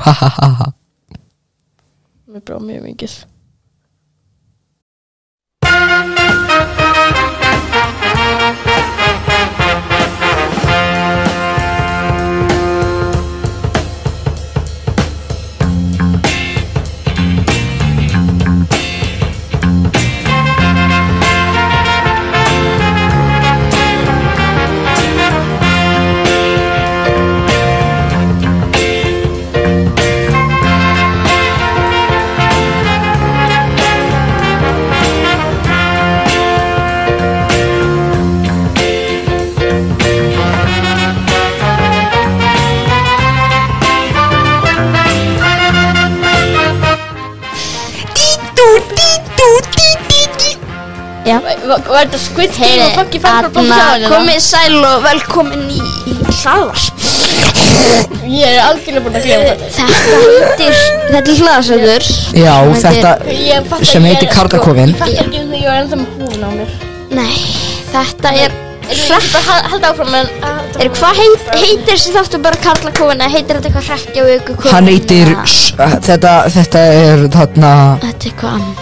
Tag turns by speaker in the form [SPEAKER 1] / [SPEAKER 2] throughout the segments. [SPEAKER 1] Hahaha.
[SPEAKER 2] Med bra mumigis.
[SPEAKER 3] Já.
[SPEAKER 2] Var þetta Squid Game og Fucking Fangur
[SPEAKER 3] Heyri, komið sæl og velkomin í, í Salvarsp.
[SPEAKER 2] Ég er algjörlega búin að gleyma þetta.
[SPEAKER 3] Þetta heitir, þetta er hlaðasöður.
[SPEAKER 1] Já,
[SPEAKER 3] Hann
[SPEAKER 1] þetta
[SPEAKER 2] Ég fatt
[SPEAKER 1] sem
[SPEAKER 2] að ég er-
[SPEAKER 3] sko-
[SPEAKER 1] heitir Kargakofinn.
[SPEAKER 2] Ég fatt ekki hvernig ég var ennþá með húfuna á mér.
[SPEAKER 3] Nei, þetta er,
[SPEAKER 2] Ég vil bara hal- halda áfram en...
[SPEAKER 3] er hvað heit, heitir þessi þáttu bara kalla kofuna? Heitir þetta eitthvað hrekkja og ykkur kofuna?
[SPEAKER 1] Hann heitir s- Þetta, þetta er þarna
[SPEAKER 3] Þetta er eitthvað annað.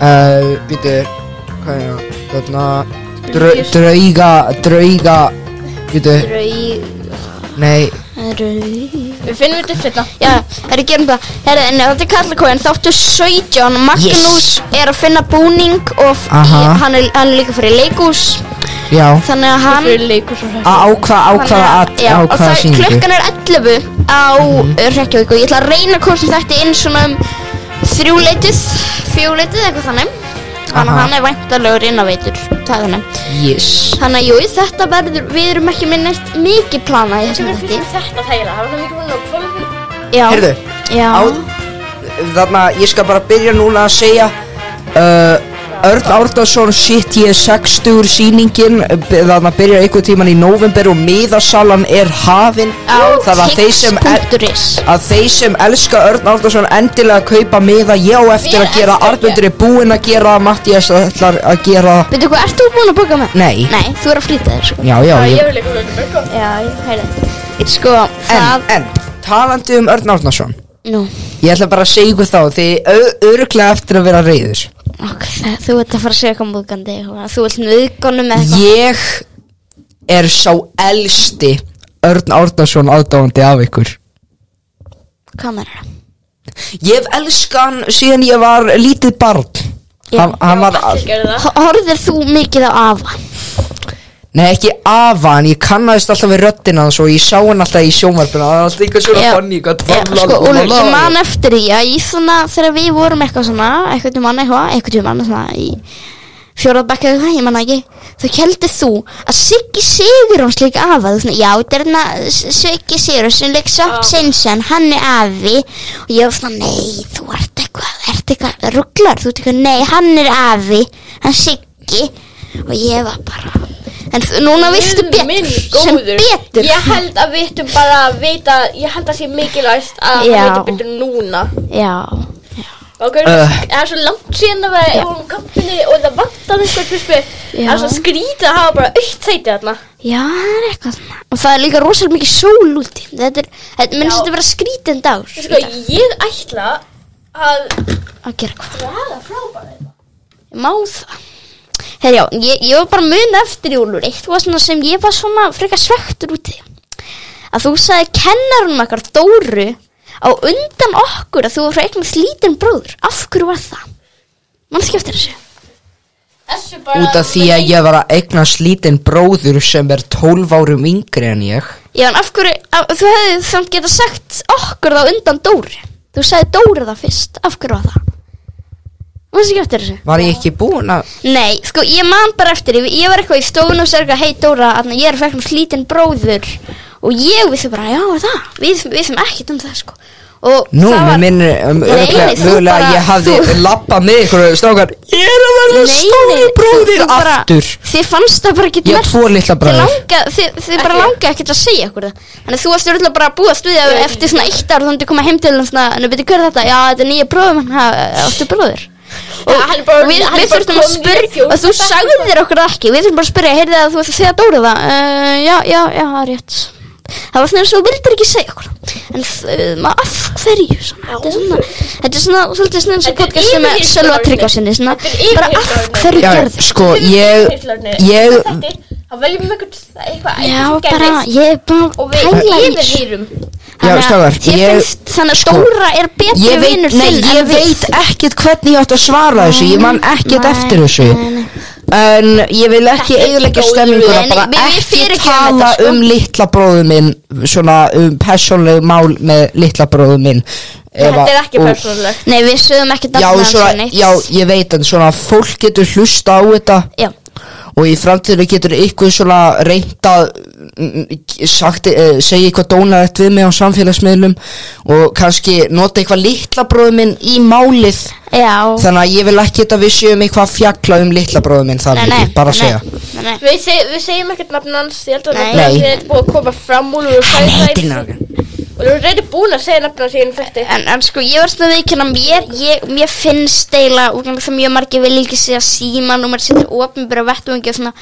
[SPEAKER 1] uh, Býtu Hvað er það? Þarna drau- Drauga Drauga Býtu
[SPEAKER 3] Rauð,
[SPEAKER 1] Nei
[SPEAKER 3] rauð.
[SPEAKER 2] Við finnum þetta upp hérna. seinna.
[SPEAKER 3] Já, það er gerum það. Herri, en þetta er kalla kofuna, þáttu 17. Magnús er að finna búning og f- í,
[SPEAKER 1] Aha.
[SPEAKER 3] hann, er, hann er líka fyrir leikús.
[SPEAKER 1] Já
[SPEAKER 3] Þannig
[SPEAKER 2] Þetta
[SPEAKER 3] að hann... Ah,
[SPEAKER 2] er leikur svo
[SPEAKER 1] Á
[SPEAKER 2] hrætt.
[SPEAKER 1] á hvað Á
[SPEAKER 3] Þannig
[SPEAKER 1] hvaða
[SPEAKER 3] að-
[SPEAKER 1] at-
[SPEAKER 3] já,
[SPEAKER 1] Á
[SPEAKER 3] og
[SPEAKER 1] hvaða
[SPEAKER 3] það-
[SPEAKER 1] sýningu Mhm.
[SPEAKER 3] Klukkan er 11 á Reykjavík og ég ætla að reyna að komast í þetta inn svona um þrjúleitið, fjúleitið eitthvað þannig Þannig að
[SPEAKER 1] Aha.
[SPEAKER 3] hann er væntanlegur inn á veitur það er þannig.
[SPEAKER 1] Yes
[SPEAKER 3] Þannig að jú, þetta verður, við erum ekki með neitt mikið planað í þessum
[SPEAKER 2] Þetta
[SPEAKER 3] þetta
[SPEAKER 2] er þetta þægilega. Það var það mikið búin að kvöldu.
[SPEAKER 3] Já,
[SPEAKER 1] Heyrðu
[SPEAKER 3] já,
[SPEAKER 1] á, Þarna Ég skal bara byrja núna að segja uh, Örn Árdarsson Shit ég er 60 sýningin uh, b- Þarna byrjar einhvern tíman í november Og miðasalan er hafin
[SPEAKER 3] á
[SPEAKER 1] Það var þeir sem er-
[SPEAKER 3] tix.is
[SPEAKER 1] að þeir sem elska Örn Árnarsson endilega kaupa miða ég á eftir
[SPEAKER 2] Við
[SPEAKER 1] að gera,
[SPEAKER 2] elskum
[SPEAKER 1] Arnundur er búinn að gera Mattias ætlar að gera
[SPEAKER 3] Veitu hvað, ert þú búin að bóka með?
[SPEAKER 1] Nei.
[SPEAKER 3] Nei, þú er að flýta þér sko
[SPEAKER 1] Já, já,
[SPEAKER 2] Ég
[SPEAKER 1] ég,
[SPEAKER 2] vil eitthvað leikur mörgum.
[SPEAKER 3] Já, heyrðu Sko,
[SPEAKER 1] en,
[SPEAKER 3] það,
[SPEAKER 1] en talandi um Örn Árnarsson
[SPEAKER 3] nú,
[SPEAKER 1] ég ætla bara að segja ykkur þá því öruglega eftir að vera reyður
[SPEAKER 3] ok, það, þú ert að fara að segja eitthvað múðgandi Þú ert nöðgónum eða eitthvað
[SPEAKER 1] ég er sá elsti Örn Árnarsson aðdáandi af ykkur
[SPEAKER 3] kamera
[SPEAKER 1] ég hef elskan síðan ég var lítið barn
[SPEAKER 3] Já.
[SPEAKER 1] hann, hann var
[SPEAKER 2] Allir gerðu það.
[SPEAKER 3] Horðir þú mikið á afa?
[SPEAKER 1] Nei, ekki afa, en ég kannaðist alltaf við röddina hans og ég sá hann alltaf í sjónvarpinu og það var alltaf eitthvað svona
[SPEAKER 3] Já.
[SPEAKER 1] fannig hvað
[SPEAKER 3] Já,
[SPEAKER 1] tala-
[SPEAKER 3] sko,
[SPEAKER 1] la-
[SPEAKER 3] og
[SPEAKER 1] la- la-
[SPEAKER 3] ég man eftir því að ég svona, þegar við vorum eitthvað svona, eitthvað tímann eitthvað, eitthvað tímann svona í fjórðabækka eða eitthvað, ég manna ekki, þá keldi þú að Siggi Sigurjóns líka afa, þú svona, já, þetta er hérna S- Siggi Sigurjóns sem líka Söpp Sinsson, hann er afi, og ég var svona, nei, þú ert eitthvað, ert eitthvað rugglar, þú ert eitthvað, nei, hann er afi, hann Siggi, og ég var bara, en þú- núna vistu
[SPEAKER 2] Guð minn
[SPEAKER 3] betur, sem
[SPEAKER 2] góður.
[SPEAKER 3] betur,
[SPEAKER 2] Ég held að við ættum bara að vita, ég held að sé mikilvægt að við
[SPEAKER 3] Já.
[SPEAKER 2] veitum betur núna.
[SPEAKER 3] já.
[SPEAKER 2] Ok, uh.
[SPEAKER 1] Uh.
[SPEAKER 2] það er svo langt síðan að við vorum kampinni og það vantaði einhver fyrstu Það er svo skrítið að hafa bara aukt sæti þarna
[SPEAKER 3] Já, það er eitthvað svona. Og það er líka rosalega mikið sól úti. Þetta er, þetta minnst
[SPEAKER 2] Já.
[SPEAKER 3] þetta vera skrítinn dagur.
[SPEAKER 2] Sko, ég ætla að
[SPEAKER 3] Að gera hvað?
[SPEAKER 2] draga frá bara þetta
[SPEAKER 3] Má það? Herjá, ég, ég var bara mun eftir jólur. Eitt var svona sem ég var svona frekar svektur úti. Að þú sagði kennarunum okkar Dóru á undan okkur að þú var frá eignast lítinn bróður. Af hverju var það? Manstu ekki eftir þessu?
[SPEAKER 2] Þessu bara
[SPEAKER 1] Út af því að ég var að eignast lítinn bróður sem er 12 árum yngri en ég
[SPEAKER 3] Já, en af hverju, af, þú hefði samt geta sagt okkur það á undan Dóri. Þú sagði Dóri það fyrst. Af hverju var það? Manstu ekki eftir þessu?
[SPEAKER 1] Var ég ekki búinn að
[SPEAKER 3] Nei, sko, ég man bara eftir því, Ég var eitthvað í stofun og sörga Hei Dóra, þarna, ég er að fækna slítinn bróður Og ég við þau bara, já er það Við, við sem ekkert um það, sko og
[SPEAKER 1] Nú,
[SPEAKER 3] það
[SPEAKER 1] mér
[SPEAKER 3] var-
[SPEAKER 1] minnir um,
[SPEAKER 3] Nei,
[SPEAKER 1] öruglega,
[SPEAKER 3] nei, þú
[SPEAKER 1] mögulega
[SPEAKER 3] bara-
[SPEAKER 1] að ég hafði
[SPEAKER 3] þú-
[SPEAKER 1] lappað með ykkur og strákar Ég er að
[SPEAKER 3] Nei,
[SPEAKER 1] verða
[SPEAKER 3] nei,
[SPEAKER 1] stóri
[SPEAKER 3] þú-
[SPEAKER 1] bróðir
[SPEAKER 3] þú bara-
[SPEAKER 1] aftur
[SPEAKER 3] Þið fannst það bara ekki
[SPEAKER 1] Ég á tvo litla bræður.
[SPEAKER 3] Þið, þið bara
[SPEAKER 2] Ekki.
[SPEAKER 3] langa ekkert að segja okkur það Þannig að þú varst örugglega bara að búast við að
[SPEAKER 2] Nei.
[SPEAKER 3] Eftir svona eitt ár þannig að koma heim til þeirra svona, En beti, hver er þetta? Já, þetta er nýja bróðum Hann áttu bróður
[SPEAKER 2] Ja,
[SPEAKER 3] Og
[SPEAKER 2] hann bara-
[SPEAKER 3] og við,
[SPEAKER 2] hann
[SPEAKER 3] við
[SPEAKER 2] bara
[SPEAKER 3] þurftum að
[SPEAKER 2] kom í
[SPEAKER 3] spyrja
[SPEAKER 2] fjórða
[SPEAKER 3] Og þú
[SPEAKER 2] bekk
[SPEAKER 3] sagði þér okkur það ekki Við þurftum bara að spyrja, heyrði Eh, að þú ætti að segja Dóri það uh, Já, já, já, það er rétt Það var svona eins og þú vildir ekki segja okkur það. en þau- maður af hverju svona, þetta er svona þetta er svona, svolítið svona eins og
[SPEAKER 2] Þetta er
[SPEAKER 3] podcast sem er
[SPEAKER 2] yfirheyrsla
[SPEAKER 3] Sölva
[SPEAKER 2] orðin.
[SPEAKER 3] Tryggvarsinni svona,
[SPEAKER 2] Þetta er
[SPEAKER 3] bara af
[SPEAKER 2] yfirheyrsla orðin.
[SPEAKER 3] hverju
[SPEAKER 1] Já,
[SPEAKER 3] gerði
[SPEAKER 1] sko, ég, ég,
[SPEAKER 2] Það veljum við eitthvað eitthvað
[SPEAKER 3] já,
[SPEAKER 2] sem
[SPEAKER 3] bara,
[SPEAKER 2] gerðist
[SPEAKER 3] ég er bara
[SPEAKER 2] Og
[SPEAKER 3] að
[SPEAKER 2] við
[SPEAKER 3] pæla í þessu.
[SPEAKER 2] yfirheyrum
[SPEAKER 1] Já,
[SPEAKER 3] Þannig að
[SPEAKER 1] strákar,
[SPEAKER 3] þér
[SPEAKER 1] ég- sko,
[SPEAKER 3] finnst, þannig að Dóra er betri
[SPEAKER 1] ég veit,
[SPEAKER 3] vinnur
[SPEAKER 1] nei,
[SPEAKER 3] þinn
[SPEAKER 1] ég
[SPEAKER 3] en við.
[SPEAKER 1] veit ekkert hvernig ég átt að svara þessu, ég man ekkert
[SPEAKER 3] Nei,
[SPEAKER 1] eftir þessu.
[SPEAKER 3] nei, nei.
[SPEAKER 1] En ég vil ekki eiginlega stemminguna,
[SPEAKER 3] Nei, nei,
[SPEAKER 1] bara
[SPEAKER 3] við- við
[SPEAKER 1] ekki
[SPEAKER 3] fyrirgefum þetta,
[SPEAKER 1] tala
[SPEAKER 3] sko.
[SPEAKER 1] um litla bróðu minn, svona um persónlegu mál með litla bróðu minn.
[SPEAKER 2] Þetta er ekki
[SPEAKER 1] og-
[SPEAKER 2] persónulegt
[SPEAKER 3] Nei, við sögum ekkert
[SPEAKER 1] Já,
[SPEAKER 3] annað en
[SPEAKER 1] svona,
[SPEAKER 3] neitt.
[SPEAKER 1] já, ég veit en svona fólk getur hlusta á þetta
[SPEAKER 3] Já.
[SPEAKER 1] og í framtíðinu getur ykkur svona reynt að mm, sagt, eh, segja eitthvað dónalegt við mig á samfélagsmiðlum og kannski nota eitthvað litla bróðu minn í málið
[SPEAKER 3] Já.
[SPEAKER 1] þannig að ég vil ekki þetta við séum eitthvað að fjalla um litla bróðu minn það
[SPEAKER 3] Nei,
[SPEAKER 1] vil
[SPEAKER 3] nei,
[SPEAKER 1] ég bara
[SPEAKER 3] nei,
[SPEAKER 1] segja
[SPEAKER 3] Nei, nei.
[SPEAKER 2] Við, seg, við segjum ekkert nafn hans, ég held að
[SPEAKER 3] Nei.
[SPEAKER 2] nafn hans er búið að koma fram úr og
[SPEAKER 1] Hann
[SPEAKER 2] við
[SPEAKER 1] heitir nákvæm.
[SPEAKER 2] Og þú er reyndi búin að segja nafn hans í einu fætti
[SPEAKER 3] En, en sko, ég var svona veikinn að mér, ég, mér finnst eiginlega, og það mjög margir vil ekki segja símanúmer, setja ofnbæra vettungi og svona,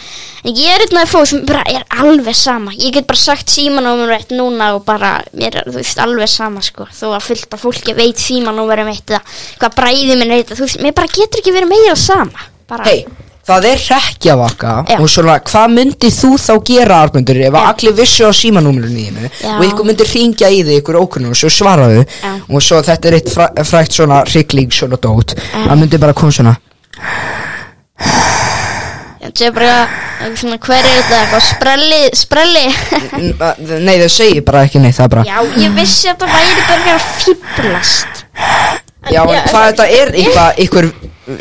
[SPEAKER 3] en ég er einn af þeim fólk sem bara er alveg sama, ég get bara sagt símanúmer eitt núna og bara, mér er, þú veist, alveg sama, sko, þó að fullta fólki veit símanúmer um eitt eða hvað bræði minn veit, þú veist, mér bara getur ekki verið meira sama, bara.
[SPEAKER 1] hei, það er hrekkjavaka
[SPEAKER 3] Já.
[SPEAKER 1] og svona hvað myndi þú þá gera Arnundur ef að
[SPEAKER 3] Já.
[SPEAKER 1] allir vissu á símanúmerinu þínu
[SPEAKER 3] Já.
[SPEAKER 1] og ykkur myndi ringja í þig ykkur ókunnum og svo svaraðu
[SPEAKER 3] Já.
[SPEAKER 1] og svo þetta er eitt fræ, frækt svona hrygling svona dót það myndi bara koma svona
[SPEAKER 3] Já, þetta er bara eitthvað svona hverju þetta eitthvað sprelli, sprelli
[SPEAKER 1] N- nei þau segir bara ekki neitt það er bara
[SPEAKER 3] Já, ég vissi að þetta væri bara eitthvað að fýblast
[SPEAKER 1] Já, en hvað þetta er eitthvað ykkur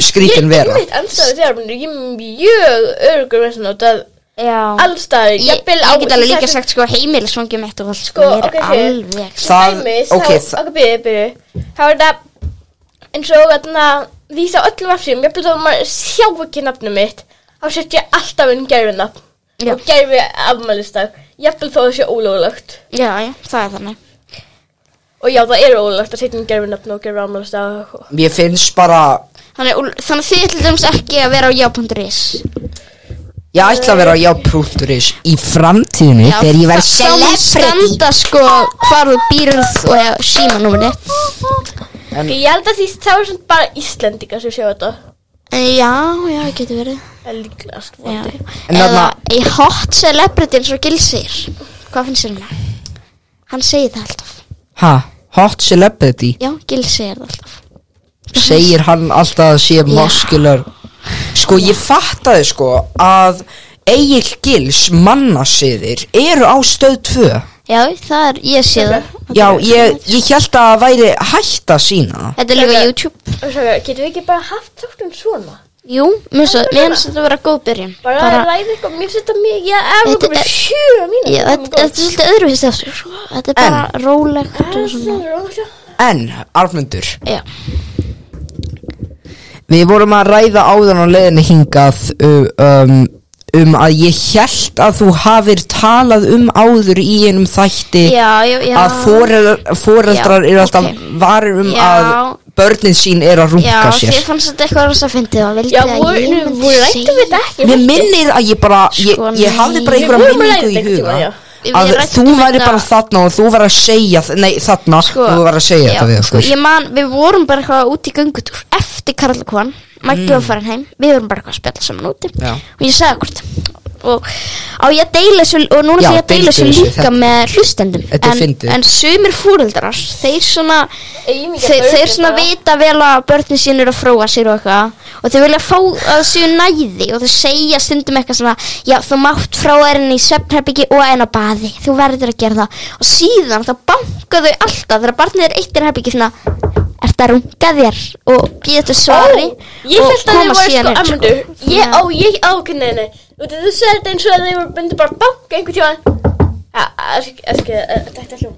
[SPEAKER 1] skrítin vera
[SPEAKER 2] Ég veit anstæðu þegar minn, ég er mjög örugur með svona að
[SPEAKER 3] Já
[SPEAKER 2] allstaðar,
[SPEAKER 3] Ég, ég
[SPEAKER 2] jafnvel á
[SPEAKER 3] get alveg líka
[SPEAKER 2] þessum-
[SPEAKER 3] sagt sko heimilisvangi mitt og allt sko,
[SPEAKER 2] Sko,
[SPEAKER 3] mér er
[SPEAKER 2] ok, fyrir-
[SPEAKER 3] alveg
[SPEAKER 1] Það-
[SPEAKER 2] Til dæmis,
[SPEAKER 1] ok,
[SPEAKER 2] þá,
[SPEAKER 1] það-
[SPEAKER 2] ok, byrju, byrju Þá er þetta eins og þarna vísa á öllum afsýrum Ég byrja að maður sjá ekki nafnum mitt Þá sett ég alltaf inn gerfinafn
[SPEAKER 3] Já.
[SPEAKER 2] Og gerfi afmælistag Ég byrja þó að það sé ólöglegt
[SPEAKER 3] Já, já, það er þannig
[SPEAKER 2] Og já, það er ólöglegt að setja inn gerfinafn og gerfi afmælistag og-
[SPEAKER 1] Mér finnst bara
[SPEAKER 3] Þannig, úl- þannig að þið til dæmis ekki að vera á já.is
[SPEAKER 1] Ég ætla að vera á já.is í framtíðinu
[SPEAKER 3] Já,
[SPEAKER 1] þegar ég verð
[SPEAKER 3] þá- þá mun
[SPEAKER 1] celebrity
[SPEAKER 3] standa sko hvar þú býrð og símanúmeri
[SPEAKER 1] En-
[SPEAKER 2] Ok, Ég held að því þá er svona bara Íslendingar sem sjá þetta
[SPEAKER 3] Já, já, getur verið
[SPEAKER 2] Það er líklegast
[SPEAKER 3] Já.
[SPEAKER 2] vonandi
[SPEAKER 1] En
[SPEAKER 3] Eða
[SPEAKER 1] þarna-
[SPEAKER 3] í hot celebrity eins og gilsir Hvað finnst þér um það? Hann segir það alltaf
[SPEAKER 1] Ha, hot celebrity
[SPEAKER 3] Já, Gils segir það alltaf
[SPEAKER 1] Segir hann alltaf að sé muscular Sko ég fattaði sko að Egil Gils mannasiðir eru á stöð 2
[SPEAKER 3] Já, það er, ég
[SPEAKER 2] Hérna.
[SPEAKER 3] sé það
[SPEAKER 1] Já, ég, ég held að það væri hætt að sína það.
[SPEAKER 3] Þetta er líka
[SPEAKER 2] Þetta-
[SPEAKER 3] YouTube
[SPEAKER 2] Og svo, getum við ekki bara haft þáttum svona?
[SPEAKER 3] Jú, mjög svo, mér finnst þetta að vera góð byrjun
[SPEAKER 2] Hérna. Bara, bara ræði eitthvað, mér setja mig, ég er
[SPEAKER 3] Þetta
[SPEAKER 2] komið
[SPEAKER 3] er-
[SPEAKER 2] sjö mínútur
[SPEAKER 3] ég, þetta, þetta er svolítið öðruvísi aftur sko. Þetta er bara rólegt og svona
[SPEAKER 2] Það er rólega
[SPEAKER 1] En, Arnundur
[SPEAKER 3] Já,
[SPEAKER 1] Við vorum að ræða áðan á leiðinni hingað uh, um, um að ég held að þú hafir talað um áður í einum þætti
[SPEAKER 3] já, já, já
[SPEAKER 1] að foreldrar, foreldrar
[SPEAKER 3] Já,
[SPEAKER 1] eru alltaf
[SPEAKER 3] ok.
[SPEAKER 1] varir um
[SPEAKER 3] Já.
[SPEAKER 1] að börnin sín eru að
[SPEAKER 3] Já,
[SPEAKER 1] runga
[SPEAKER 3] þið
[SPEAKER 1] sér.
[SPEAKER 3] fannst þetta eitthvað rosa fyndið og vildið
[SPEAKER 2] Já,
[SPEAKER 3] að
[SPEAKER 2] voru,
[SPEAKER 3] ég myndi
[SPEAKER 2] voru rættum við
[SPEAKER 3] segja
[SPEAKER 2] þetta ekki
[SPEAKER 1] Mér minnir að ég bara, ég,
[SPEAKER 3] Sko,
[SPEAKER 1] ég hafði bara
[SPEAKER 3] nei.
[SPEAKER 1] einhverja
[SPEAKER 2] Við vorum að ræða
[SPEAKER 1] minningu í
[SPEAKER 2] þetta einhvern tímann, já.
[SPEAKER 1] huga
[SPEAKER 3] Við
[SPEAKER 1] að þú
[SPEAKER 3] ræddum hérna-
[SPEAKER 1] væri
[SPEAKER 3] þetta-
[SPEAKER 1] bara þarna og þú var að segja, nei þarna,
[SPEAKER 2] sko.
[SPEAKER 1] þú var að segja þetta við okkur.
[SPEAKER 3] Sko, Ég man, við vorum bara eitthvað út í göngutúr eftir Karlakon, Maggi var farin heim við vorum bara eitthvað að spjalla saman úti
[SPEAKER 1] Mm. Já.
[SPEAKER 3] og ég sagði hvort og á ég að deila þessu og núna
[SPEAKER 1] Já,
[SPEAKER 3] þegar ég að deila
[SPEAKER 1] deildu
[SPEAKER 3] þessu
[SPEAKER 1] þessu,
[SPEAKER 3] líka
[SPEAKER 1] þetta-
[SPEAKER 3] með hlustendum
[SPEAKER 1] Þetta er
[SPEAKER 3] en,
[SPEAKER 1] fyndið.
[SPEAKER 3] en sumir fúreldrar, þeir svona
[SPEAKER 2] Eigum ekki að
[SPEAKER 3] þeir,
[SPEAKER 2] börnin
[SPEAKER 3] þeir svona
[SPEAKER 2] bara-
[SPEAKER 3] vita vel að börnin sín eru að fróa sér og eitthvað og þeir vilja fá að séu næði og þeir segja stundum eitthvað svona já þú mátt frá erin í svefnherbyggi og en á baði, þú verður að gera það og síðan þá banka þau alltaf þegar barnið er eitt í herbyggi svona ert að runga þér og býða þetta svari
[SPEAKER 2] Ég
[SPEAKER 3] og
[SPEAKER 2] held að þið
[SPEAKER 3] koma
[SPEAKER 2] voru sko
[SPEAKER 3] síðan inn,
[SPEAKER 2] amöndu Ég
[SPEAKER 3] Já.
[SPEAKER 2] á, ég á, ok, nei, nei Þú veit, þú sagði þetta eins og að þið voru myndi bara banka einhvern tíma Ja, ekki, ekki, þetta er hljum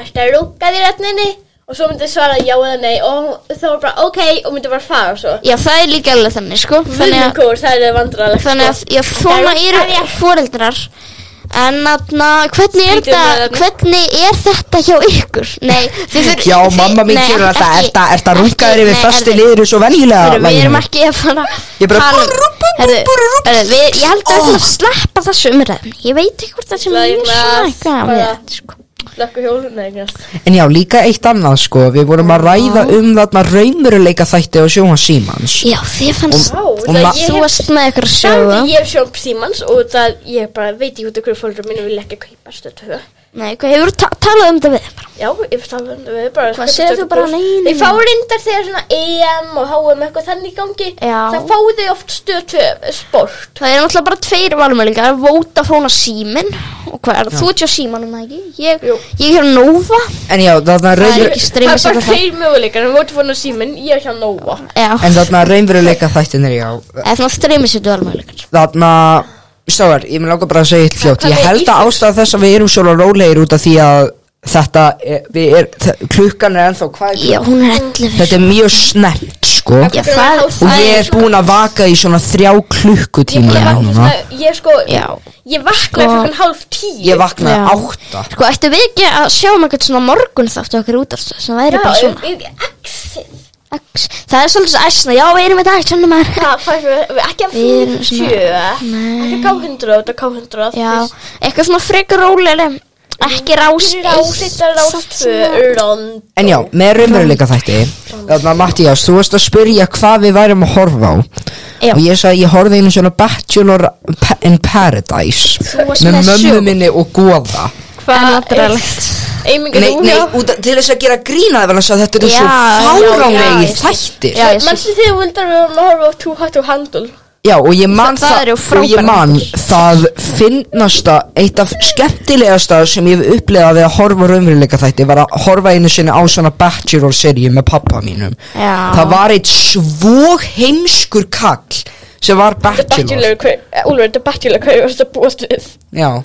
[SPEAKER 2] Ertu að rúka þér ötninni? Og svo myndi svara já eða nei Og þá var bara ok og myndi bara fara svo
[SPEAKER 3] já það er líka alveg þannig sko þannig að
[SPEAKER 2] sko. Vinnukór, það er vandralegt
[SPEAKER 3] Þannig að já, svona
[SPEAKER 2] Það er-
[SPEAKER 3] eru foreldrar En atna, hvernig, er
[SPEAKER 2] Skrítið
[SPEAKER 3] þetta,
[SPEAKER 2] umræðuefni.
[SPEAKER 3] hvernig er þetta hjá ykkur? Nei, þið fyrir
[SPEAKER 1] Já, mamma mín kemur að það, ert að, ert að rungaður yfir fösti liður svo venjulega
[SPEAKER 3] Við
[SPEAKER 1] laginu?
[SPEAKER 3] erum ekki að fara
[SPEAKER 1] Ég bara-
[SPEAKER 3] Herru, herru, við, ég held að við ætlum að sleppa þessu umræðum Ég veit ekki hvort það sem
[SPEAKER 2] Slagið
[SPEAKER 3] er svona
[SPEAKER 2] glas,
[SPEAKER 3] eitthvað
[SPEAKER 2] bara-
[SPEAKER 3] við þetta, sko.
[SPEAKER 2] Slökku hjólun, nei, græs.
[SPEAKER 1] En já, líka eitt annað sko, við vorum að ræða um þarna raumuruleika þætti og sjóma símans
[SPEAKER 3] Já, þið fannst
[SPEAKER 2] Vá,
[SPEAKER 1] Og
[SPEAKER 2] það
[SPEAKER 1] ma-
[SPEAKER 2] ég
[SPEAKER 3] Þú
[SPEAKER 2] hef
[SPEAKER 3] varst með ykkur
[SPEAKER 2] Bæði
[SPEAKER 3] sögu
[SPEAKER 2] ég hef sjón símans og það ég bara veit ekki út af hverju fólkur mínu vil ekki kaupa stöð 2
[SPEAKER 3] Nei, hvað hefur ta talað um þetta við þeim bara?
[SPEAKER 2] Já, ég veist alveg um það bara
[SPEAKER 3] Hvað segir þú bara, nei, nei,
[SPEAKER 2] Ég fá
[SPEAKER 3] nei.
[SPEAKER 2] reyndar þegar svona EM og HM eitthvað þannig í gangi
[SPEAKER 3] Já.
[SPEAKER 2] Það fá þau oft stöð 2 sport
[SPEAKER 3] Það er náttúrulega bara tveir valmölingar Vodafone og Símin Og hvað er það? Þú ert hjá Símanum það ekki? Ég,
[SPEAKER 2] Jú.
[SPEAKER 3] ég er hjá Nova
[SPEAKER 1] En já, þarna
[SPEAKER 3] er
[SPEAKER 1] raumur...
[SPEAKER 3] ekki streymi
[SPEAKER 2] Það er
[SPEAKER 3] sem
[SPEAKER 2] bara
[SPEAKER 3] það-
[SPEAKER 2] tveir möguleikar En Vodafone og Síminn, ég er hjá Nova
[SPEAKER 3] Já,
[SPEAKER 1] En þarna raumuruleika þættin er já
[SPEAKER 3] eða svona streymisveitu valmölingar
[SPEAKER 1] Þarna Stáðar, ég mér langar bara að segja eitt fljótt Ég
[SPEAKER 2] Hvað er
[SPEAKER 1] held að ástæða þess að við erum sjóla rólegir út af því að þetta er, við er, þ- klukkan er ennþá hvað er
[SPEAKER 3] Já,
[SPEAKER 1] klukkan?
[SPEAKER 3] hún er 11
[SPEAKER 1] Þetta er mjög snemmt sko
[SPEAKER 3] Já, það,
[SPEAKER 1] Og
[SPEAKER 3] það
[SPEAKER 1] ég er búin að vaka í svona þrjá
[SPEAKER 2] Ég,
[SPEAKER 1] klukkutíma
[SPEAKER 2] ég, vakna,
[SPEAKER 1] núna.
[SPEAKER 2] svona- ég sko,
[SPEAKER 3] Já.
[SPEAKER 2] ég vakna
[SPEAKER 3] Sko-
[SPEAKER 2] fyrir hálf tíu
[SPEAKER 1] Ég vaknaði
[SPEAKER 3] Já.
[SPEAKER 1] átta
[SPEAKER 3] Sko, ættu við ekki að sjá um eitthvað svona morgun þáttu okkur út af sem væri bara
[SPEAKER 2] Já,
[SPEAKER 3] svona
[SPEAKER 2] ég er exið
[SPEAKER 3] Ax, Það er svolítið æsna, já, við erum þetta ekki svona maður
[SPEAKER 2] Það fæst við, við ekki að
[SPEAKER 3] Við erum
[SPEAKER 2] 40
[SPEAKER 3] Nei.
[SPEAKER 2] Ekki K100, þetta K100
[SPEAKER 3] Já, eitthvað svona frekar rólega Ekki rás eitt,
[SPEAKER 2] Rásita,
[SPEAKER 3] samt svona-
[SPEAKER 2] rástvö, rond
[SPEAKER 1] En já, með raunveruleika þætti Þarna Mattías, þú varst að spyrja hvað við værum að horfa á
[SPEAKER 3] Já.
[SPEAKER 1] Og ég sagði, ég horfði einu svona Bachelor pa- in Paradise
[SPEAKER 3] Þú varst
[SPEAKER 1] Með
[SPEAKER 3] með
[SPEAKER 1] mömmu
[SPEAKER 3] sjó.
[SPEAKER 1] minni og góða
[SPEAKER 3] En náttúrulegt
[SPEAKER 2] Eimingar
[SPEAKER 1] Nei, nei, út, af- til þess að gera grínaði vel að segja þetta eru
[SPEAKER 3] Já,
[SPEAKER 1] svo
[SPEAKER 3] já, já,
[SPEAKER 1] fáránlegir
[SPEAKER 3] ég skil.
[SPEAKER 1] þættir
[SPEAKER 3] Já,
[SPEAKER 1] já.
[SPEAKER 3] ég skil.
[SPEAKER 2] Mennstu þegar vildar við vorum að horfa á Too Hot to Handle
[SPEAKER 1] og ég man
[SPEAKER 3] Það- það
[SPEAKER 1] það,
[SPEAKER 3] eru
[SPEAKER 1] og ég
[SPEAKER 3] frábærar
[SPEAKER 1] man
[SPEAKER 3] þættir.
[SPEAKER 1] það finnasta, eitt af skemmtilegasta sem ég hef upplegað við að horfa raunveruleika þætti var að horfa einu sinni á svona Bachelor-seríu með pappa mínum
[SPEAKER 3] Já.
[SPEAKER 1] það var eitt svo heimskur kall sem var
[SPEAKER 2] The
[SPEAKER 1] Bachelor
[SPEAKER 2] Bachelor, hver- eh, Úlfur, The Bachelor, hvað er þetta búast við?
[SPEAKER 1] já,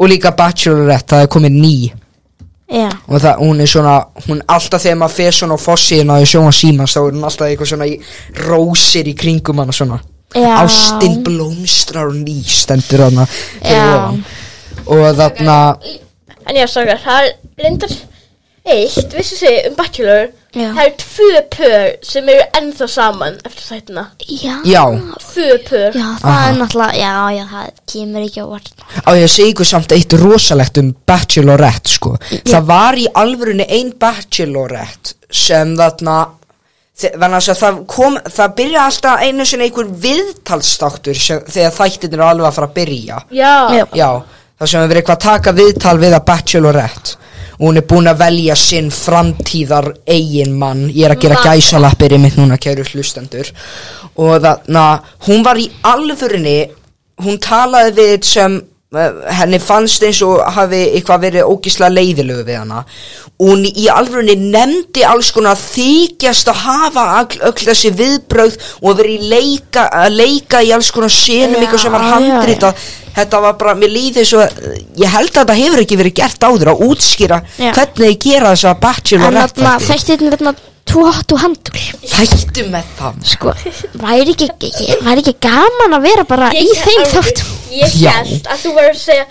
[SPEAKER 1] og líka Bachelorette, það er komið ný
[SPEAKER 3] Já
[SPEAKER 1] og það, hún er svona, hún alltaf þegar maður fer svona á fossina í sjóma símans þá er hún alltaf eitthvað svona í rósir í kringum hana svona
[SPEAKER 3] Já.
[SPEAKER 1] ástin blómstrar og ný stendur hana fyrir
[SPEAKER 3] Já.
[SPEAKER 1] ofan. og þarna
[SPEAKER 2] En já, sorgar, það er reyndar eitt, vissu þið, um Bachelor
[SPEAKER 3] Já.
[SPEAKER 2] Það eru tvö pör sem eru ennþá saman eftir þættina
[SPEAKER 3] Já,
[SPEAKER 1] já,
[SPEAKER 2] Tvö pör
[SPEAKER 3] Já, það
[SPEAKER 1] Aha.
[SPEAKER 3] er náttúrulega, já, já, það kemur ekki á vart
[SPEAKER 1] á ég að segja ykkur samt eitt rosalegt um Bachelorette sko það var í alvörunni ein Bachelorette sem þarna þe- þannig að það kom, það byrja alltaf einu sinni einhver viðtalstáttur sem, þegar þættirnir eru alveg að fara að byrja
[SPEAKER 2] Já,
[SPEAKER 3] Já.
[SPEAKER 1] Já, það sem hefur verið eitthvað að taka viðtal við að Bachelorette og hún er búin að velja sinn framtíðar eigin mann, ég er að gera
[SPEAKER 2] Mann.
[SPEAKER 1] gæsalappir í mitt núna, kæru hlustendur og þarna, hún var í alvörinni, hún talaði við einn sem eh, henni fannst eins og hafi eitthvað verið ógislega leiðilegu við hana og hún í alvörunni nefndi alls konar þykjast að hafa öll, öll þessi viðbrögð og verið í leika, að leika í alls konar senum
[SPEAKER 3] Já,
[SPEAKER 1] eitthvað sem var
[SPEAKER 3] já, já.
[SPEAKER 1] handrita þetta var bara, mér líði svo ég held að þetta hefur ekki verið gert áður að útskýra
[SPEAKER 3] Já.
[SPEAKER 1] hvernig þið gera þess að
[SPEAKER 3] En
[SPEAKER 1] bachelor
[SPEAKER 3] þarna, þættirnir þarna, tú hattu handul
[SPEAKER 1] hættu með það
[SPEAKER 3] Sko, væri ekki, ekki- væri ekki gaman að vera bara í þeim þáttum
[SPEAKER 2] Ég
[SPEAKER 1] Já.
[SPEAKER 2] held að þú var að segja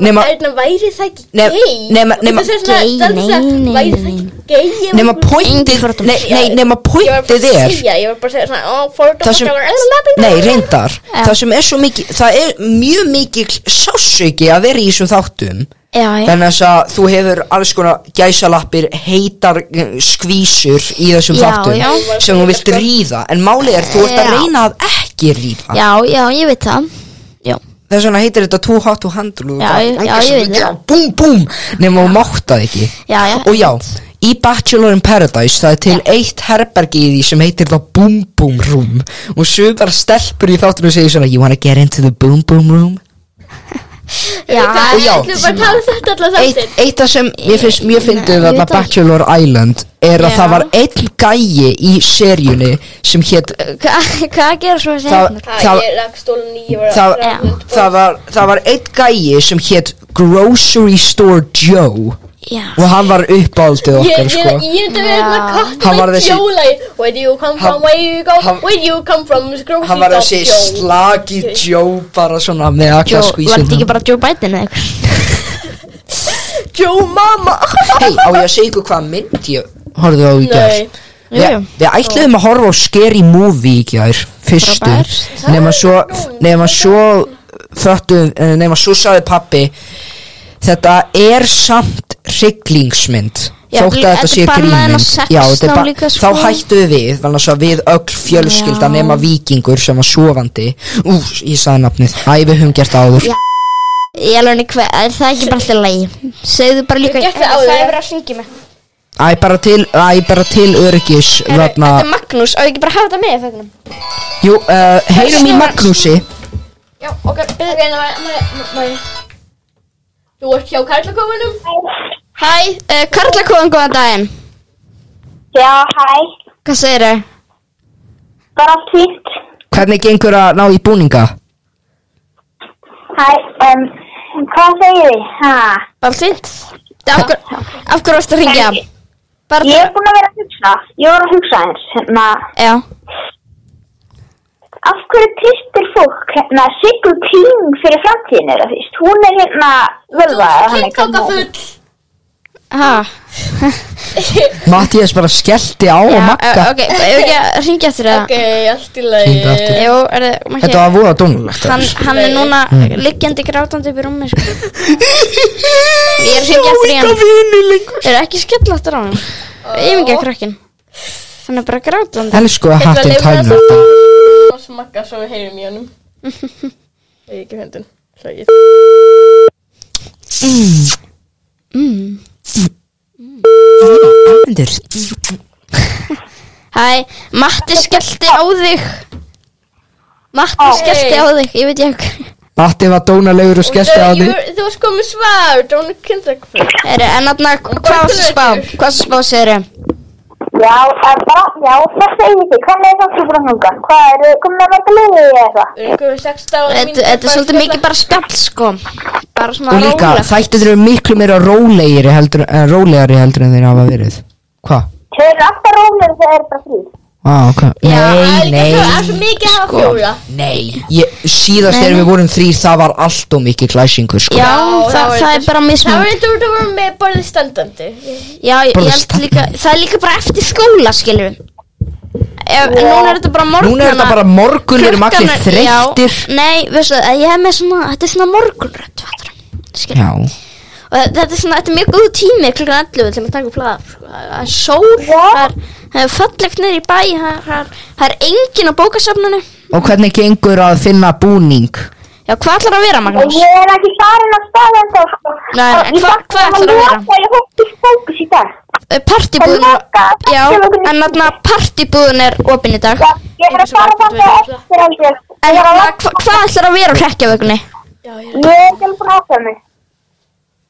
[SPEAKER 1] Nema-
[SPEAKER 2] Þarna væri það ekki
[SPEAKER 1] Nema-
[SPEAKER 2] gay
[SPEAKER 1] nema- nema-
[SPEAKER 2] Þú veist, það er
[SPEAKER 3] Gay,
[SPEAKER 2] svona- það er
[SPEAKER 3] nei,
[SPEAKER 2] svona,
[SPEAKER 3] nei,
[SPEAKER 2] Væri það
[SPEAKER 3] nei,
[SPEAKER 2] ekki gay
[SPEAKER 1] nema
[SPEAKER 3] Engin
[SPEAKER 1] pointið
[SPEAKER 3] fordómar.
[SPEAKER 1] nei, nei, nema
[SPEAKER 2] Ég var bara
[SPEAKER 1] pointið
[SPEAKER 2] að
[SPEAKER 1] er
[SPEAKER 2] segja, ég var bara að segja svona, ó, fordómar,
[SPEAKER 1] það sem,
[SPEAKER 2] það var alveg-
[SPEAKER 1] nei, reyndar
[SPEAKER 3] Já.
[SPEAKER 1] það sem er svo mikið, það er mjög mikið sásauki að vera í þessum þáttum
[SPEAKER 3] Já, já,
[SPEAKER 1] þannig þess að þú hefur alls konar gæsalappir heitar eh, skvísur í þessum
[SPEAKER 3] Já,
[SPEAKER 1] þáttum
[SPEAKER 3] já.
[SPEAKER 1] sem þú vilt ríða en málið er, þú ert að
[SPEAKER 3] Já.
[SPEAKER 1] reyna að ekki ríða
[SPEAKER 3] já, já, ég veit það Já,
[SPEAKER 1] Þess vegna heitir þetta Too Hot to Handle og
[SPEAKER 3] Já,
[SPEAKER 1] það
[SPEAKER 3] ég-
[SPEAKER 1] langar
[SPEAKER 3] já, ég
[SPEAKER 1] svo
[SPEAKER 3] veit
[SPEAKER 1] mikið
[SPEAKER 3] það.
[SPEAKER 1] á Búm, búm, nema hún máttaði ekki
[SPEAKER 3] Já, já,
[SPEAKER 1] Og já, í Bachelor in Paradise það er til eitt herbergi í því sem heitir það Boom Boom Room Og sögðar stelpur í þáttunum segir svona You wanna get into the Boom Boom Room
[SPEAKER 3] já,
[SPEAKER 1] Og já,
[SPEAKER 2] Þú bara að tala um þetta allar
[SPEAKER 1] Eitt,
[SPEAKER 2] þáttir
[SPEAKER 1] eitt af sem ég finnst mjög fyndið
[SPEAKER 3] Nei, ég
[SPEAKER 1] þarna
[SPEAKER 3] veit það ekki.
[SPEAKER 1] Bachelor Island er að
[SPEAKER 3] Já.
[SPEAKER 1] það var einn gæi í seríunni sem eh, hétt
[SPEAKER 3] hvað hva gera svo að
[SPEAKER 1] Það-
[SPEAKER 3] segja
[SPEAKER 2] Það
[SPEAKER 1] Það-
[SPEAKER 2] er að stóla nýja
[SPEAKER 1] það,
[SPEAKER 3] Já.
[SPEAKER 1] það, var, það var einn gæi sem hétt Grocery Store Joe
[SPEAKER 3] já
[SPEAKER 1] Og hann var uppáldið
[SPEAKER 2] Ég
[SPEAKER 1] okkar,
[SPEAKER 2] ég-
[SPEAKER 1] sko
[SPEAKER 2] ég myndi vera
[SPEAKER 3] Já.
[SPEAKER 2] hérna kott
[SPEAKER 1] Hann var
[SPEAKER 2] með
[SPEAKER 1] þessi-
[SPEAKER 2] kjóla í Where do you come
[SPEAKER 1] Hann-
[SPEAKER 2] from, where you go,
[SPEAKER 1] hann-
[SPEAKER 2] where you come from grocery
[SPEAKER 1] Hann var
[SPEAKER 2] shop
[SPEAKER 1] þessi
[SPEAKER 2] Joe.
[SPEAKER 1] slagi Joe bara svona með
[SPEAKER 3] Joe,
[SPEAKER 1] alla
[SPEAKER 3] var þetta ekki
[SPEAKER 1] skvísinn
[SPEAKER 3] bara Joe Biden eða eitthvað?
[SPEAKER 2] Joe mama
[SPEAKER 1] Hei, á ég að segja ykkur hvað mynd ég horfðu á í gær
[SPEAKER 2] Nei,
[SPEAKER 1] Við,
[SPEAKER 3] Jú, jú.
[SPEAKER 1] við ætluðum að horfa á Scary Movie í gær Fyrstu
[SPEAKER 3] Frábært.
[SPEAKER 1] Nefna svo Nefna svo Föttu Nefna svo sagði pappi Þetta er samt Hrygglingsmynd
[SPEAKER 3] Já,
[SPEAKER 1] Þótt að
[SPEAKER 3] þetta
[SPEAKER 1] þetta sé
[SPEAKER 3] er bannað inn á
[SPEAKER 1] grínmynd
[SPEAKER 3] sex
[SPEAKER 1] Já, þetta er
[SPEAKER 3] þá
[SPEAKER 1] ba-
[SPEAKER 3] líka,
[SPEAKER 1] Þá
[SPEAKER 3] sko.
[SPEAKER 1] hættu við við Þannig að við öll fjölskylda
[SPEAKER 3] Já.
[SPEAKER 1] Nefna vikingur sem var sofandi Ú, ég sagði nafnið Æ, við höfum gert það áður
[SPEAKER 3] Já. Ég alveg henni hvað, er það ekki bara alltaf lægi? Segðu bara líka
[SPEAKER 2] Ég gerði það áður.
[SPEAKER 3] Það er verið að syngja mig
[SPEAKER 1] Æ, bara til Æ, bara til örgis Þarna
[SPEAKER 3] Þetta er Magnús, á ekki bara að hafa þetta með í þögnum
[SPEAKER 1] Jú, uh, heyrum í Magnúsi
[SPEAKER 2] já, ok, ok, ná, má ég- má ég Þú ert hjá karlakofunum
[SPEAKER 3] Hæ, uh, Karla Kóðan, góðan daginn
[SPEAKER 4] Já, hæ,
[SPEAKER 3] Hvað segirðu?
[SPEAKER 4] bara allt fínt.
[SPEAKER 1] Hvernig gengur að ná í búninga?
[SPEAKER 4] Hæ, um, hvað segir þið? Ha?
[SPEAKER 3] Bara fínt Af hverju af hverju varstu að ringja? Bara
[SPEAKER 4] Ég er búin að vera að hugsa, ég var að hugsa eins, hérna,
[SPEAKER 3] Já
[SPEAKER 4] af hverju tristir fólk, hérna, Sigur King fyrir framtíðinu, það fyrst, hún er hérna, völva, eða hann er hérna.
[SPEAKER 2] Kaka
[SPEAKER 4] gammal.
[SPEAKER 2] full
[SPEAKER 3] Ha
[SPEAKER 1] Mattias bara skellti á og
[SPEAKER 3] Já,
[SPEAKER 1] makka
[SPEAKER 3] eh, Ok, ef ekki að ringja eftir það
[SPEAKER 2] Ok, allt
[SPEAKER 1] Hringdu
[SPEAKER 2] í
[SPEAKER 1] aftur.
[SPEAKER 2] lagi
[SPEAKER 3] Jú, er það, maður
[SPEAKER 1] Þetta var voða dónulegt
[SPEAKER 3] Hann, hann er núna liggjandi grátandi upp í rúmi sko. Ég er að hringja eftir í hann
[SPEAKER 1] vini lengur
[SPEAKER 3] Er ekki skelláttur á hann Ég mingi að krakkin Hann er bara grátandi
[SPEAKER 1] Elsku að
[SPEAKER 2] Ég ætla að
[SPEAKER 1] hattin
[SPEAKER 2] leyfa þér að
[SPEAKER 1] tæmur þetta
[SPEAKER 2] Og smakka svo við heyrum í honum Það er ekki hendun Hlægið
[SPEAKER 1] Endur
[SPEAKER 3] Hæ, Matti skellti á þig Matti skellti á þig Ég veit ég ekki
[SPEAKER 1] Matti var dónalegur og skellti á því
[SPEAKER 2] Þú varst komið svar Don't kill the full
[SPEAKER 3] Heru, En þarna, hvað var það spá? Hvað var það spá, segirðu?
[SPEAKER 4] Já, en bara, já, hvað segir þið? Hvernig er það fyrir hanga? Hvað eru, komið með mæta liðið eða eitthvað?
[SPEAKER 2] Þetta
[SPEAKER 3] Þetta þetta er svolítið mikið bara spjall sko Bara svona
[SPEAKER 1] Og líka
[SPEAKER 3] rólega
[SPEAKER 1] þættir eru miklu meira rólegri heldur, en rólegri heldur en þeir hafa verið Hva?
[SPEAKER 4] Þau eru alltaf rólir þegar það er bara frí.
[SPEAKER 1] Ah, ok Nei,
[SPEAKER 2] Það er svo
[SPEAKER 1] nei
[SPEAKER 2] mikið að hafa
[SPEAKER 1] Sko,
[SPEAKER 2] fjóra
[SPEAKER 1] nei ég, Síðast þegar
[SPEAKER 3] Nei.
[SPEAKER 1] við vorum þrýr það var allt og mikið klæsingur sko.
[SPEAKER 3] Já,
[SPEAKER 2] Já,
[SPEAKER 3] það,
[SPEAKER 2] var
[SPEAKER 3] það er
[SPEAKER 2] eitthvað- Það
[SPEAKER 3] bara
[SPEAKER 2] var
[SPEAKER 3] mismun
[SPEAKER 2] eitthvað að vera með borðið standandi
[SPEAKER 3] Já, ég
[SPEAKER 1] Bara
[SPEAKER 3] ég held
[SPEAKER 1] stand-
[SPEAKER 3] líka Það er líka bara eftir skóla, skilur við Ef, Núna er þetta bara morgun
[SPEAKER 1] Núna er þetta bara morgun, við erum allir þreyttir
[SPEAKER 3] Nei, veistu, að ég hef með svona Þetta er svona morgunrödd, fattur
[SPEAKER 1] Já,
[SPEAKER 3] Og þe- þetta er svona, þetta er mjög góð tími klukkan 11 til að taka upp hlaða sko. Það það er sól, það er, það er fallegt niður í bæ Það er, það er, það er engin á bókasöfnunni
[SPEAKER 1] og hvernig gengur að finna búning?
[SPEAKER 3] Já, hvað ætlar að vera,
[SPEAKER 4] Og
[SPEAKER 3] Magnús?
[SPEAKER 4] ég er ekki farin að staða en þá, sko.
[SPEAKER 3] Nei, en
[SPEAKER 4] Ég
[SPEAKER 3] hva-
[SPEAKER 4] þakka
[SPEAKER 3] hvað
[SPEAKER 4] að
[SPEAKER 3] ætlarðu að vera?
[SPEAKER 4] loka, Ég hótti fókus í dag.
[SPEAKER 3] Partibúðun
[SPEAKER 4] Það er lokað.
[SPEAKER 3] Eh, Já,
[SPEAKER 4] Það er lokað.
[SPEAKER 3] en þarna partibúðun er opinn í dag
[SPEAKER 4] Já, ég er að fara
[SPEAKER 2] Einhversu
[SPEAKER 4] þarna
[SPEAKER 2] margt
[SPEAKER 4] eftir held ég.
[SPEAKER 3] En
[SPEAKER 4] Ég er að
[SPEAKER 3] þarna,
[SPEAKER 4] lappa.
[SPEAKER 3] hva, hvað ætlar að vera á hrekkjavögunni?
[SPEAKER 2] Já, já
[SPEAKER 4] Ég er ekki alveg búin að ákveða mig.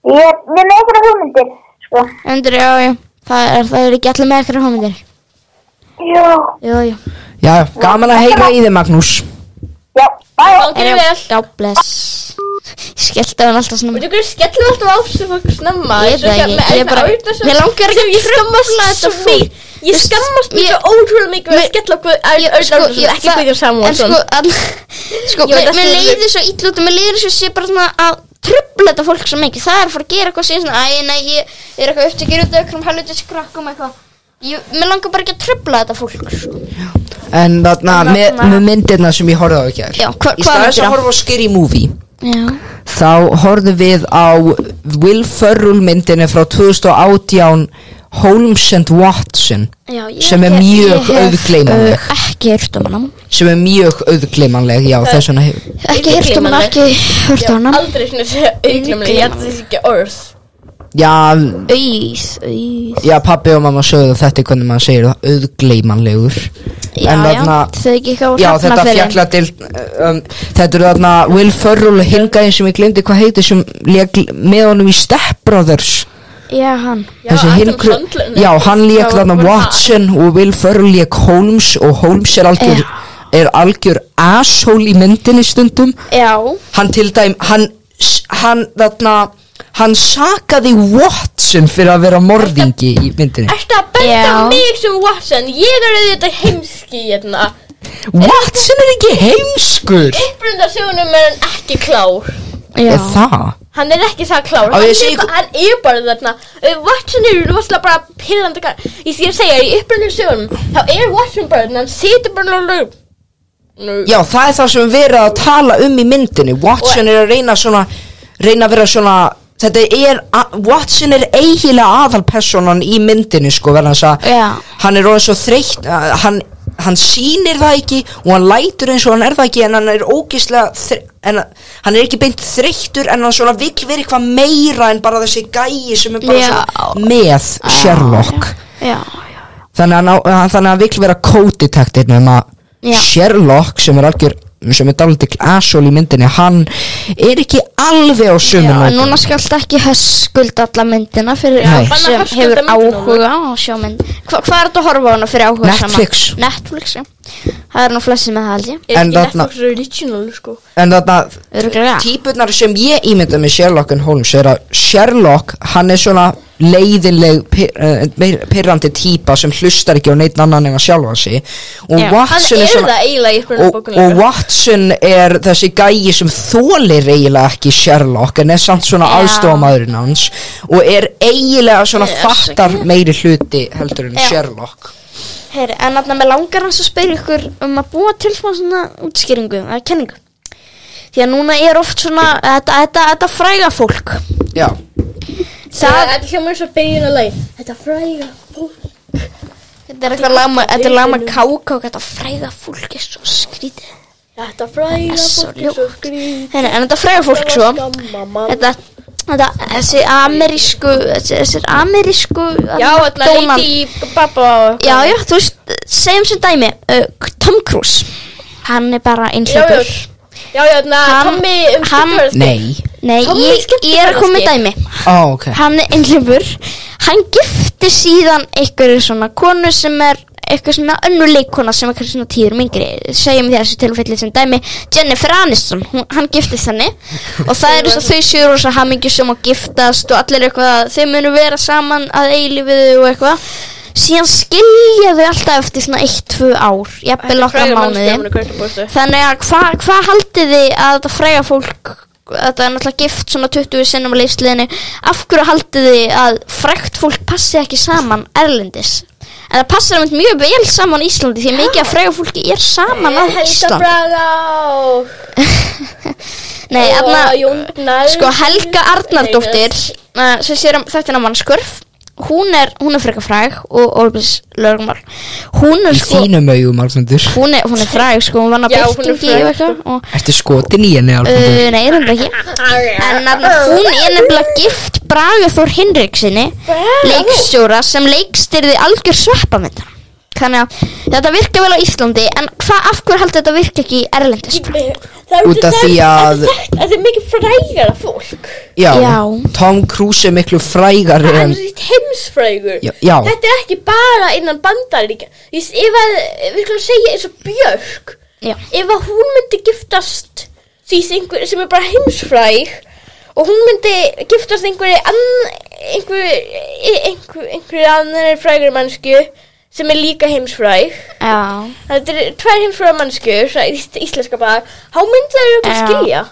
[SPEAKER 4] Ég ég er með einhverja hugmyndir, sko.
[SPEAKER 3] Endur, já, já Það er, það er ekki allir með ekkert hómyndir
[SPEAKER 4] Jú,
[SPEAKER 3] Jú, jú
[SPEAKER 1] Já, gaman að heyra í þið Magnús
[SPEAKER 4] já, bæ.
[SPEAKER 2] Gangi
[SPEAKER 3] Heyrðu,
[SPEAKER 2] vel
[SPEAKER 3] Já, bless Ég skellti á hann alltaf
[SPEAKER 2] Og
[SPEAKER 3] svona
[SPEAKER 2] þú hverju skellum alltaf á þessu fólk snemma hérna
[SPEAKER 3] Ég veit það ekki, ég bara- mér langar ekki
[SPEAKER 2] að trömmla
[SPEAKER 3] þetta fólk.
[SPEAKER 2] Ég
[SPEAKER 3] Þú veist,
[SPEAKER 2] skammast mér
[SPEAKER 3] ég-
[SPEAKER 2] svo ótrúlega mikið Við
[SPEAKER 3] Mér-
[SPEAKER 2] skellum okkur Örnarsson,
[SPEAKER 3] Sko, ég-
[SPEAKER 2] ekki
[SPEAKER 3] það-
[SPEAKER 2] Guðjón
[SPEAKER 3] En sko,
[SPEAKER 2] Samuelsson
[SPEAKER 3] en, sko
[SPEAKER 2] Ég veit
[SPEAKER 3] mér,
[SPEAKER 2] ekki
[SPEAKER 3] mér
[SPEAKER 2] alveg.
[SPEAKER 3] leiði svo illa út og Mér leiði svo sé bara svona að tröfla þetta fólk svo mikið Það er að fara að gera eitthvað síðan svona Æ, nei, ég er eitthvað upptökir út af einhverjum helviti skrökkum eitthvað Ég, mér langar bara ekki að tröfla þetta fólk sko.
[SPEAKER 1] En þarna,
[SPEAKER 3] En
[SPEAKER 1] með,
[SPEAKER 3] þarna-
[SPEAKER 1] með myndirna sem ég horfði á ekki
[SPEAKER 3] Já, hva-
[SPEAKER 1] Í
[SPEAKER 3] hvað
[SPEAKER 1] staðan
[SPEAKER 3] myndir
[SPEAKER 1] sem
[SPEAKER 3] á?
[SPEAKER 1] horfa á Scary Movie
[SPEAKER 3] Já
[SPEAKER 1] Þá horfðum við á Will Ferrell myndinni frá 2018 Holmes and Watson
[SPEAKER 3] Já, ég,
[SPEAKER 1] Sem er
[SPEAKER 3] ég-
[SPEAKER 1] mjög
[SPEAKER 3] ég hef,
[SPEAKER 1] auðgleymanleg.
[SPEAKER 3] uh, Ekki hýrt um hana
[SPEAKER 1] Sem er mjög auðglimanleg Já, þess vegna hefur
[SPEAKER 3] Ekki hýrt um hana,
[SPEAKER 2] Auðgleymanleg.
[SPEAKER 3] ekki hýrt um hana
[SPEAKER 2] Aldrei svona segja auðglumlega Ég held þessi ekki orð
[SPEAKER 1] Já,
[SPEAKER 3] Ís, ís
[SPEAKER 1] já, pabbi og mamma sögðu þetta er hvernig maður segir það Auðglimanlegur
[SPEAKER 3] Já,
[SPEAKER 1] En
[SPEAKER 3] já,
[SPEAKER 1] þarna-
[SPEAKER 3] þau ekki ekki á
[SPEAKER 1] Já, þetta
[SPEAKER 3] Hrafnafirði.
[SPEAKER 1] fjalla til um, Þetta eru þarna Will Ferrell hingaðin sem ég glemdi hvað heitir sem leik með honum í Step Brothers
[SPEAKER 3] Já, hann
[SPEAKER 2] Já,
[SPEAKER 1] þessi
[SPEAKER 2] Adam
[SPEAKER 1] hinn kru-
[SPEAKER 2] Sandler, nei.
[SPEAKER 1] já, hann
[SPEAKER 3] Já,
[SPEAKER 1] lék þarna
[SPEAKER 3] var það-
[SPEAKER 1] Watson og Will Ferrell lék Holmes og Holmes er algjör
[SPEAKER 3] Já.
[SPEAKER 1] er algjör asshole í myndinni stundum
[SPEAKER 3] Já,
[SPEAKER 1] hann til dæm, hann s- hann þarna Hann sakaði Watson fyrir að vera morðingi í myndinni
[SPEAKER 2] Ertu að benda
[SPEAKER 3] Já.
[SPEAKER 2] mig sem Watson? Ég er auðvitað heimski hérna.
[SPEAKER 1] Watson er ekki heimskur
[SPEAKER 2] Upprunda sögunum er hann ekki klár.
[SPEAKER 3] Já.
[SPEAKER 1] Er það?
[SPEAKER 2] Hann er ekki það klár.
[SPEAKER 1] Á,
[SPEAKER 2] Hann,
[SPEAKER 1] ég
[SPEAKER 2] er
[SPEAKER 1] sé
[SPEAKER 2] bara-
[SPEAKER 1] ykkur-
[SPEAKER 2] hann er bara þarna. Uh, Watson er rosalega bara pyrrandi. kar- Ég sé að segja, í upprunda sögunum, þá er Watson bara þarna. Hann situr bara nú. Nú.
[SPEAKER 1] Já, það er það sem við erum að tala um í myndinni Watson er að reyna svona reyna að vera svona Þetta er, a- Watson er eiginlega aðalpersonan í myndinni sko verðan þess að
[SPEAKER 3] Já.
[SPEAKER 1] hann er orðin svo þreytt að hann, hann sýnir það ekki og hann lætur eins og hann er það ekki en hann er ógislega þre- en að- hann er ekki beint þreyttur en hann svona vill vera eitthvað meira en bara þessi gæi sem er bara
[SPEAKER 3] Já.
[SPEAKER 1] svona með Sherlock
[SPEAKER 3] Já, já.
[SPEAKER 1] þannig að, ná- hann- þannig að hann vill vera co-detective nema
[SPEAKER 3] Já.
[SPEAKER 1] Sherlock sem er algjör sem er daldikl asshole í myndinni hann er ekki alveg á sömu
[SPEAKER 3] Já,
[SPEAKER 1] nótum.
[SPEAKER 3] núna skalt ekki höskulda alla myndina fyrir
[SPEAKER 1] Nei.
[SPEAKER 3] fólk sem
[SPEAKER 2] Banna höskulda
[SPEAKER 3] hefur
[SPEAKER 2] myndina
[SPEAKER 3] áhuga á að sjá mynd Hva, Hvað er þetta að horfa á hana fyrir áhuga
[SPEAKER 1] Netflix.
[SPEAKER 3] Netflix, já Það er nú flestir með það held ég
[SPEAKER 2] Er
[SPEAKER 1] En
[SPEAKER 2] ekki
[SPEAKER 1] þarna-
[SPEAKER 2] Netflix original, sko.
[SPEAKER 1] en þarna
[SPEAKER 3] Örugglega.
[SPEAKER 1] típurnar sem ég ímynda með Sherlock and Holmes er að Sherlock hann er svona leiðinleg pir- eh, meir- pirrandi típa sem hlustar ekki á neitt annan en að sjálfa sig og
[SPEAKER 3] Já,
[SPEAKER 1] Watson
[SPEAKER 2] Hann
[SPEAKER 1] er
[SPEAKER 2] er
[SPEAKER 1] svona
[SPEAKER 2] það eiginlega í sko. upprunda
[SPEAKER 1] og,
[SPEAKER 2] bókunum.
[SPEAKER 1] og Watson er þessi gæi sem þólir eiginlega ekki Sherlock en er samt svona
[SPEAKER 3] Já.
[SPEAKER 1] aðstofamæðurinn hans og er eiginlega svona
[SPEAKER 3] Yes.
[SPEAKER 1] fattar meiri hluti heldur en
[SPEAKER 3] Já.
[SPEAKER 1] Sherlock
[SPEAKER 3] Heyr, en þarna með langar hans að spyrja ykkur um að búa til smá svona útskýringu eða kenningu Því að núna er oft svona þetta, þetta, þetta fræga fólk
[SPEAKER 1] Já,
[SPEAKER 3] Það,
[SPEAKER 2] Þetta hljómar eins og byrjun að leið Þetta fræga fólk
[SPEAKER 3] þetta er eitthvað lagma, þetta er lagma káka og þetta fræga fólk er svo skrítið
[SPEAKER 2] Þetta fræga fólk
[SPEAKER 3] Svo
[SPEAKER 2] er svo
[SPEAKER 3] ljótt.
[SPEAKER 2] skrýt
[SPEAKER 3] Heyr, en þetta fræga fólk svo þetta, þetta, þessi amerísku þessi, þessir amerísku
[SPEAKER 2] Já,
[SPEAKER 3] þarna,
[SPEAKER 2] þetta leiti í babba
[SPEAKER 3] já, já, þú veist, segjum sem dæmi uh, Tom Cruise hann er bara
[SPEAKER 2] já, já,
[SPEAKER 3] einhleipur
[SPEAKER 2] já, já, na,
[SPEAKER 3] Hann-
[SPEAKER 2] Tommy um
[SPEAKER 3] hann-
[SPEAKER 2] skemmtiferðaskip.
[SPEAKER 1] nei
[SPEAKER 3] nei,
[SPEAKER 2] Tom er
[SPEAKER 3] ég, ég er að koma með dæmi
[SPEAKER 1] Ó, ok
[SPEAKER 3] hann er einhleipur hann gifti síðan einhverju svona konu sem er eitthvað svona önnu leikona sem er kannski svona tíður mingri segjum í þessu tilfelli sem dæmi Jennifer Aniston, hún, hann giftist henni og það er þess að þau séu rosa hamingi sem að giftast og allir eitthvað að þau munu vera saman að eilífiðu og eitthvað síðan skilja þau alltaf eftir svona 1-2 ár, jafnvel nokkra mánuði
[SPEAKER 2] mánuði
[SPEAKER 3] Þannig að hvað hva haldið þið að þetta fræga fólk þetta er náttúrulega gift svona 20 sinnum á leifsliðinni af hverju haldið þið að frægt fólk passi ekki saman erlendis en það passar einmitt mjög vel saman á Íslandi því mikið að fræga fólki er saman á
[SPEAKER 2] Helga
[SPEAKER 3] Íslandi
[SPEAKER 2] Braga og-
[SPEAKER 3] Nei,
[SPEAKER 2] og
[SPEAKER 3] þarna,
[SPEAKER 2] Jón Gnarr
[SPEAKER 3] sko Helga Arnardóttir uh, sem sér um þættina mannskurf hún er, hún er frekar fræg og Olbis Lörgmar hún er
[SPEAKER 1] Í
[SPEAKER 3] sko
[SPEAKER 1] þínum augum, Alfundur
[SPEAKER 3] hún er, hún er fræg sko, hún vann að
[SPEAKER 2] Já, hún er
[SPEAKER 3] byltingi og
[SPEAKER 2] fræg, sko.
[SPEAKER 3] eitthvað og,
[SPEAKER 1] Ertu skotin í henni, Alfundur?
[SPEAKER 3] uh, nei, er hún ekki En nafna, hún er nefnilega gift Braga Þór Hinriksinni leikstjóra sem leikstyrði algjör sveppa með þetta Þannig að þetta virka vel á Íslandi en hvað af hverju heldur þetta virka ekki í Erlendis?
[SPEAKER 2] Það er
[SPEAKER 1] Út af því að-
[SPEAKER 2] þetta er þekkt, Þetta er mikið frægara fólk
[SPEAKER 1] Já.
[SPEAKER 3] já.
[SPEAKER 1] Tom Cruise er miklu frægari
[SPEAKER 2] Hann
[SPEAKER 1] en
[SPEAKER 2] er sitt heimsfrægur
[SPEAKER 1] Já, já.
[SPEAKER 2] Þetta er ekki bara innan bandaríkja Ég s- Ef að, við skulum segja eins og Björk
[SPEAKER 3] Já.
[SPEAKER 2] Ef að hún myndi giftast því sem einhver sem er bara heimsfræg og hún myndi giftast einhverju ann, einhverju einhverju einhver annar frægur mannsku sem er líka heimsfræg
[SPEAKER 3] Já.
[SPEAKER 2] þetta er tvær heimsfrægur mannsku íslenska bara, þá myndi það eru að
[SPEAKER 3] Já.
[SPEAKER 2] skilja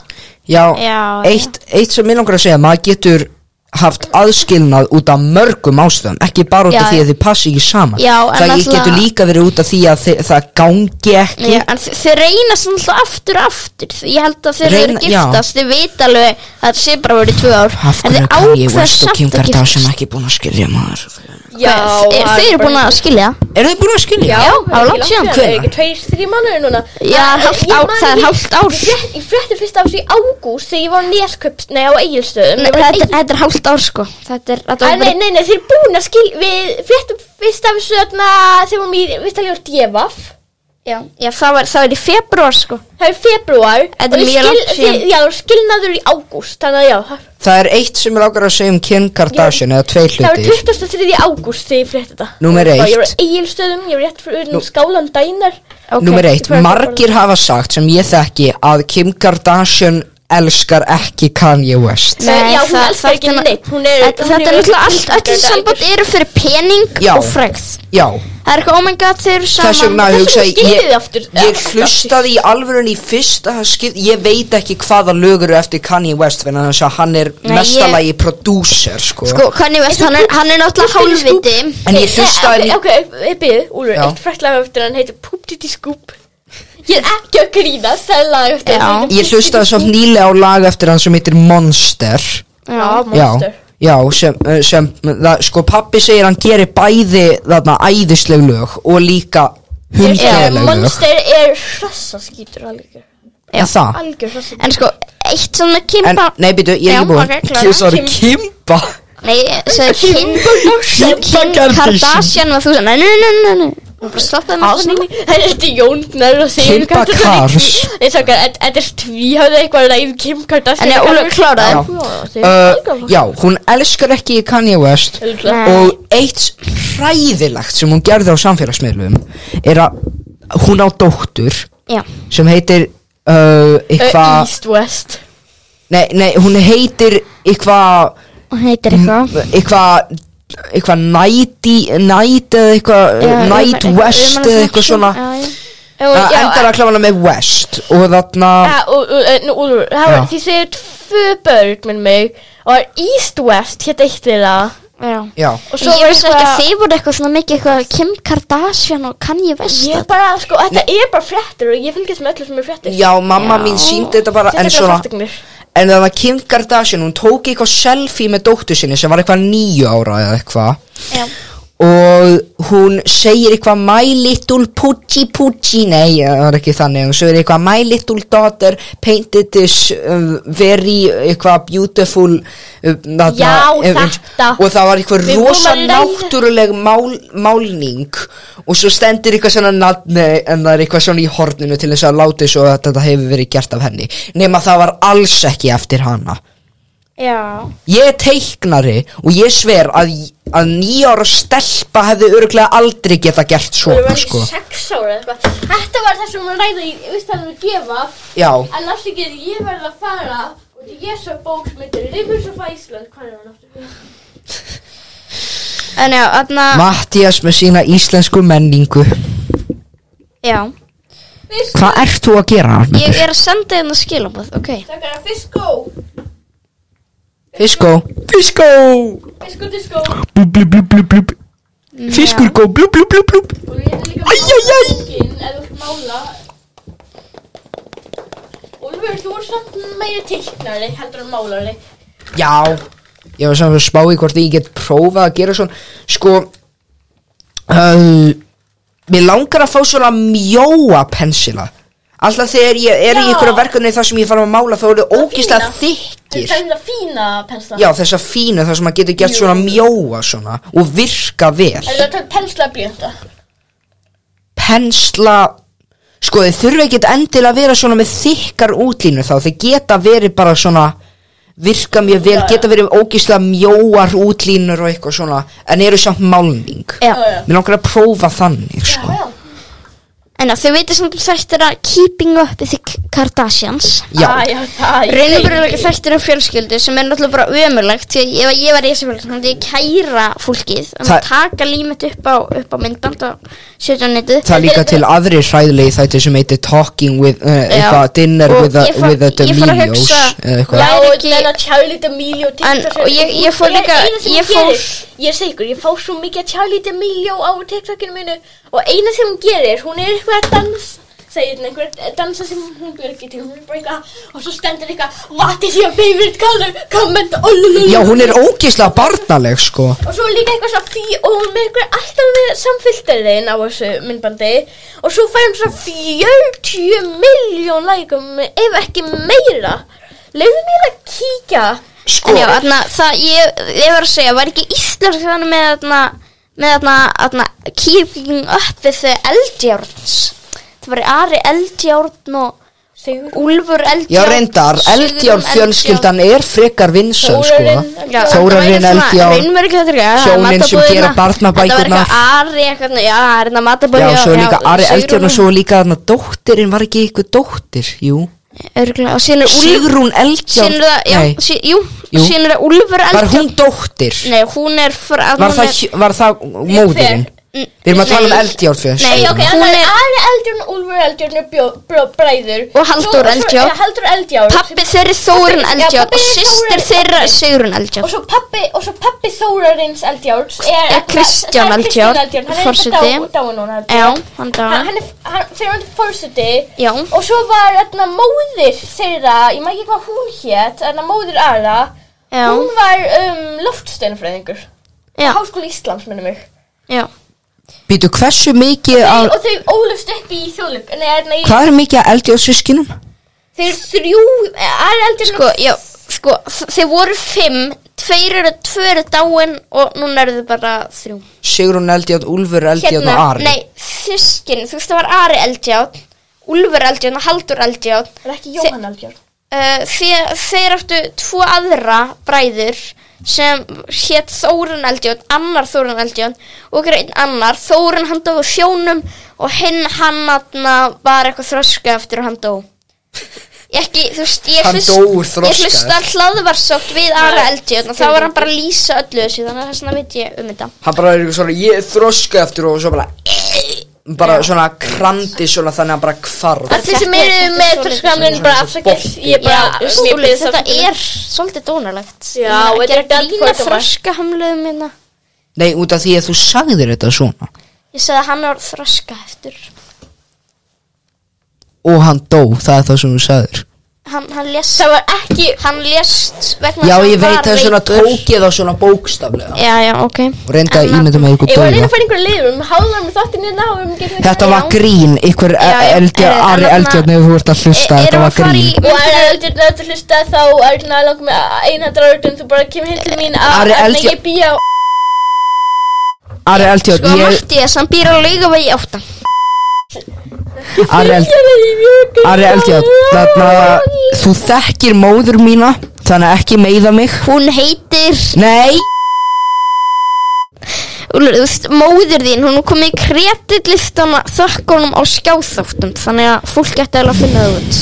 [SPEAKER 1] Já,
[SPEAKER 3] Já,
[SPEAKER 1] eitt, eitt sem ég langar að segja maður getur haft aðskilnað út af mörgum ástæðum ekki bara út af
[SPEAKER 3] Já,
[SPEAKER 1] því
[SPEAKER 3] já.
[SPEAKER 1] að þið passi ekki saman
[SPEAKER 3] Já, en
[SPEAKER 1] það
[SPEAKER 3] náttúrulega-
[SPEAKER 1] getur líka verið út af því að þið, það gangi ekki
[SPEAKER 3] Já, en þau- þau reyna sem alltaf aftur og aftur Ég held að þau eru
[SPEAKER 1] Reyna-
[SPEAKER 3] giftast Þau vita alveg að það sé bara verið tvö ár
[SPEAKER 1] af
[SPEAKER 3] En
[SPEAKER 1] hverju kann
[SPEAKER 3] þau
[SPEAKER 1] ég
[SPEAKER 3] ákveða
[SPEAKER 1] West og Kim
[SPEAKER 3] samt að
[SPEAKER 1] Kardashian
[SPEAKER 3] giftast
[SPEAKER 1] ekki búin að skilja maður
[SPEAKER 3] Þau
[SPEAKER 2] það
[SPEAKER 3] þau eru búin
[SPEAKER 2] bara-
[SPEAKER 3] að skilja það.
[SPEAKER 1] er þið búin að skilja?
[SPEAKER 3] Já,
[SPEAKER 2] það
[SPEAKER 3] það var
[SPEAKER 2] er
[SPEAKER 3] langt
[SPEAKER 2] ekki
[SPEAKER 3] síðan.
[SPEAKER 2] Það er ekki tveir, þrjir mánuðir núna
[SPEAKER 3] Já, hálft
[SPEAKER 2] ég
[SPEAKER 3] ár-
[SPEAKER 2] man
[SPEAKER 3] það er
[SPEAKER 2] ekki-
[SPEAKER 3] hálft ár.
[SPEAKER 2] Ég frétt- Ég frétti fyrst af þessu í ágúst þegar ég var á Nesköps, nei á Egilstöðum
[SPEAKER 3] Nei,
[SPEAKER 2] Ég var á
[SPEAKER 3] Þetta þetta er hálft ár sko Þetta er, þetta
[SPEAKER 2] Æ,
[SPEAKER 3] var
[SPEAKER 2] nei,
[SPEAKER 3] bara
[SPEAKER 2] nei, nei, þeir eru búin að skil Við fréttum fyrst af þessu þarna þegar við mér vist að ég var djefaf
[SPEAKER 3] Já, já það, var, það var í februar sko
[SPEAKER 2] Það er februar
[SPEAKER 3] Þetta er
[SPEAKER 2] og þeir
[SPEAKER 3] mjög langt
[SPEAKER 2] skil-
[SPEAKER 3] síðan.
[SPEAKER 2] þeir- Já, skilnaður í ágúst Þannig að já, það-
[SPEAKER 1] það er eitt sem ég langar að segja um Kim Kardashian eða tvei
[SPEAKER 2] það var
[SPEAKER 1] hlutir
[SPEAKER 2] 23. ágúst þegar ég frétti þetta
[SPEAKER 1] Númer
[SPEAKER 2] Já, Ég
[SPEAKER 1] eitt.
[SPEAKER 2] var á Egilstöðum, ég var rétt fyrir utan skálan dænar
[SPEAKER 3] okay.
[SPEAKER 1] Númer eitt,
[SPEAKER 2] ég fór að-
[SPEAKER 1] margir hafa sagt sem ég þekki að Kim Kardashian elskar ekki Kanye West
[SPEAKER 2] Nei, já, hún
[SPEAKER 3] það-
[SPEAKER 2] elskar ekki
[SPEAKER 3] þarna-
[SPEAKER 2] neitt, hún er-
[SPEAKER 3] Þetta
[SPEAKER 2] hún
[SPEAKER 3] þetta er
[SPEAKER 2] hefur
[SPEAKER 3] náttúrulega
[SPEAKER 2] ekki
[SPEAKER 3] allt, öll
[SPEAKER 2] tilgang
[SPEAKER 3] þessi samband eru fyrir pening
[SPEAKER 1] Já.
[SPEAKER 3] og frægð
[SPEAKER 1] Já,
[SPEAKER 3] Það er eitthvað, oh my god, þeir eru saman
[SPEAKER 1] þess vegna
[SPEAKER 2] þess
[SPEAKER 1] hugsa
[SPEAKER 2] vegna
[SPEAKER 1] ég
[SPEAKER 2] skilið þið
[SPEAKER 1] Ég,
[SPEAKER 2] aftur-
[SPEAKER 1] ég
[SPEAKER 2] aftur.
[SPEAKER 1] hlustaði í alvörun í fyrsta skip Ég veit ekki hvaða lögur eru eftir Kanye West Þannig að þess að hann er
[SPEAKER 3] Nei,
[SPEAKER 1] mestalagi producer sko.
[SPEAKER 3] Sko, Kanye West, hann er, hann er náttúrulega
[SPEAKER 2] Poop Diddy Scoop.
[SPEAKER 3] hálfviti
[SPEAKER 1] En ég
[SPEAKER 2] Nei,
[SPEAKER 1] hlustaði
[SPEAKER 2] Eh, Ok, ok, byrðu, Úlfur,
[SPEAKER 1] Já.
[SPEAKER 2] eitt frætt lag eftir hann heitir Poop Diddy Scoop Ég er ekki að grína, það er lag eftir
[SPEAKER 3] Já.
[SPEAKER 2] hann
[SPEAKER 1] Ég hlustaði svo nýlega á lag eftir hann sem heitir Monster
[SPEAKER 2] Já,
[SPEAKER 3] Já,
[SPEAKER 1] Já,
[SPEAKER 2] monster
[SPEAKER 1] já sem, eh, sem það, sko pappi segir hann gerir bæði þarna æðisleg lög og líka
[SPEAKER 2] Já,
[SPEAKER 1] hundlegaleg lög
[SPEAKER 2] Monster er hrassa skítur algjör
[SPEAKER 1] En það,
[SPEAKER 2] Algjör hrassa
[SPEAKER 3] En sko, eitt svona
[SPEAKER 1] en,
[SPEAKER 3] kimpa
[SPEAKER 1] nei býtu, ég er
[SPEAKER 3] Já,
[SPEAKER 1] ekki búinn
[SPEAKER 3] ok, klára.
[SPEAKER 1] Ég svarði Kimba
[SPEAKER 3] Nei, sagði Kim sagði Kim
[SPEAKER 1] Kardashian.
[SPEAKER 3] Kardashian var þú sem Nei, nei, nei, nei, nei Hún bara stoppaði með þessu núna.
[SPEAKER 2] Það er eftir Jónnar og segir
[SPEAKER 1] Kim Kardashian.
[SPEAKER 2] Nei, sákar, þetta er tvíhafði eitthvað að leið Kim Kardashian
[SPEAKER 3] En ég, Úlfur, kláraðu.
[SPEAKER 1] Já. uh, Já, hún elskar ekki Kanye West
[SPEAKER 2] Örugglega.
[SPEAKER 3] Nei.
[SPEAKER 1] Og eitt hræðilegt sem hún gerði á samfélagsmiðlum Er að hún á dóttur
[SPEAKER 3] Já,
[SPEAKER 1] sem heitir uh, eitthvað
[SPEAKER 2] East West
[SPEAKER 1] Nei, nei, hún heitir eitthvað
[SPEAKER 3] hún heitir eitthvað
[SPEAKER 1] eitthvað eitthvað næti næti eða eitthvað
[SPEAKER 3] Já,
[SPEAKER 1] næt
[SPEAKER 3] um-
[SPEAKER 1] west
[SPEAKER 3] um-
[SPEAKER 1] eða eitthvað svona Ah.
[SPEAKER 3] Já, já.
[SPEAKER 2] Og
[SPEAKER 1] það
[SPEAKER 2] já,
[SPEAKER 1] endar að klafana með west og þarna
[SPEAKER 2] Ja, og, og, en, Úlfur, það
[SPEAKER 1] Já.
[SPEAKER 2] var- þið segir tvö börn með mig og East West hétt eitt þeirra
[SPEAKER 3] Já
[SPEAKER 1] já,
[SPEAKER 2] og
[SPEAKER 3] Ég
[SPEAKER 2] var
[SPEAKER 3] veist ekki
[SPEAKER 2] eitthvað-
[SPEAKER 3] að þið voru eitthvað svona mikið eitthvað Kim Kardashian og Kanye West
[SPEAKER 2] Ég bara, sko, þetta er bara fréttir og ég fylgjast með öllu sem er fréttir
[SPEAKER 1] já, mamma mín síndi þetta bara en svona, en þannig að Kim Kardashian hún tók eitthvað selfie með dóttu sinni sem var eitthvað nýju ára eða eitthvað
[SPEAKER 3] Já.
[SPEAKER 1] og hún segir eitthvað my little poochie poochie nei, það var ekki þannig hún segir eitthvað my little daughter painted this um, very eitthvað beautiful um, þarna,
[SPEAKER 2] Já,
[SPEAKER 1] eh,
[SPEAKER 2] þetta.
[SPEAKER 1] og það var eitthvað
[SPEAKER 2] Við vorum
[SPEAKER 1] rosa
[SPEAKER 2] að ræða-
[SPEAKER 1] náttúruleg mál, málning og svo stendur eitthvað svona nafni en það er eitthvað svona í horninu til þess að láti svo að þetta hefur verið gert af henni nema það var alls ekki eftir hana
[SPEAKER 2] Já
[SPEAKER 1] Ég er teiknari og ég sver að, að nýjára stelpa hefði örglega aldrei geta gert
[SPEAKER 2] Þú
[SPEAKER 1] svona
[SPEAKER 2] var
[SPEAKER 1] sko.
[SPEAKER 2] sko. sex ára eða eitthvað Þetta var það sem hún ræði í Íslandum að gefa
[SPEAKER 1] Já,
[SPEAKER 2] En afsakið, ég verði að fara og því ég svo bók sem heitir Rivers of Iceland Hvað er hann aftur?
[SPEAKER 3] En já, þarna
[SPEAKER 1] Mattias með sína íslensku menningu
[SPEAKER 3] Já
[SPEAKER 2] Fisk,
[SPEAKER 1] Hvað ert þú að gera? Arnaldur?
[SPEAKER 3] Ég er að senda hérna skilabóð, ok
[SPEAKER 2] það er að fiskó
[SPEAKER 1] Fiskó Fiskó
[SPEAKER 2] Fiskó diskó
[SPEAKER 1] blub, blub, blub, blub, blub. Fiskur gó blub, blub, blub, blub.
[SPEAKER 2] Og ég er líka
[SPEAKER 1] Æ, æ, æ.
[SPEAKER 2] fiskinn eða þú ert mála Úlfur, þú er samt meiri teiknari heldur en málari
[SPEAKER 1] Já Ég var samt að spá í hvort ég get prófað að gera svona Sko uh, Mér langar að fá svona mjóa pensila Alltaf þegar ég er í
[SPEAKER 2] Já.
[SPEAKER 1] einhverju verkefni þar sem ég fara að mála þá eru ógislega
[SPEAKER 2] fína.
[SPEAKER 1] þykkir
[SPEAKER 2] Það er það fína pensla
[SPEAKER 1] Já, þessa fínu þar sem maður getur gert svona mjóa svona og virka vel
[SPEAKER 2] Er það pensla blíjönda?
[SPEAKER 1] Pensla Sko, þið þurfa ekkert endilega að vera svona með þykkar útlínu þá Þið geta verið bara svona virka mjög vel,
[SPEAKER 2] Já, já.
[SPEAKER 1] geta verið ógislega mjóar útlínur og eitthvað svona en eru samt málning
[SPEAKER 3] Já
[SPEAKER 2] Já, já
[SPEAKER 1] Mér langar að prófa þannig,
[SPEAKER 2] Já,
[SPEAKER 1] sko
[SPEAKER 2] já
[SPEAKER 3] En já, þau veitir samt þekktir að Keeping Up with the Kardashians
[SPEAKER 1] Já,
[SPEAKER 2] Æ, já, það er
[SPEAKER 3] Reynumverulega þekktir um fjölskyldu sem er náttúrulega bara ömurlegt því að ef að ég var í þessu fjölskyldu þannig ég kæra fólkið um
[SPEAKER 1] Það-
[SPEAKER 3] að taka límet upp á, upp á myndband og setja á netu
[SPEAKER 1] það er líka til aðri hræðilegi þætti sem heitir Talking with, uh, eitthvað, Dinner
[SPEAKER 3] Og
[SPEAKER 1] with the,
[SPEAKER 3] ég fór-
[SPEAKER 1] with the
[SPEAKER 3] ég fór að
[SPEAKER 1] Demilios
[SPEAKER 3] hugsa-
[SPEAKER 1] eða
[SPEAKER 2] Já,
[SPEAKER 1] eitthvað
[SPEAKER 3] Læri
[SPEAKER 2] og
[SPEAKER 3] ekki-
[SPEAKER 2] Lena Charlie D'Amelio TikTok
[SPEAKER 3] En- og ég- ég fór líka-
[SPEAKER 2] Eina sem
[SPEAKER 3] ég
[SPEAKER 2] hún
[SPEAKER 3] fór-
[SPEAKER 2] gerir, Ég er segur, ég fá svo mikið af Charlie D'Amelio á TikTokinu mínu Og eina sem hún gerir, hún er eitthvað að dansa Segir hún einhver dansa sem hún björ ekki til Hún er bara eitthvað, og svo stendur eitthvað What is your favorite color? Comment olululu
[SPEAKER 1] Já, hún er ógislega barnaleg, sko
[SPEAKER 2] Og svo líka eitthvað svona fí og hún með eitthvað alltaf með samfylgdariðin á þessu myndbandi og svo fær hún svona 40 miljón lækum ef ekki meira. Leifðu mér að kíkja.
[SPEAKER 1] Sko,
[SPEAKER 3] En já, þarna, það, ég, ég var að segja, var ekki íslensk þannig með þarna, með þarna, þarna Keeping Up with the Eldjárns Það var í Ari Eldjárn og
[SPEAKER 2] Sigur.
[SPEAKER 3] Úlfur Eldjárn
[SPEAKER 1] Já, reyndar, eldjárn fjölskyldan er frekar vinsöl, sko
[SPEAKER 2] Þórarinn Eldjárn.
[SPEAKER 1] Þórarinn eldjárn
[SPEAKER 3] Raunverðilega þetta er
[SPEAKER 1] Hjónin sem gera barnabækurnar.
[SPEAKER 3] Þetta var eitthvað Ari eitthvað Já, það er hérna þetta matabóð
[SPEAKER 1] Já, svo er líka Ari Eldjárn og svo er líka þarna dóttirin, var ekki eitthvað dóttir, jú
[SPEAKER 3] Örgulega, og síðan er Úlfur
[SPEAKER 1] Sigrún
[SPEAKER 3] Síðan
[SPEAKER 1] Eldján
[SPEAKER 3] er það, já,
[SPEAKER 1] Nei.
[SPEAKER 3] sí, jú,
[SPEAKER 1] Jú.
[SPEAKER 3] síðan er það Úlfur
[SPEAKER 1] Var
[SPEAKER 3] Eldján
[SPEAKER 1] hún dóttir?
[SPEAKER 3] Nei, hún er frá
[SPEAKER 1] Var
[SPEAKER 3] hún
[SPEAKER 1] það,
[SPEAKER 3] er-
[SPEAKER 1] hj- var það móðurinn?
[SPEAKER 3] N-
[SPEAKER 1] Við erum að tala um
[SPEAKER 3] nei.
[SPEAKER 1] Eldjárfjörn
[SPEAKER 3] Nei,
[SPEAKER 2] Nei, ok,
[SPEAKER 3] Hún
[SPEAKER 2] hann er
[SPEAKER 3] er-
[SPEAKER 2] Ari Eldjón og Úlfur Eldjón er bjó, bjó, bræður
[SPEAKER 3] Og Halldór
[SPEAKER 2] Svo- svo-
[SPEAKER 3] Eldjárn.
[SPEAKER 2] ja, Halldór Eldjárn
[SPEAKER 3] Pappi þeirri Þórun
[SPEAKER 2] Já,
[SPEAKER 3] Eldjárn
[SPEAKER 2] pabbi
[SPEAKER 3] og
[SPEAKER 2] Þórarins
[SPEAKER 3] systir þeirra
[SPEAKER 2] Eldjárn.
[SPEAKER 3] Sigrun Eldjárn
[SPEAKER 2] Og svo pappi, og svo pappi Þórarins Eldjárns er, það
[SPEAKER 3] Er Kristján
[SPEAKER 2] er Kristján
[SPEAKER 3] Eldjárn,
[SPEAKER 2] Eldjárn, hann er
[SPEAKER 3] forseti.
[SPEAKER 2] forseti Dáin hún held ég.
[SPEAKER 3] Já, hann dó.
[SPEAKER 2] Hann- Hann er hann- fyrir hann til forseti
[SPEAKER 3] Já.
[SPEAKER 2] Og svo var þarna móðir þeirra, ég maður ekki hvað hún hét, þarna móðir Ara
[SPEAKER 3] Já,
[SPEAKER 2] Hún var um, loftsteinfræðingur
[SPEAKER 3] já,
[SPEAKER 2] Háskóli Íslands, minnum mig
[SPEAKER 3] já
[SPEAKER 1] Býtu, hversu mikið
[SPEAKER 2] Þeir,
[SPEAKER 1] að
[SPEAKER 2] Og þau ólust upp í þjóðlug Nei, nei,
[SPEAKER 1] Hvað er mikið að eldjárfjörnskinum?
[SPEAKER 2] þeir þrjú Ari Eldjárn
[SPEAKER 3] Sko, já, sko, þ- þeir voru fimm Tveir eru, tvö eru dáin Og núna eru þau bara þrjú
[SPEAKER 1] Sigrún Eldjárn, Úlfur Eldjárn
[SPEAKER 3] Hérna,
[SPEAKER 1] og Ari
[SPEAKER 3] nei, þyskin Þú veist, það var Ari Eldjárn Úlfur Eldjárn og Haldur Eldjárn
[SPEAKER 2] Er ekki Jóhann Eldjárn?
[SPEAKER 3] uh, þeir, þeir áttu tvo aðra bræður sem hétt Þórun Eldjón, annar Þórun Eldjón og einn annar, Þórun hann dói fjónum og hinn hann aðna var eitthvað þroska eftir að hann dó Ég ekki, þú veist, ég
[SPEAKER 1] Hann
[SPEAKER 3] hlust-
[SPEAKER 1] dó úr
[SPEAKER 3] ég
[SPEAKER 1] þroska.
[SPEAKER 3] hlusta hlaðvarsátt við Ara Eldjón og þá var hann bara að lýsa öllu þessu þannig að þess vegna veit ég um þetta
[SPEAKER 1] Hann bara er eitthvað svona, ég er þroska eftir og svo bara Bara svona krandi svona þannig að hann bara hvarf
[SPEAKER 2] Allir sem
[SPEAKER 3] Þetta-
[SPEAKER 2] eru
[SPEAKER 3] þetta er
[SPEAKER 2] með
[SPEAKER 3] svolítið
[SPEAKER 2] framleginn
[SPEAKER 1] svona
[SPEAKER 2] bara
[SPEAKER 1] eins og
[SPEAKER 2] afsakið
[SPEAKER 1] bolti.
[SPEAKER 2] Ég bara,
[SPEAKER 3] Já,
[SPEAKER 2] mér
[SPEAKER 3] stúli,
[SPEAKER 2] byrðið
[SPEAKER 3] þetta
[SPEAKER 2] afsökunar.
[SPEAKER 3] er svolítið dónalegt
[SPEAKER 2] Já,
[SPEAKER 3] Ég meina,
[SPEAKER 2] þetta er
[SPEAKER 3] að gera grína
[SPEAKER 2] dálítið
[SPEAKER 3] þroska hérna. hamluðum minna
[SPEAKER 1] Nei, út af því að þú sagðir þetta svona
[SPEAKER 3] Ég sagði að hann var þroska eftir
[SPEAKER 1] Og hann dó, það er það sem þú sagðir
[SPEAKER 3] Hann, hann lést
[SPEAKER 2] Það var ekki
[SPEAKER 3] Hann lést vegna
[SPEAKER 1] Já,
[SPEAKER 3] þess
[SPEAKER 1] ég
[SPEAKER 3] að hann
[SPEAKER 1] veit
[SPEAKER 3] var
[SPEAKER 1] það er svona
[SPEAKER 3] veikur.
[SPEAKER 1] tókið á svona bókstaflega
[SPEAKER 3] Já, já, ok
[SPEAKER 1] Og reynda að ímynda með ykkur
[SPEAKER 2] Ég var að reyna
[SPEAKER 1] döða
[SPEAKER 2] að fara einhverja liður Við háðum með þáttinn hérna og við getum
[SPEAKER 1] Þetta var grín, ykkur
[SPEAKER 3] Já, já,
[SPEAKER 1] eldjárn,
[SPEAKER 3] en-
[SPEAKER 1] Ari
[SPEAKER 3] en-
[SPEAKER 1] Eldjárn Ef þú ert að hlusta,
[SPEAKER 3] E-
[SPEAKER 1] þetta
[SPEAKER 3] erum
[SPEAKER 1] var
[SPEAKER 3] að fara í-
[SPEAKER 1] grín
[SPEAKER 2] Og er það auðvitað að þú hlusta þá er það langt með eina dráðurinn þú bara kemur heim til mín að
[SPEAKER 1] Ari
[SPEAKER 2] að
[SPEAKER 1] Eldjárn-
[SPEAKER 2] ég býja á
[SPEAKER 1] Ari
[SPEAKER 3] Sko,
[SPEAKER 1] Eldjárn, ég,
[SPEAKER 3] Mattias, hann býr á laugavegi 8
[SPEAKER 1] Ari Eldjárn Ari Eldjátt, þarna þú þekkir móður mína, þannig að ekki meiða mig.
[SPEAKER 3] Hún heitir
[SPEAKER 1] Nei,
[SPEAKER 3] Úlfur, þú veist, móðir þín Hún er komið í kredillistana þökkunum á skjáþáttum Þannig að fólk ætti alveg að finna það út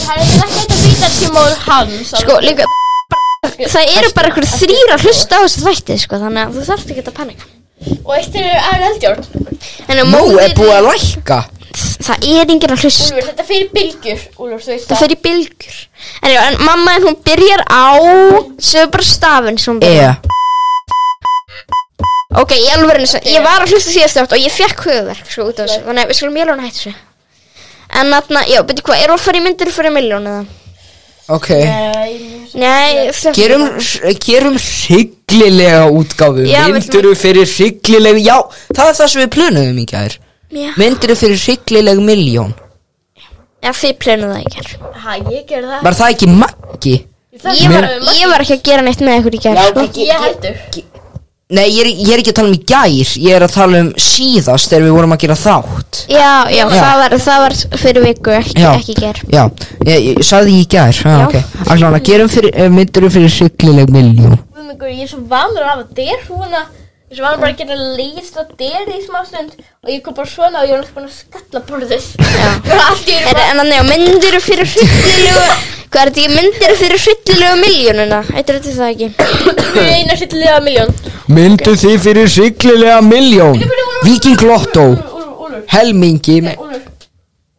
[SPEAKER 2] Það er ekki hægt að býta tíma úr hans
[SPEAKER 3] Sko, líka Það eru bara einhver þrýra hlusta á þessu þætti sko, Þannig að þú þarft ekki að panika
[SPEAKER 2] Og eitt er Ari Eldjórn
[SPEAKER 3] En ef
[SPEAKER 1] nú
[SPEAKER 3] móðir
[SPEAKER 1] er búið að
[SPEAKER 3] þín-
[SPEAKER 1] lækka.
[SPEAKER 3] Það er enginn að hlusta
[SPEAKER 2] Úlfur, þetta fyrir bylgjur Úlfur, þú veist
[SPEAKER 3] Það fer í bylgjur En, já, en mamma, en hún byrjar á Segðu bara stafinn sem hún
[SPEAKER 1] E,
[SPEAKER 3] byrjar Ok, í alvörinu, svo- ég var að hlusta síðast átt og ég fekk höfuverk sko út af þessu, þannig að við skulum ég alveg hættu þessu. En þarna, já, betur hvað, erum við að fara í myndir fyrir miljón eða?
[SPEAKER 1] ok.
[SPEAKER 2] Nei,
[SPEAKER 3] Nei, það-
[SPEAKER 1] Gerum, gerum hrygglilega útgáfu,
[SPEAKER 3] Já, við
[SPEAKER 1] mynduru fyrir hrygglilega, já, það er það sem við plönuðum í gær.
[SPEAKER 3] Já,
[SPEAKER 1] Mynduru fyrir hrygglilega miljón.
[SPEAKER 3] já þið plönuðu það ekki.
[SPEAKER 2] ha, ég ger það
[SPEAKER 1] Var það ekki maggi?
[SPEAKER 3] Ég var, ég var ekki að gera neitt með ykkur í gerð, sko.
[SPEAKER 2] Ég heldur
[SPEAKER 1] Nei, ég er, ég er ekki að tala um í gær, ég er að tala um síðast þegar við vorum að gera þátt.
[SPEAKER 3] Já, já,
[SPEAKER 1] Já.
[SPEAKER 3] Það, var, það var fyrir viku, ekki, ekki í gerð.
[SPEAKER 1] Já, ég, ég sagði í gær, já,
[SPEAKER 3] Já.
[SPEAKER 1] ok. Allan að gerum fyrir, eh, myndurum fyrir hrygglileg miljón.
[SPEAKER 2] Guðmungur, ég er svo vanur að hafa derhúna Ég er svo vanur bara að geta leist að deri í smástund Og ég kom bara svona og ég var næst búin að skalla borðið Bara allt í
[SPEAKER 3] Er,
[SPEAKER 2] einu
[SPEAKER 3] en þannig, já, myndir fyrir hryllilegu, hvað er þetta ekki, myndir fyrir hryllilegu miljónuna? Eitthvað þetta það ekki.
[SPEAKER 2] bara eina sýttilega miljón
[SPEAKER 1] Myndu þið fyrir siglilega miljón Viking Lotto
[SPEAKER 2] Úlur,
[SPEAKER 1] Helmingi
[SPEAKER 2] úlur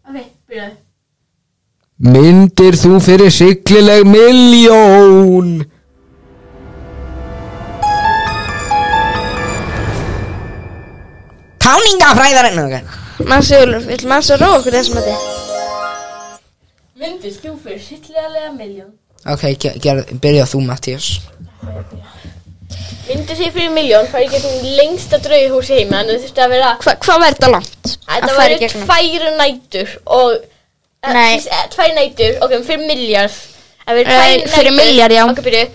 [SPEAKER 2] Ok, byrjaði
[SPEAKER 1] Myndir þú fyrir siglileg miljón Táningafræðarinn okay.
[SPEAKER 3] Manstu, Úlfur, vill manstu að róa okkur í þessum að þið?
[SPEAKER 2] Myndist þú fyrir sýttilega miljón
[SPEAKER 1] Ok, ge- gerð, byrja þú Mattias
[SPEAKER 2] Myndist þið fyrir miljón Fær ég getum lengsta draugahús heima En þú þurfti að vera
[SPEAKER 3] Hvað var þetta langt? að
[SPEAKER 2] Þetta
[SPEAKER 3] fara í
[SPEAKER 2] væri
[SPEAKER 3] gegnum?
[SPEAKER 2] tvær nætur Og eh,
[SPEAKER 3] Nei.
[SPEAKER 2] þess- eh, Tvær nætur, ok, fyrir miljard Það væri
[SPEAKER 3] Eh,
[SPEAKER 2] tvær nætur
[SPEAKER 3] fyrir milljarð, já.
[SPEAKER 2] Ok, byrju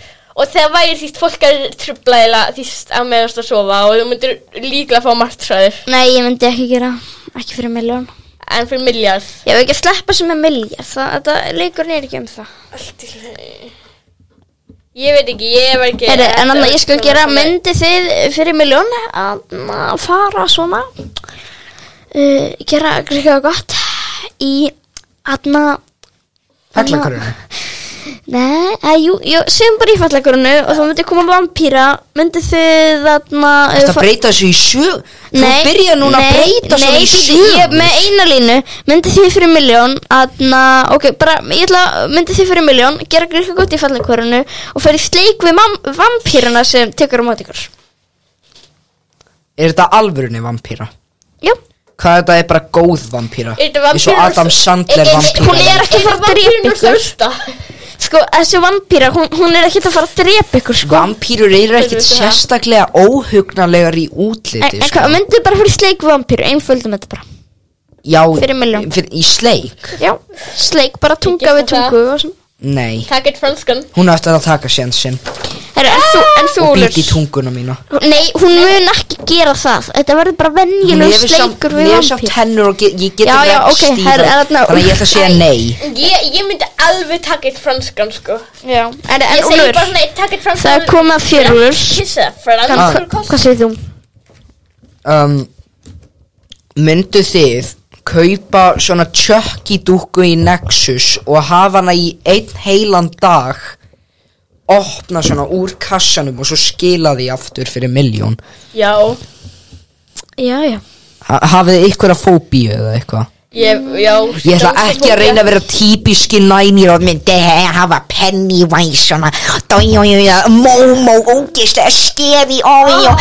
[SPEAKER 2] Og þegar væri því fólk að trubla eða því að meðast að sofa og þú myndir líklega fá martræðir
[SPEAKER 3] Nei, ég myndi ekki gera, ekki fyrir miljón.
[SPEAKER 2] en fyrir miljard
[SPEAKER 3] Ég hef ekki að sleppa sem er miljard, það, þetta leikurinn er ekki um það.
[SPEAKER 2] Allt í lagi. Ég veit ekki, ég var ekki
[SPEAKER 3] Heri, en annað, ég skal gera myndi þið fyrir miljón að að fara svona, uh, gera eitthvað gott í aðna
[SPEAKER 5] Heglakurinn
[SPEAKER 3] Nei, eða, jú, jú, segjum bara í fallakurinu og þá myndi koma vampýra myndi þið uh, þarna
[SPEAKER 1] Þetta breyta þessu í sjö Þú byrja núna að breyta
[SPEAKER 3] nei,
[SPEAKER 1] svona í
[SPEAKER 3] bíddu,
[SPEAKER 1] sjö
[SPEAKER 3] ég, með eina línu myndi þið fyrir miljón aðna, ok, bara, ég ætla að- myndi þið fyrir miljón, gera gríka gott í fallakurinu og ferði sleik við mam, vampýrana sem tekur á móti ykkur
[SPEAKER 1] Er þetta alvörunni vampíra?
[SPEAKER 3] já,
[SPEAKER 1] Hvað þetta er bara góð vampíra?
[SPEAKER 2] Er þetta
[SPEAKER 1] Eins og
[SPEAKER 2] vampíra-
[SPEAKER 1] Adam Sandler
[SPEAKER 3] Er- er-
[SPEAKER 1] vampíra
[SPEAKER 3] hún er ekki að fara að drepa ykkur
[SPEAKER 2] Þörsta
[SPEAKER 3] sko, þessi vampýra, hún, hún er ekki að fara að drepa ykkur, sko
[SPEAKER 1] Vampýrur eru ekkit
[SPEAKER 2] Þetta er það.
[SPEAKER 1] sérstaklega óhugnarlegar í
[SPEAKER 3] en,
[SPEAKER 1] útliti
[SPEAKER 3] en
[SPEAKER 1] sko.
[SPEAKER 3] hvað, myndi bara fyrir sleik við vampýru einföldum þetta bara
[SPEAKER 1] Já,
[SPEAKER 3] fyrir milljón.
[SPEAKER 1] fyrir- í sleik
[SPEAKER 3] Já, sleik bara
[SPEAKER 2] Ég
[SPEAKER 3] tunga við
[SPEAKER 2] gista það.
[SPEAKER 3] tungu og svona
[SPEAKER 1] Nei,
[SPEAKER 2] Takk eitt franskan
[SPEAKER 1] hún ætti að taka sjensin
[SPEAKER 3] Heru, en þú, en þú
[SPEAKER 1] og
[SPEAKER 3] Úlfur?
[SPEAKER 1] býti í tunguna mína
[SPEAKER 3] Nei, hún mun ekki gera það Þetta verður bara
[SPEAKER 1] Hún
[SPEAKER 3] venjulegur
[SPEAKER 1] hefur samt,
[SPEAKER 3] sleikur
[SPEAKER 1] hún
[SPEAKER 3] við
[SPEAKER 1] hefur samt
[SPEAKER 3] vampýr
[SPEAKER 1] hennur og get, ég get
[SPEAKER 3] Já,
[SPEAKER 1] ekki
[SPEAKER 3] já,
[SPEAKER 1] ekki
[SPEAKER 3] ok,
[SPEAKER 1] stíð
[SPEAKER 3] herra,
[SPEAKER 1] þarna.
[SPEAKER 3] þarna-
[SPEAKER 1] Þannig að ég ætla að segja nei
[SPEAKER 2] Ég, ég myndi alveg taka eitt franskan sko
[SPEAKER 3] Já, en, en
[SPEAKER 2] Ég segi
[SPEAKER 3] Úlfur
[SPEAKER 2] bara svona eitt takk eitt franskan
[SPEAKER 3] Það er komið að fjörur
[SPEAKER 2] Kissa
[SPEAKER 1] Ah.
[SPEAKER 2] franskan
[SPEAKER 3] Hvað segir þú?
[SPEAKER 1] um, Myndu þið kaupa svona tjökki dúkku í Nexus og hafa hana í einn heilan dag opna svona úr kassanum og svo skila því aftur fyrir miljón
[SPEAKER 2] Já
[SPEAKER 3] Já, já
[SPEAKER 1] ha Hafið þið ykkur að fóbíu eða eitthvað?
[SPEAKER 2] Ég, já
[SPEAKER 1] Ég ætla ekki að reyna að vera típiski nænir og myndi he- hafa Pennywise svona dójójójó, mómó, ógislega skefi, ójó,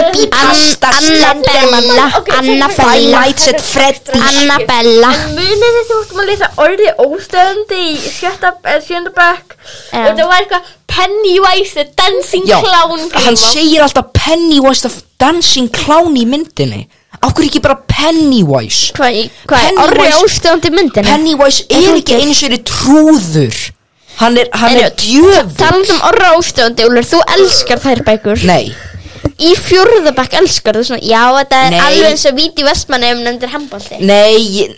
[SPEAKER 1] creepypasta,
[SPEAKER 3] Annabella
[SPEAKER 2] Ok, segðu mér-
[SPEAKER 3] Annabella
[SPEAKER 1] Twilight set Freddy
[SPEAKER 3] Annabella
[SPEAKER 2] En munið þið þú ættum að lesa orðið óstöðandi í sjötta, eh, sjönda bekk
[SPEAKER 3] Já.
[SPEAKER 2] Og það var eitthvað Pennywise the dancing
[SPEAKER 1] Já,
[SPEAKER 2] clown
[SPEAKER 1] hann segir alltaf Pennywise the dancing clown í myndinni Akkur ekki bara Pennywise
[SPEAKER 3] Hvað, í- hvað, er
[SPEAKER 1] Pennywise-
[SPEAKER 3] orðið ástöðandi myndinu?
[SPEAKER 1] Pennywise er ekki eins og er trúður Hann er, hann er
[SPEAKER 3] Heyrðu,
[SPEAKER 1] djöfur
[SPEAKER 3] Talandi um orra ástöðandi, Úlfur, þú elskar þær bækur
[SPEAKER 1] Nei,
[SPEAKER 3] Í fjórðabæk elskar þú svona Já, þetta er
[SPEAKER 1] Nei.
[SPEAKER 3] alveg eins og víti vestmannum nefndir handbólti
[SPEAKER 1] nei, ég-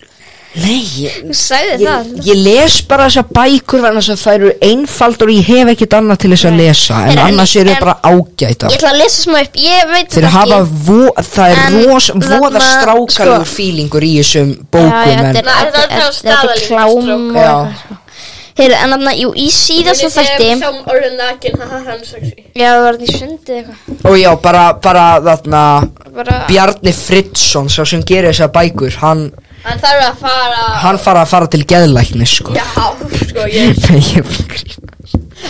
[SPEAKER 1] nei ég-
[SPEAKER 3] Þú sagði
[SPEAKER 1] Ég,
[SPEAKER 3] það
[SPEAKER 1] ég les bara þessar bækur vegna þess að þær eru einfald og ég hef ekkit annað til þess að lesa en
[SPEAKER 3] Heyrðu, en-
[SPEAKER 1] annars eru
[SPEAKER 3] en-
[SPEAKER 1] bara ágæta
[SPEAKER 3] Ég ætla að lesa smá upp, ég veit
[SPEAKER 1] þeir
[SPEAKER 3] þetta
[SPEAKER 1] hafa vo, það er
[SPEAKER 3] En
[SPEAKER 1] ros, voða
[SPEAKER 3] þarna,
[SPEAKER 1] strákalegur
[SPEAKER 3] sko-
[SPEAKER 1] fílingur í þessum
[SPEAKER 3] Já,
[SPEAKER 1] bókum
[SPEAKER 3] já,
[SPEAKER 1] en,
[SPEAKER 3] þetta
[SPEAKER 2] Nei,
[SPEAKER 3] er- þetta
[SPEAKER 2] það er
[SPEAKER 3] er- þetta er
[SPEAKER 2] staðalíka
[SPEAKER 3] klám
[SPEAKER 2] strákur.
[SPEAKER 3] og-
[SPEAKER 1] Já.
[SPEAKER 3] Heyrðu, en þarna, jú, í síðasta þætti
[SPEAKER 2] Ég sem orðið nakin, haha, hann er sexy
[SPEAKER 3] Já, það var þetta í sundi eitthvað
[SPEAKER 1] og já, bara, bara þarna
[SPEAKER 3] Bara-
[SPEAKER 1] Bjarni Fridsson, sá sem gerir þessar bækur hann,
[SPEAKER 2] Hann þarf að fara
[SPEAKER 1] hann fara að fara til geðlækni sko
[SPEAKER 2] Já, sko, ég
[SPEAKER 1] Nei, ég-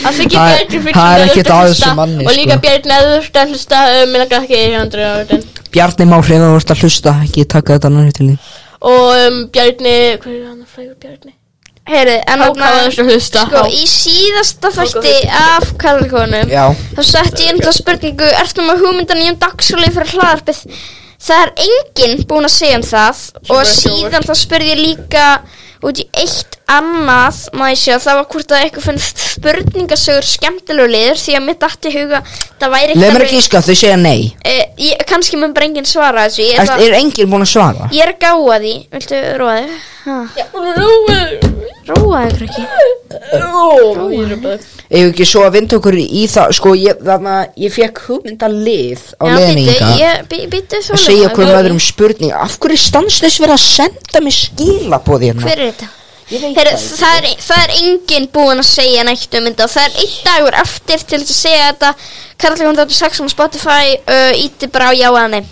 [SPEAKER 2] Allt ekki
[SPEAKER 1] Það er-
[SPEAKER 2] Bjarni Friðriksson
[SPEAKER 1] það er
[SPEAKER 2] að
[SPEAKER 1] ekkert
[SPEAKER 2] hlusta,
[SPEAKER 1] að þessu manni,
[SPEAKER 2] Og líka
[SPEAKER 1] sko.
[SPEAKER 2] Bjarni að þú ert að hlusta um, Mér langar ekki í hundru áriðin
[SPEAKER 1] Bjarni má hreina þú ert að hlusta ekki taka þetta nærið til því
[SPEAKER 2] Og um, Bjarni, hvað er hann að frægur Bjarni?
[SPEAKER 3] Heyrðu, en
[SPEAKER 2] Hákáður
[SPEAKER 3] þarna
[SPEAKER 2] að hlusta
[SPEAKER 3] Sko, í síðasta þætti af Karlkonum
[SPEAKER 1] Já.
[SPEAKER 3] Þá setti ég einhverja spurningu Ertu með hugmyndan í um dagsúli fyrir hlaðarpið Það er enginn búinn að segja um það Og
[SPEAKER 2] Sjóvar, sjóvar.
[SPEAKER 3] síðan þá spurði ég líka Út í eitt annað Má ég sjá, það var hvort að eitthvað finnst Spurningasögur skemmtilegu liður Því að mitt datti huga Það væri
[SPEAKER 1] Leif mér
[SPEAKER 3] alveg-
[SPEAKER 1] ekki íska, þau segja nei
[SPEAKER 3] Eh, ég, kannski mun bara enginn svara þessu ég er,
[SPEAKER 1] Ert,
[SPEAKER 3] það,
[SPEAKER 1] Er enginn búin að svara?
[SPEAKER 3] ég er að gáa því Viltu róa þig? Ha,
[SPEAKER 2] Já, Rúi
[SPEAKER 3] Róa þig, krakki
[SPEAKER 2] Rúi Ég er bara
[SPEAKER 1] Ef ekki svo að vinda okkur í það Sko, ég, þarna, ég fekk hugmynda lið á
[SPEAKER 3] Já, býttu,
[SPEAKER 1] leðninga
[SPEAKER 3] ég- bí- býttu þú
[SPEAKER 1] að
[SPEAKER 3] nú,
[SPEAKER 1] segja okkur um
[SPEAKER 3] Rói.
[SPEAKER 1] öðrum spurning Af hverju er stanslust verið að senda mér skilabóð hérna?
[SPEAKER 3] Hver er þetta?
[SPEAKER 1] Ég veit
[SPEAKER 3] Heru,
[SPEAKER 1] það ekki.
[SPEAKER 3] það, er, það er enginn búinn að segja neitt um þetta og það er einn dagur eftir til þess að segja þetta Karlíkon 86 á Spotify uh, íti bara á já eða nei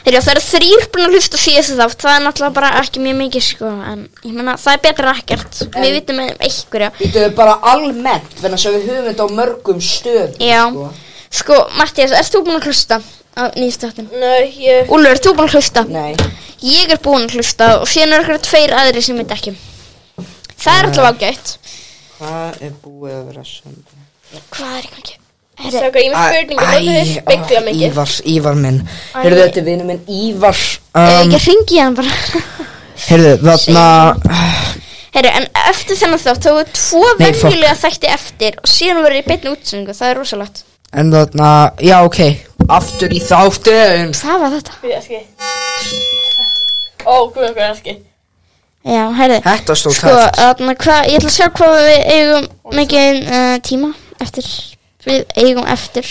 [SPEAKER 3] Heru, það eru þrýr búin að hlusta síðast þátt það er náttúrulega bara ekki mjög mikið sko, en ég meina það er betra en ekkert við vitum um einhverja
[SPEAKER 1] Þetta er bara almennt Þannig að við höfum þetta á mörgum stöð
[SPEAKER 3] Já, sko, Mattias, ert þú búinn að hlusta á nýjastáttin?
[SPEAKER 2] Nei, ég
[SPEAKER 3] Úlfur, ert þú búinn að hlusta?
[SPEAKER 1] Nei
[SPEAKER 3] Ég er búinn að hlusta og síðan eru eitthvað tveir aðri sem við ekki Það er alltaf ágætt
[SPEAKER 1] Hvað er búið að vera senda?
[SPEAKER 3] Hvað er í gangi? Herri,
[SPEAKER 2] Sákar, ég með spurningu Nóttu þið spekla mikið
[SPEAKER 1] Ívar, Ívar minn Heyrðu þetta er vinur minn Ívar
[SPEAKER 3] um,
[SPEAKER 1] um,
[SPEAKER 3] ég ringi hann bara
[SPEAKER 1] Heyrðu þarna
[SPEAKER 3] Herri, en eftir þennan þátt þá er tvo
[SPEAKER 1] Nei, fuck.
[SPEAKER 3] venjulega þætti eftir og síðan verður ég beinni útsendingu, það er rosalegt
[SPEAKER 1] En þarna, já ok Aftur í þáttin
[SPEAKER 3] Hvað var þetta?
[SPEAKER 2] Fyrir eski Ó, guð, hvað er eski
[SPEAKER 3] Já, herri
[SPEAKER 1] Þetta stóð
[SPEAKER 3] Sko,
[SPEAKER 1] tæft.
[SPEAKER 3] þarna, hva, ég ætla að sjá hvað við eigum mikið uh, tíma eftir Við eigum eftir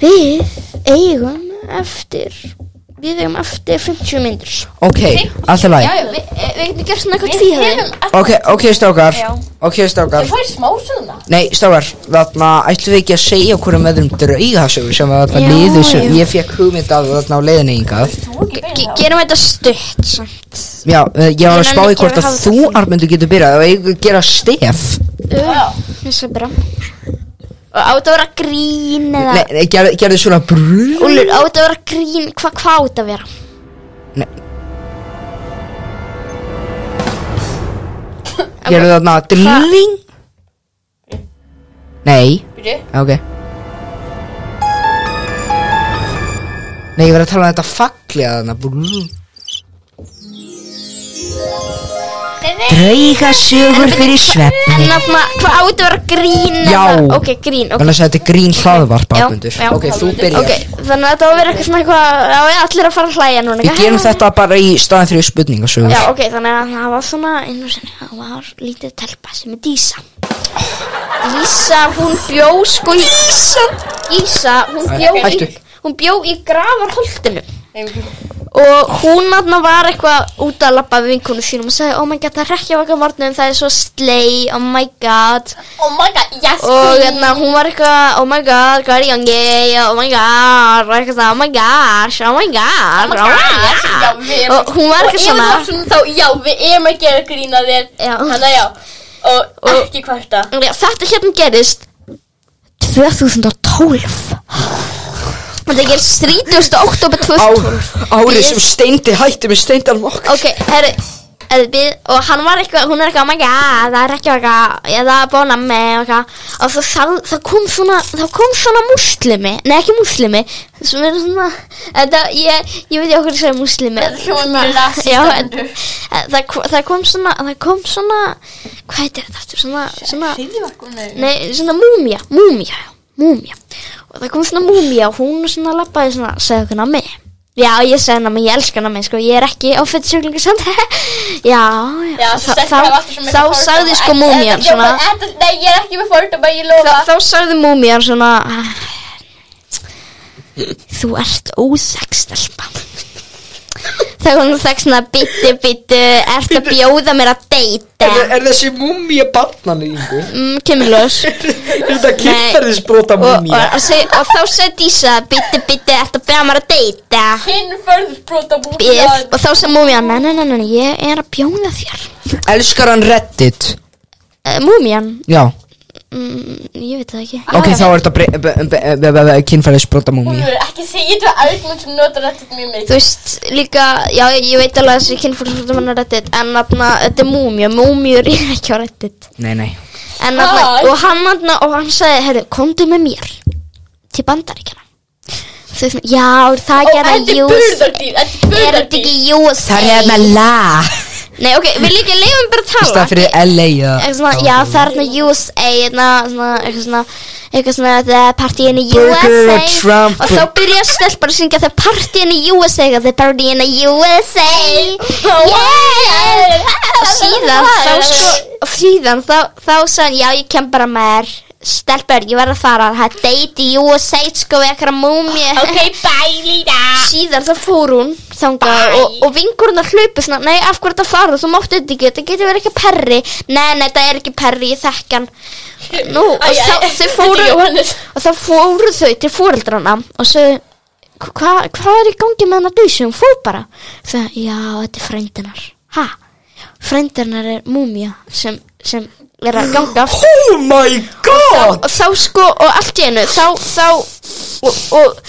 [SPEAKER 3] Við eigum eftir við eigum eftir 50 myndur
[SPEAKER 1] Ok, allt er læg
[SPEAKER 3] já, við, eh, við getum gert svona eitthvað tíðaði
[SPEAKER 1] Ok, ok strákar Ok strákar
[SPEAKER 2] Ég fær smá svona
[SPEAKER 1] Nei, strákar, þarna ætlum við ekki að segja okkur um öðrum draugasögu sem að þarna
[SPEAKER 3] Já,
[SPEAKER 1] liðu sem
[SPEAKER 3] já.
[SPEAKER 1] ég fekk hugmynd af þarna á leiðinni yngað.
[SPEAKER 3] gerum þetta stutt samt
[SPEAKER 1] Já, eh, ég var
[SPEAKER 3] Ég
[SPEAKER 1] að spá
[SPEAKER 3] nenni
[SPEAKER 1] í
[SPEAKER 3] ekki
[SPEAKER 1] hvort
[SPEAKER 3] að
[SPEAKER 1] að
[SPEAKER 3] hafa
[SPEAKER 1] þú
[SPEAKER 3] þetta.
[SPEAKER 1] armöndu getur byrjað og ég gera stef.
[SPEAKER 3] þess að bara og á þetta að vera grín eða
[SPEAKER 1] Nei, nei, gerðu gerðu svona brú.
[SPEAKER 3] Úlur, á þetta að vera grín, hvað hva á þetta að vera?
[SPEAKER 1] Nei. Gerðu þarna drilling. Nei,
[SPEAKER 2] Byrju
[SPEAKER 1] ok. Nei, ég var að tala um þetta faglega þarna. Brú. Draugasögur fyrir svefn.
[SPEAKER 3] En að maður, hvað á þetta að vera grín eða?
[SPEAKER 1] Já.
[SPEAKER 3] Ok, grín, ok
[SPEAKER 1] Þannig að þetta er grín hlaðvarp
[SPEAKER 3] Já,
[SPEAKER 1] ábundur
[SPEAKER 3] já.
[SPEAKER 1] Ok, þú byrjar
[SPEAKER 3] Ok, þannig að þetta á að vera eitthvað svona eitthvað Já, já, allir að fara að hlæja núna
[SPEAKER 1] Við
[SPEAKER 3] ekki?
[SPEAKER 1] gerum þetta bara í staðin fyrir spurningasögur
[SPEAKER 3] Já, ok, þannig að það var svona einu sinni, það var lítið telpa sem er Dísa Dísa, hún bjó sko í Dísa Dísa, hún bjó í
[SPEAKER 1] Hættu.
[SPEAKER 3] Hún bjó í gravarholtinu
[SPEAKER 2] Nei,
[SPEAKER 3] Og hún aðna var eitthvað út að labba við vinkonu sínum og sagði, oh my god, það er rekja vaka morgunum, það er svo slei, oh my god
[SPEAKER 2] Oh my god, yes
[SPEAKER 3] Og hérna, hún var eitthvað, oh my god, hvað er í gangi, oh my god, og eitthvað svona, oh my gosh, oh my god, oh my
[SPEAKER 2] Já,
[SPEAKER 3] god
[SPEAKER 2] við
[SPEAKER 3] Og hún var
[SPEAKER 2] Og
[SPEAKER 3] eitthvað
[SPEAKER 2] ef þú var
[SPEAKER 3] svona,
[SPEAKER 2] svona þá, já, við erum að gera grína þér
[SPEAKER 3] Já.
[SPEAKER 2] Þannig að já Og,
[SPEAKER 3] Og-
[SPEAKER 2] ekki kvarta
[SPEAKER 3] Já, þetta hérna gerist 2012 Þetta gerist 30. oktober 2012
[SPEAKER 1] Árið sem steindi hætti með steindan vokk
[SPEAKER 3] Ok, herru eða við- Og hann var eitthvað, hún er eitthvað, oh my god, það er ekki eitthvað Ég það er bóna með og eitthvað Og svo það, það kom svona, það kom svona muslimi Nei, ekki muslimi Sem er svona, þetta, ég, ég veit ég okkur að segja muslimi
[SPEAKER 2] Þetta hljómar mjög rasískt,
[SPEAKER 3] Já, en-
[SPEAKER 2] Öndur.
[SPEAKER 3] en það, kom- það kom svona, það kom svona Hvað heitir þetta aftur, svona, svona
[SPEAKER 2] Hriðjavakunni
[SPEAKER 3] Nei, svona múmia, múmia, múmia Og það kom svona múmia og hún svona labbaði svona, segði okkur námi Já, ég segði námi, ég elska námi, sko, ég er ekki á fyrtsjúklingu samt Já,
[SPEAKER 2] Já,
[SPEAKER 3] já,
[SPEAKER 2] þessi
[SPEAKER 3] þá,
[SPEAKER 2] stelpa er alltaf svo mikið
[SPEAKER 3] þá
[SPEAKER 2] fordóma.
[SPEAKER 3] sagði sko
[SPEAKER 2] En-
[SPEAKER 3] múmian
[SPEAKER 2] en- já,
[SPEAKER 3] svona
[SPEAKER 2] en- en- Nei, ég er ekki með fordóma, ég
[SPEAKER 3] þá,
[SPEAKER 2] lofa
[SPEAKER 3] þá sagði múmian svona Þú ert óþekk stelpa Þegar hún þekk svona Bittu, bittu, ert að bjóða mér að deyta
[SPEAKER 1] Er þessi mummi að barnan í yngur?
[SPEAKER 3] mm, Kemur ljós
[SPEAKER 1] Þetta
[SPEAKER 3] og, og, og, seg, og þá sagði Dísa Bitti, bitti, ertu að bega maður að deyta
[SPEAKER 2] Kinnförðsbrota
[SPEAKER 3] Bif, Og þá sagði múmían Nei, nei, nei, nei, ég er að bjóða þér
[SPEAKER 1] Elskar hann reddit?
[SPEAKER 3] uh, Múmían,
[SPEAKER 1] Já,
[SPEAKER 3] mm, ég veit það ekki
[SPEAKER 1] ok, þá er þetta kynfæðisbrota mummi
[SPEAKER 2] Úlfur, ekki segja þetta við Arnmund sem notar þetta mjög mikið.
[SPEAKER 3] Þú veist, líka, já, ég veit alveg að þessi kynfórsvöldum hann er reddit En þarna, þetta er múmíu, múmíur er ekki á reddit
[SPEAKER 1] Nei, nei
[SPEAKER 3] En þarna,
[SPEAKER 2] Hæ?
[SPEAKER 3] og hann þarna, og hann sagði Herru, komdu með mér Til bandaríkjana Þau svona, já,
[SPEAKER 2] Ó,
[SPEAKER 3] það gerða
[SPEAKER 2] þetta er
[SPEAKER 3] jús
[SPEAKER 2] burðardýr, þetta
[SPEAKER 3] Er
[SPEAKER 2] er
[SPEAKER 3] þetta
[SPEAKER 2] burðardýr.
[SPEAKER 3] ekki jús
[SPEAKER 1] la
[SPEAKER 3] Nei, ok, við líka leifum bara að
[SPEAKER 1] Í
[SPEAKER 3] tala
[SPEAKER 1] stað fyrir LA eða-
[SPEAKER 3] eitthvað svona, já það er hérna USA hérna, svona, eitthvað svona eitthvað svona, the party in the
[SPEAKER 1] Burger
[SPEAKER 3] USA
[SPEAKER 1] og Trump.
[SPEAKER 3] og þá byrja stelpar að syngja the party in the USA eitthvað, the party in the USA yeah og síðan þá sko og síðan þá, þá sagði hann, já ég kem bara með þér stelpar, ég verð að fara það er date í USA sko við eitthvað múmi
[SPEAKER 2] Ok, bye Lína.
[SPEAKER 3] síðan þá fór hún þangað og, og vinkurinn að hlaupa svona nei af hverju þetta fara þú máttu þetta ekki þetta getur verið ekki perri nei nei þetta er ekki perri ég þekk hann nú
[SPEAKER 2] Æ, æ,
[SPEAKER 3] og þá
[SPEAKER 2] æ,
[SPEAKER 3] þau
[SPEAKER 2] þetta
[SPEAKER 3] fóru
[SPEAKER 2] er Jóhannes.
[SPEAKER 3] og þá fóru þau til fóreldrana og sögðu "Hva- hvað er í gangi með hana dísu hún fór bara það já þetta er frændinar ha frændinar er múmia sem sem er að ganga aftur
[SPEAKER 1] Oh my god
[SPEAKER 3] og þá sko og allt í einu þá, þá og, og,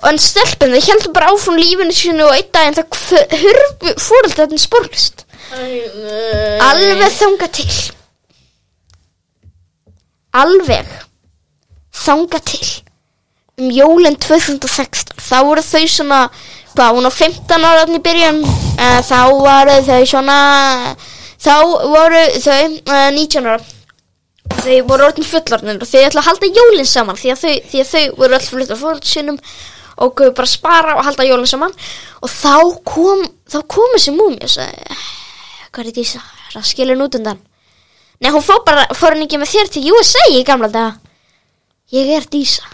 [SPEAKER 3] og en stelpunni heldur bara áfram lífinu sinu og einn daginn þá hv- hurfu fóröldarinn spórlist alveg þanga til alveg þanga til um jólinn 2016 þá voru þau svona hvað, hún á 15 ára þarna í byrjun uh, þá voru þau svona þá voru þau uh, 19 ára þau voru orðin fullorðin og þau ætla að halda jólinn saman því að þau, því að þau voru öll fullt af fólk sinum og guðu bara að spara og halda jólinn saman og þá kom þá kom þessi múmi og sagði hvað er Dísa, er það skilin út undan nei hún fór bara, fór hann ekki með þér til USA í gamla daga ég er Dísa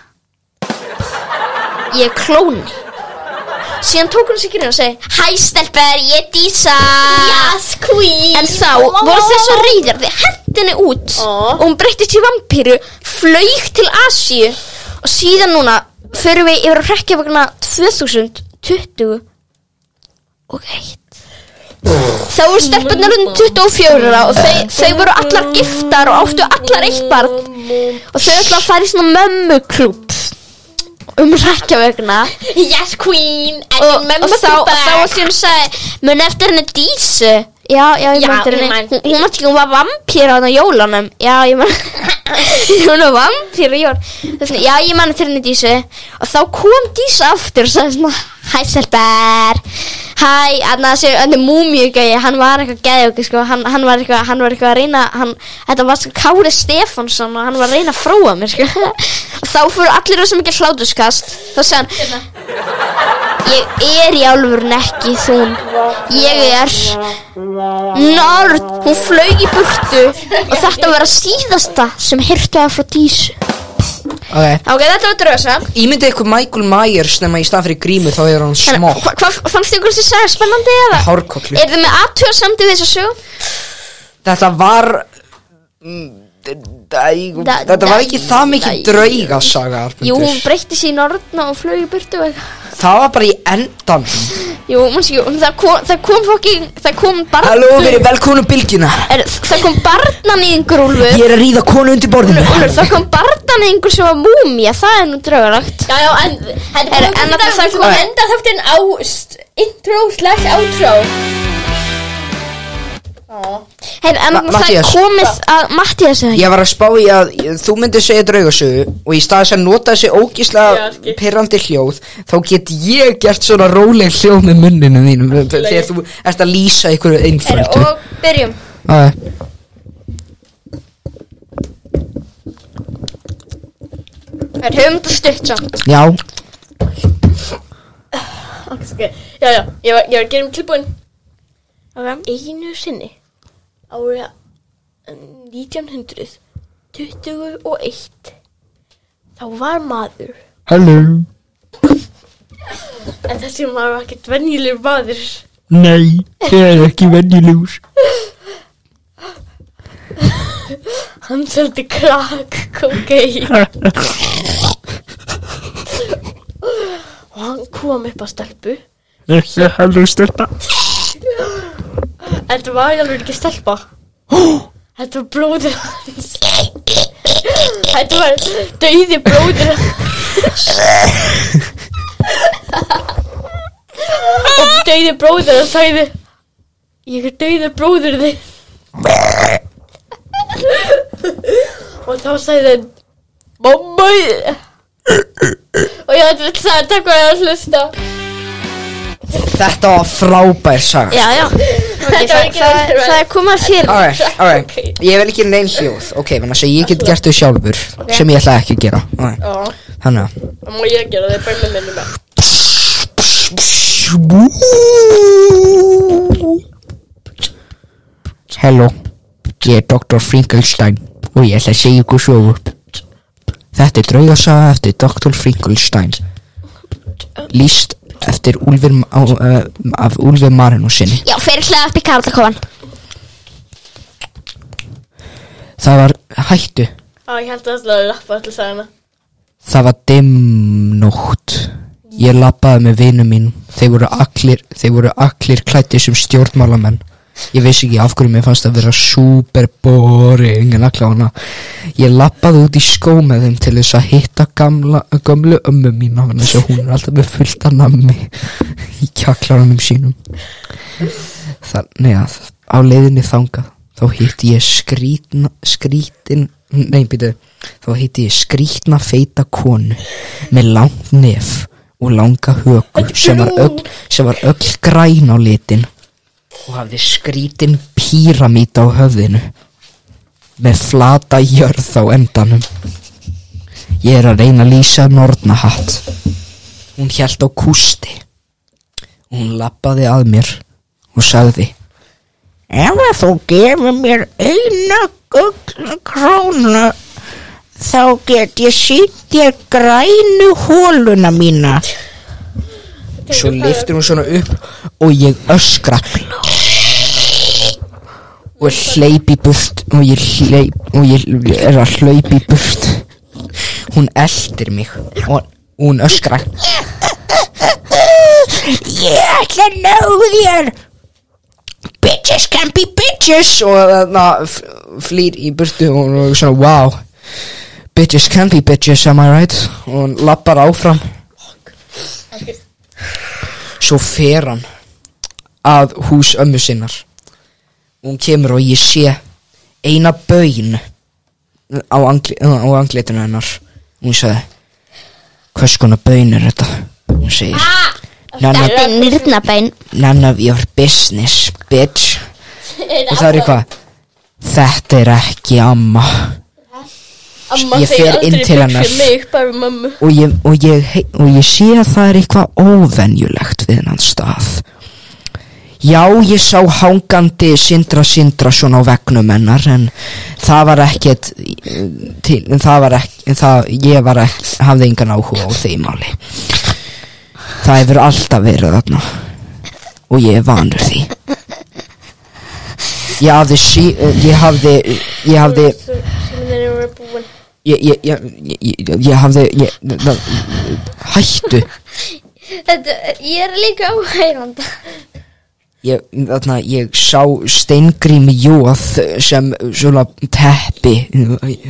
[SPEAKER 3] ég er klóni
[SPEAKER 2] Síðan tók hún sig ekki og segi
[SPEAKER 3] Hæ stelpur, ég er Dísa
[SPEAKER 2] Yes, queen
[SPEAKER 3] En þá voru þessu reyðar Þið hendi henni út
[SPEAKER 2] Ó.
[SPEAKER 3] Og hún breyttist í vampíru Flaug til Asíu Og síðan núna Förum við yfir að hrekja vegna 2020 Og eitt Þá voru stelpunar um 24 ára Og þau, þau voru allar giftar Og áttu allar eitt barn Og þau ætla að fara í svona mömmuklúb Um hrekja vegna
[SPEAKER 2] Yes, queen And
[SPEAKER 3] og,
[SPEAKER 2] your
[SPEAKER 3] og
[SPEAKER 2] member's
[SPEAKER 3] þá, og
[SPEAKER 2] back
[SPEAKER 3] þá var síðan sagði mun eftir henni dísu já, já, ég
[SPEAKER 2] Já, ég
[SPEAKER 3] mætti henni
[SPEAKER 2] man.
[SPEAKER 3] hún, hún mætti ekki, hún var vampýra á jólunum já, ég man hún var vampýra í jól Þessi, já, ég man eftir henni dísu og þá kom dísa aftur og sagði svona hæ Selber hæ, annar þessi, henni múmjögæi hann var eitthvað geðjóki, sko hann, hann, var eitthvað, hann var eitthvað að reyna hann, þetta var sko Kári Stefánsson og hann var að reyna að fróa mér, sko og þá fóru allir þessum ekki hlátuskast þá sagði hann Ég er í alvörun ekki þún Ég er Nörd Hún flög í burtu Og þetta var að síðasta sem hirtu að frá dísu
[SPEAKER 1] Ok
[SPEAKER 3] Ok, þetta var drösa
[SPEAKER 1] Ímyndið ykkur Michael Myers nema í stað fyrir grímu þá er hann smá
[SPEAKER 3] Hvað hva, fannst þið ykkur þessi saga spennandi eða?
[SPEAKER 1] Hárkollu
[SPEAKER 3] Hérna, Er þið með aðtöð samt í þessu sög?
[SPEAKER 1] Þetta var mm, dæ-
[SPEAKER 3] Da-
[SPEAKER 1] Þetta var ekki
[SPEAKER 3] dæ-
[SPEAKER 1] það mikið
[SPEAKER 3] dæ-
[SPEAKER 1] draugasaga Arnmundur.
[SPEAKER 3] Jú, hún breytti sig í nördna og flög í burtu og eitthvað
[SPEAKER 1] Það var bara í endan
[SPEAKER 3] Jú, manns ekki, það kom, það kom fokkin, það kom barn
[SPEAKER 1] Halló, við erum velkónu bylgjuna
[SPEAKER 3] er, Það kom barnan í einhver úlfur
[SPEAKER 1] Ég er að ríða konu undir borðinu
[SPEAKER 3] Úlfur, það kom barnan í einhver sem var múmia, það er nú draugaragt
[SPEAKER 2] Já, já, en
[SPEAKER 3] Er-
[SPEAKER 2] En
[SPEAKER 3] en
[SPEAKER 2] það
[SPEAKER 3] að það
[SPEAKER 2] er
[SPEAKER 3] kom-
[SPEAKER 2] kom Enda þáttinn á st- Intro slash outro
[SPEAKER 3] Hey, en
[SPEAKER 1] Ma-
[SPEAKER 3] það er
[SPEAKER 1] Matthías.
[SPEAKER 3] komið að Mattias eða ekki?
[SPEAKER 1] Ég var að spá í að þú myndir segja draugasögu og í stað þess að nota þessi
[SPEAKER 2] Já,
[SPEAKER 1] ógísla
[SPEAKER 2] skil.
[SPEAKER 1] pirrandi hljóð þá get ég gert svona róleg hljóð með munninu þínum þegar þú ert að lýsa einhverju
[SPEAKER 2] Er,
[SPEAKER 1] einföldu
[SPEAKER 2] Og byrjum
[SPEAKER 1] Æ.
[SPEAKER 3] Það er höfund og stutt samt.
[SPEAKER 1] Já,
[SPEAKER 2] Ok, já, já, ég var, ég var að gera um tilbúin
[SPEAKER 3] Ok.
[SPEAKER 2] Einu sinni ára um, 1921 þá var maður
[SPEAKER 1] hello
[SPEAKER 2] en þessi maður var ekkert venjulegur maður
[SPEAKER 1] Nei, ég er ekki venjulegur
[SPEAKER 2] hann seldi krakk kokain og hann kom upp að stelpu
[SPEAKER 5] Ekki heldur styrta
[SPEAKER 2] en þetta var alveg ekki stelpa þetta var bróður hans þetta var dauði bróður hans og dauði bróður hans sagði ég er dauði bróður þinn og þá sagði hann mamma og ég ætla að sagði takk fyrir að hlusta
[SPEAKER 1] Þetta var frábær saga
[SPEAKER 3] Já, já.
[SPEAKER 2] Þetta var
[SPEAKER 3] það,
[SPEAKER 2] ekki
[SPEAKER 3] það,
[SPEAKER 2] náttúrulega.
[SPEAKER 3] það er komað fyrir.
[SPEAKER 1] Alright, alright,
[SPEAKER 2] Ok.
[SPEAKER 1] ég vil ekki neinn hljóð Ok, þannig að ég get gert þau sjálfur sem ég ætla ekki að gera Alright.
[SPEAKER 2] já,
[SPEAKER 1] Þannig að
[SPEAKER 2] það má ég gera það bara með minni með
[SPEAKER 1] Hello, ég er Dr. Finkelstein og ég ætla að segja ykkur sögu Þetta er draugasaga eftir Dr. Finkelstein Lýst eftir Úlfur Ma- á, uh, af Úlfur Marinu sinni
[SPEAKER 3] Já, fyrir hlæða upp í Karlakofan.
[SPEAKER 1] Það var hættu,
[SPEAKER 2] Já, ég held að það slóði lappa allir sagana.
[SPEAKER 1] það var dimmnótt Ég labbaði með vinum mínum Þeir voru allir, þeir voru allir klættir sem stjórnmálamenn Ég veist ekki af hverju mér fannst það vera super boring en allar hana Ég labbaði út í skó með þeim til þess að hitta gamla, gamlu ömmu mína Þannig þess að hún er alltaf með fullt að nammi í kjaklaranum sínum Þannig að á leiðinni þangað þá hitti ég skrítna, skrítin, nei býtu Þá hitti ég skrítna feita konu með langt nef og langa höku sem var öll, sem var öll græn á litin og hafði skrítin píramít á höfðinu með flata jörð á endanum ég er að reyna að lýsa nornahatt hún hjælt á kústi og hún lappaði að mér og sagði ef að þú gefur mér eina gull krónu þá get ég sínt ég grænu hóluna mína Svo liftir hún svona upp og ég öskra Og hleyp í burt Og ég hleyp Og ég er að hleyp í burt Hún eldir mig Og hún öskra Ég ætla að ná þér Bitches can be bitches Og þarna f- flýr í burtu Og hún er svona wow Bitches can be bitches, am I right? Og hún lappar áfram Svo fer hann að hús ömmu sinnar og hún kemur og ég sé eina bögin á, angli, á angleitinu hennar hún sagði hvers konar bögin er þetta hún segir none of,
[SPEAKER 3] Þetta er nýrnabein
[SPEAKER 1] none of your business bitch og það er eitthvað þetta er ekki amma
[SPEAKER 2] Amma
[SPEAKER 1] Ég
[SPEAKER 2] segir
[SPEAKER 1] fer inn
[SPEAKER 2] aldrei
[SPEAKER 1] til
[SPEAKER 2] buxur
[SPEAKER 1] hennar.
[SPEAKER 2] mig, bara mammu
[SPEAKER 1] og ég, og, ég, hei- og ég sé að það er eitthvað óvenjulegt við hennan stað Já, ég sá hangandi Sindra Sindrason á vegnum hennar en það var ekkert eh, til, en það var ekki en það, ég var ekki, hafði engan áhuga á því máli Það hefur alltaf verið þarna og ég er vanur því Ég hafði sí, eh, ég hafði ég hafði
[SPEAKER 2] Svo- sem þeir eru búin
[SPEAKER 1] ég, ég, ég, ég, ég, ég hafði ég, na, hættu
[SPEAKER 3] Þetta, ég er líka áhæranda
[SPEAKER 1] ég, þarna, ég sá steingrím jóð sem svona teppi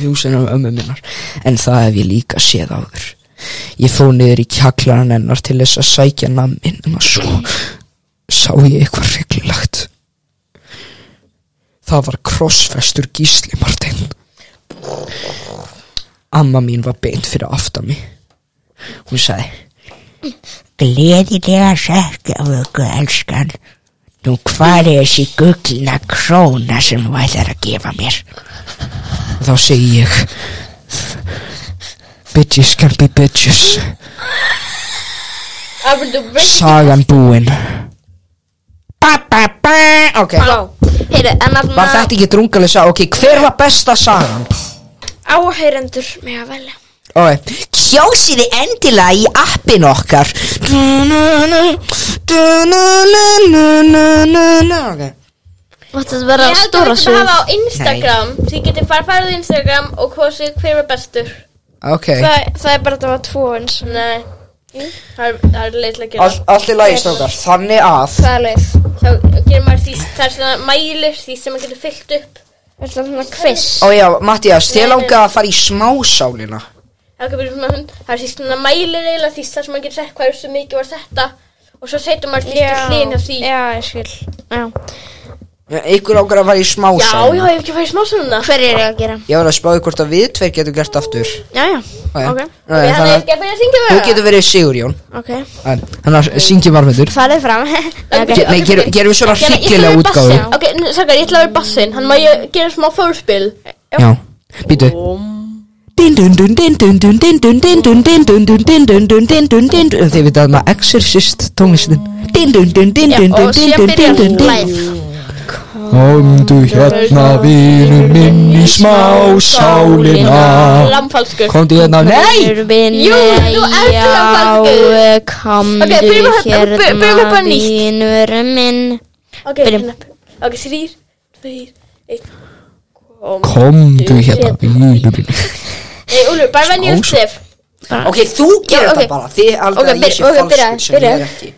[SPEAKER 1] húsinu ömmu minnar en það hef ég líka séð áður ég fór niður í kjaklaran hennar til þess að sækja nammin en svo sá ég eitthvað reglulegt það var krossfestur gísli Martin amma mín var beint fyrir aftan mig hún sagði Gleðilega sagt af ykkur elskan. Nú hvað er þessi gugglina króna sem þú ætlar að gefa mér? Og þá segi ég Bitches can be bitches
[SPEAKER 2] I will do very
[SPEAKER 1] Sagan búin ba, ba, ba. Ok
[SPEAKER 3] Heyru, en að
[SPEAKER 1] Var þetta ekki drungalega saga? Ok, hver var besta sagan?
[SPEAKER 2] áhærendur með að velja
[SPEAKER 1] Ok Kjósiði endilega í appin okkar Ok
[SPEAKER 3] Þetta vera
[SPEAKER 2] Ég held að
[SPEAKER 3] stóra
[SPEAKER 2] við
[SPEAKER 3] svo
[SPEAKER 2] getum hafa á Instagram Þið getið farið farið á Instagram og kosið hver var bestur
[SPEAKER 1] Ok
[SPEAKER 2] það, það er bara að það var tvo eins Nei Jú, Það er, það er leitlega að gera
[SPEAKER 1] All, allt í lagi stókar, þannig að
[SPEAKER 2] Það er leið Þá gerir maður því Það er svona mælir því sem maður getur fyllt upp Það er svona quiz
[SPEAKER 1] Ó já, Mattias, þér langar að fara í smásálina
[SPEAKER 2] Það er svona, það er því svona mælir eiginlega því þar sem maður getur sett hvað er svo mikið var þetta og svo setjum maður því yeah. hlýðin af því
[SPEAKER 3] Já, ég skil já.
[SPEAKER 1] Eh, Ykkur ákveður að fara í
[SPEAKER 2] Já, já,
[SPEAKER 1] smásálina
[SPEAKER 2] ég hef ekki farið smá svona
[SPEAKER 3] Hver er ég að gera?
[SPEAKER 1] Ég var að spáði hvort að við tveir getum gert aftur
[SPEAKER 3] Já, já, ok,
[SPEAKER 1] Nei,
[SPEAKER 2] Ég hann er
[SPEAKER 1] Þannig
[SPEAKER 2] ekki að byrja að syngja
[SPEAKER 1] að þú getur verið Sigurjón
[SPEAKER 3] ok
[SPEAKER 1] En- Þannig að syngjum varmöndur
[SPEAKER 3] Farið fram okay.
[SPEAKER 1] Nei, gerum gerum við svona hryggilega útgáfu
[SPEAKER 3] bassinn.
[SPEAKER 2] Ok, sakar, ég ætla að vera bassin Hann má ég gera smá fórspil
[SPEAKER 1] Já, býtu Þið veit að maður Exorcist tónlistin
[SPEAKER 2] og síðan byrjar
[SPEAKER 6] Komdu hérna vinur minn í smá sálina
[SPEAKER 2] Lampfalskur
[SPEAKER 6] Komdu hérna, nei!
[SPEAKER 3] Vinni,
[SPEAKER 2] Jú, þú ert lambaskur.
[SPEAKER 3] já, komdu
[SPEAKER 2] Ok, byrjum að- byrjum- byrjum upp
[SPEAKER 3] hérna,
[SPEAKER 2] að nýtt.
[SPEAKER 3] vinur minn
[SPEAKER 2] Ok,
[SPEAKER 3] Byrjum.
[SPEAKER 2] hérna. ok, þrýr, þrýr, einn
[SPEAKER 6] Komdu hérna vinur minn
[SPEAKER 2] Nei, Úlfur, bara venja um stef
[SPEAKER 1] Ok, þú gerir
[SPEAKER 2] Já, ok.
[SPEAKER 1] þetta bara Þið haldið
[SPEAKER 2] Ok,
[SPEAKER 1] að ég sé
[SPEAKER 2] byrja- ok, byrja-
[SPEAKER 1] falskur sem ég er
[SPEAKER 2] byrja.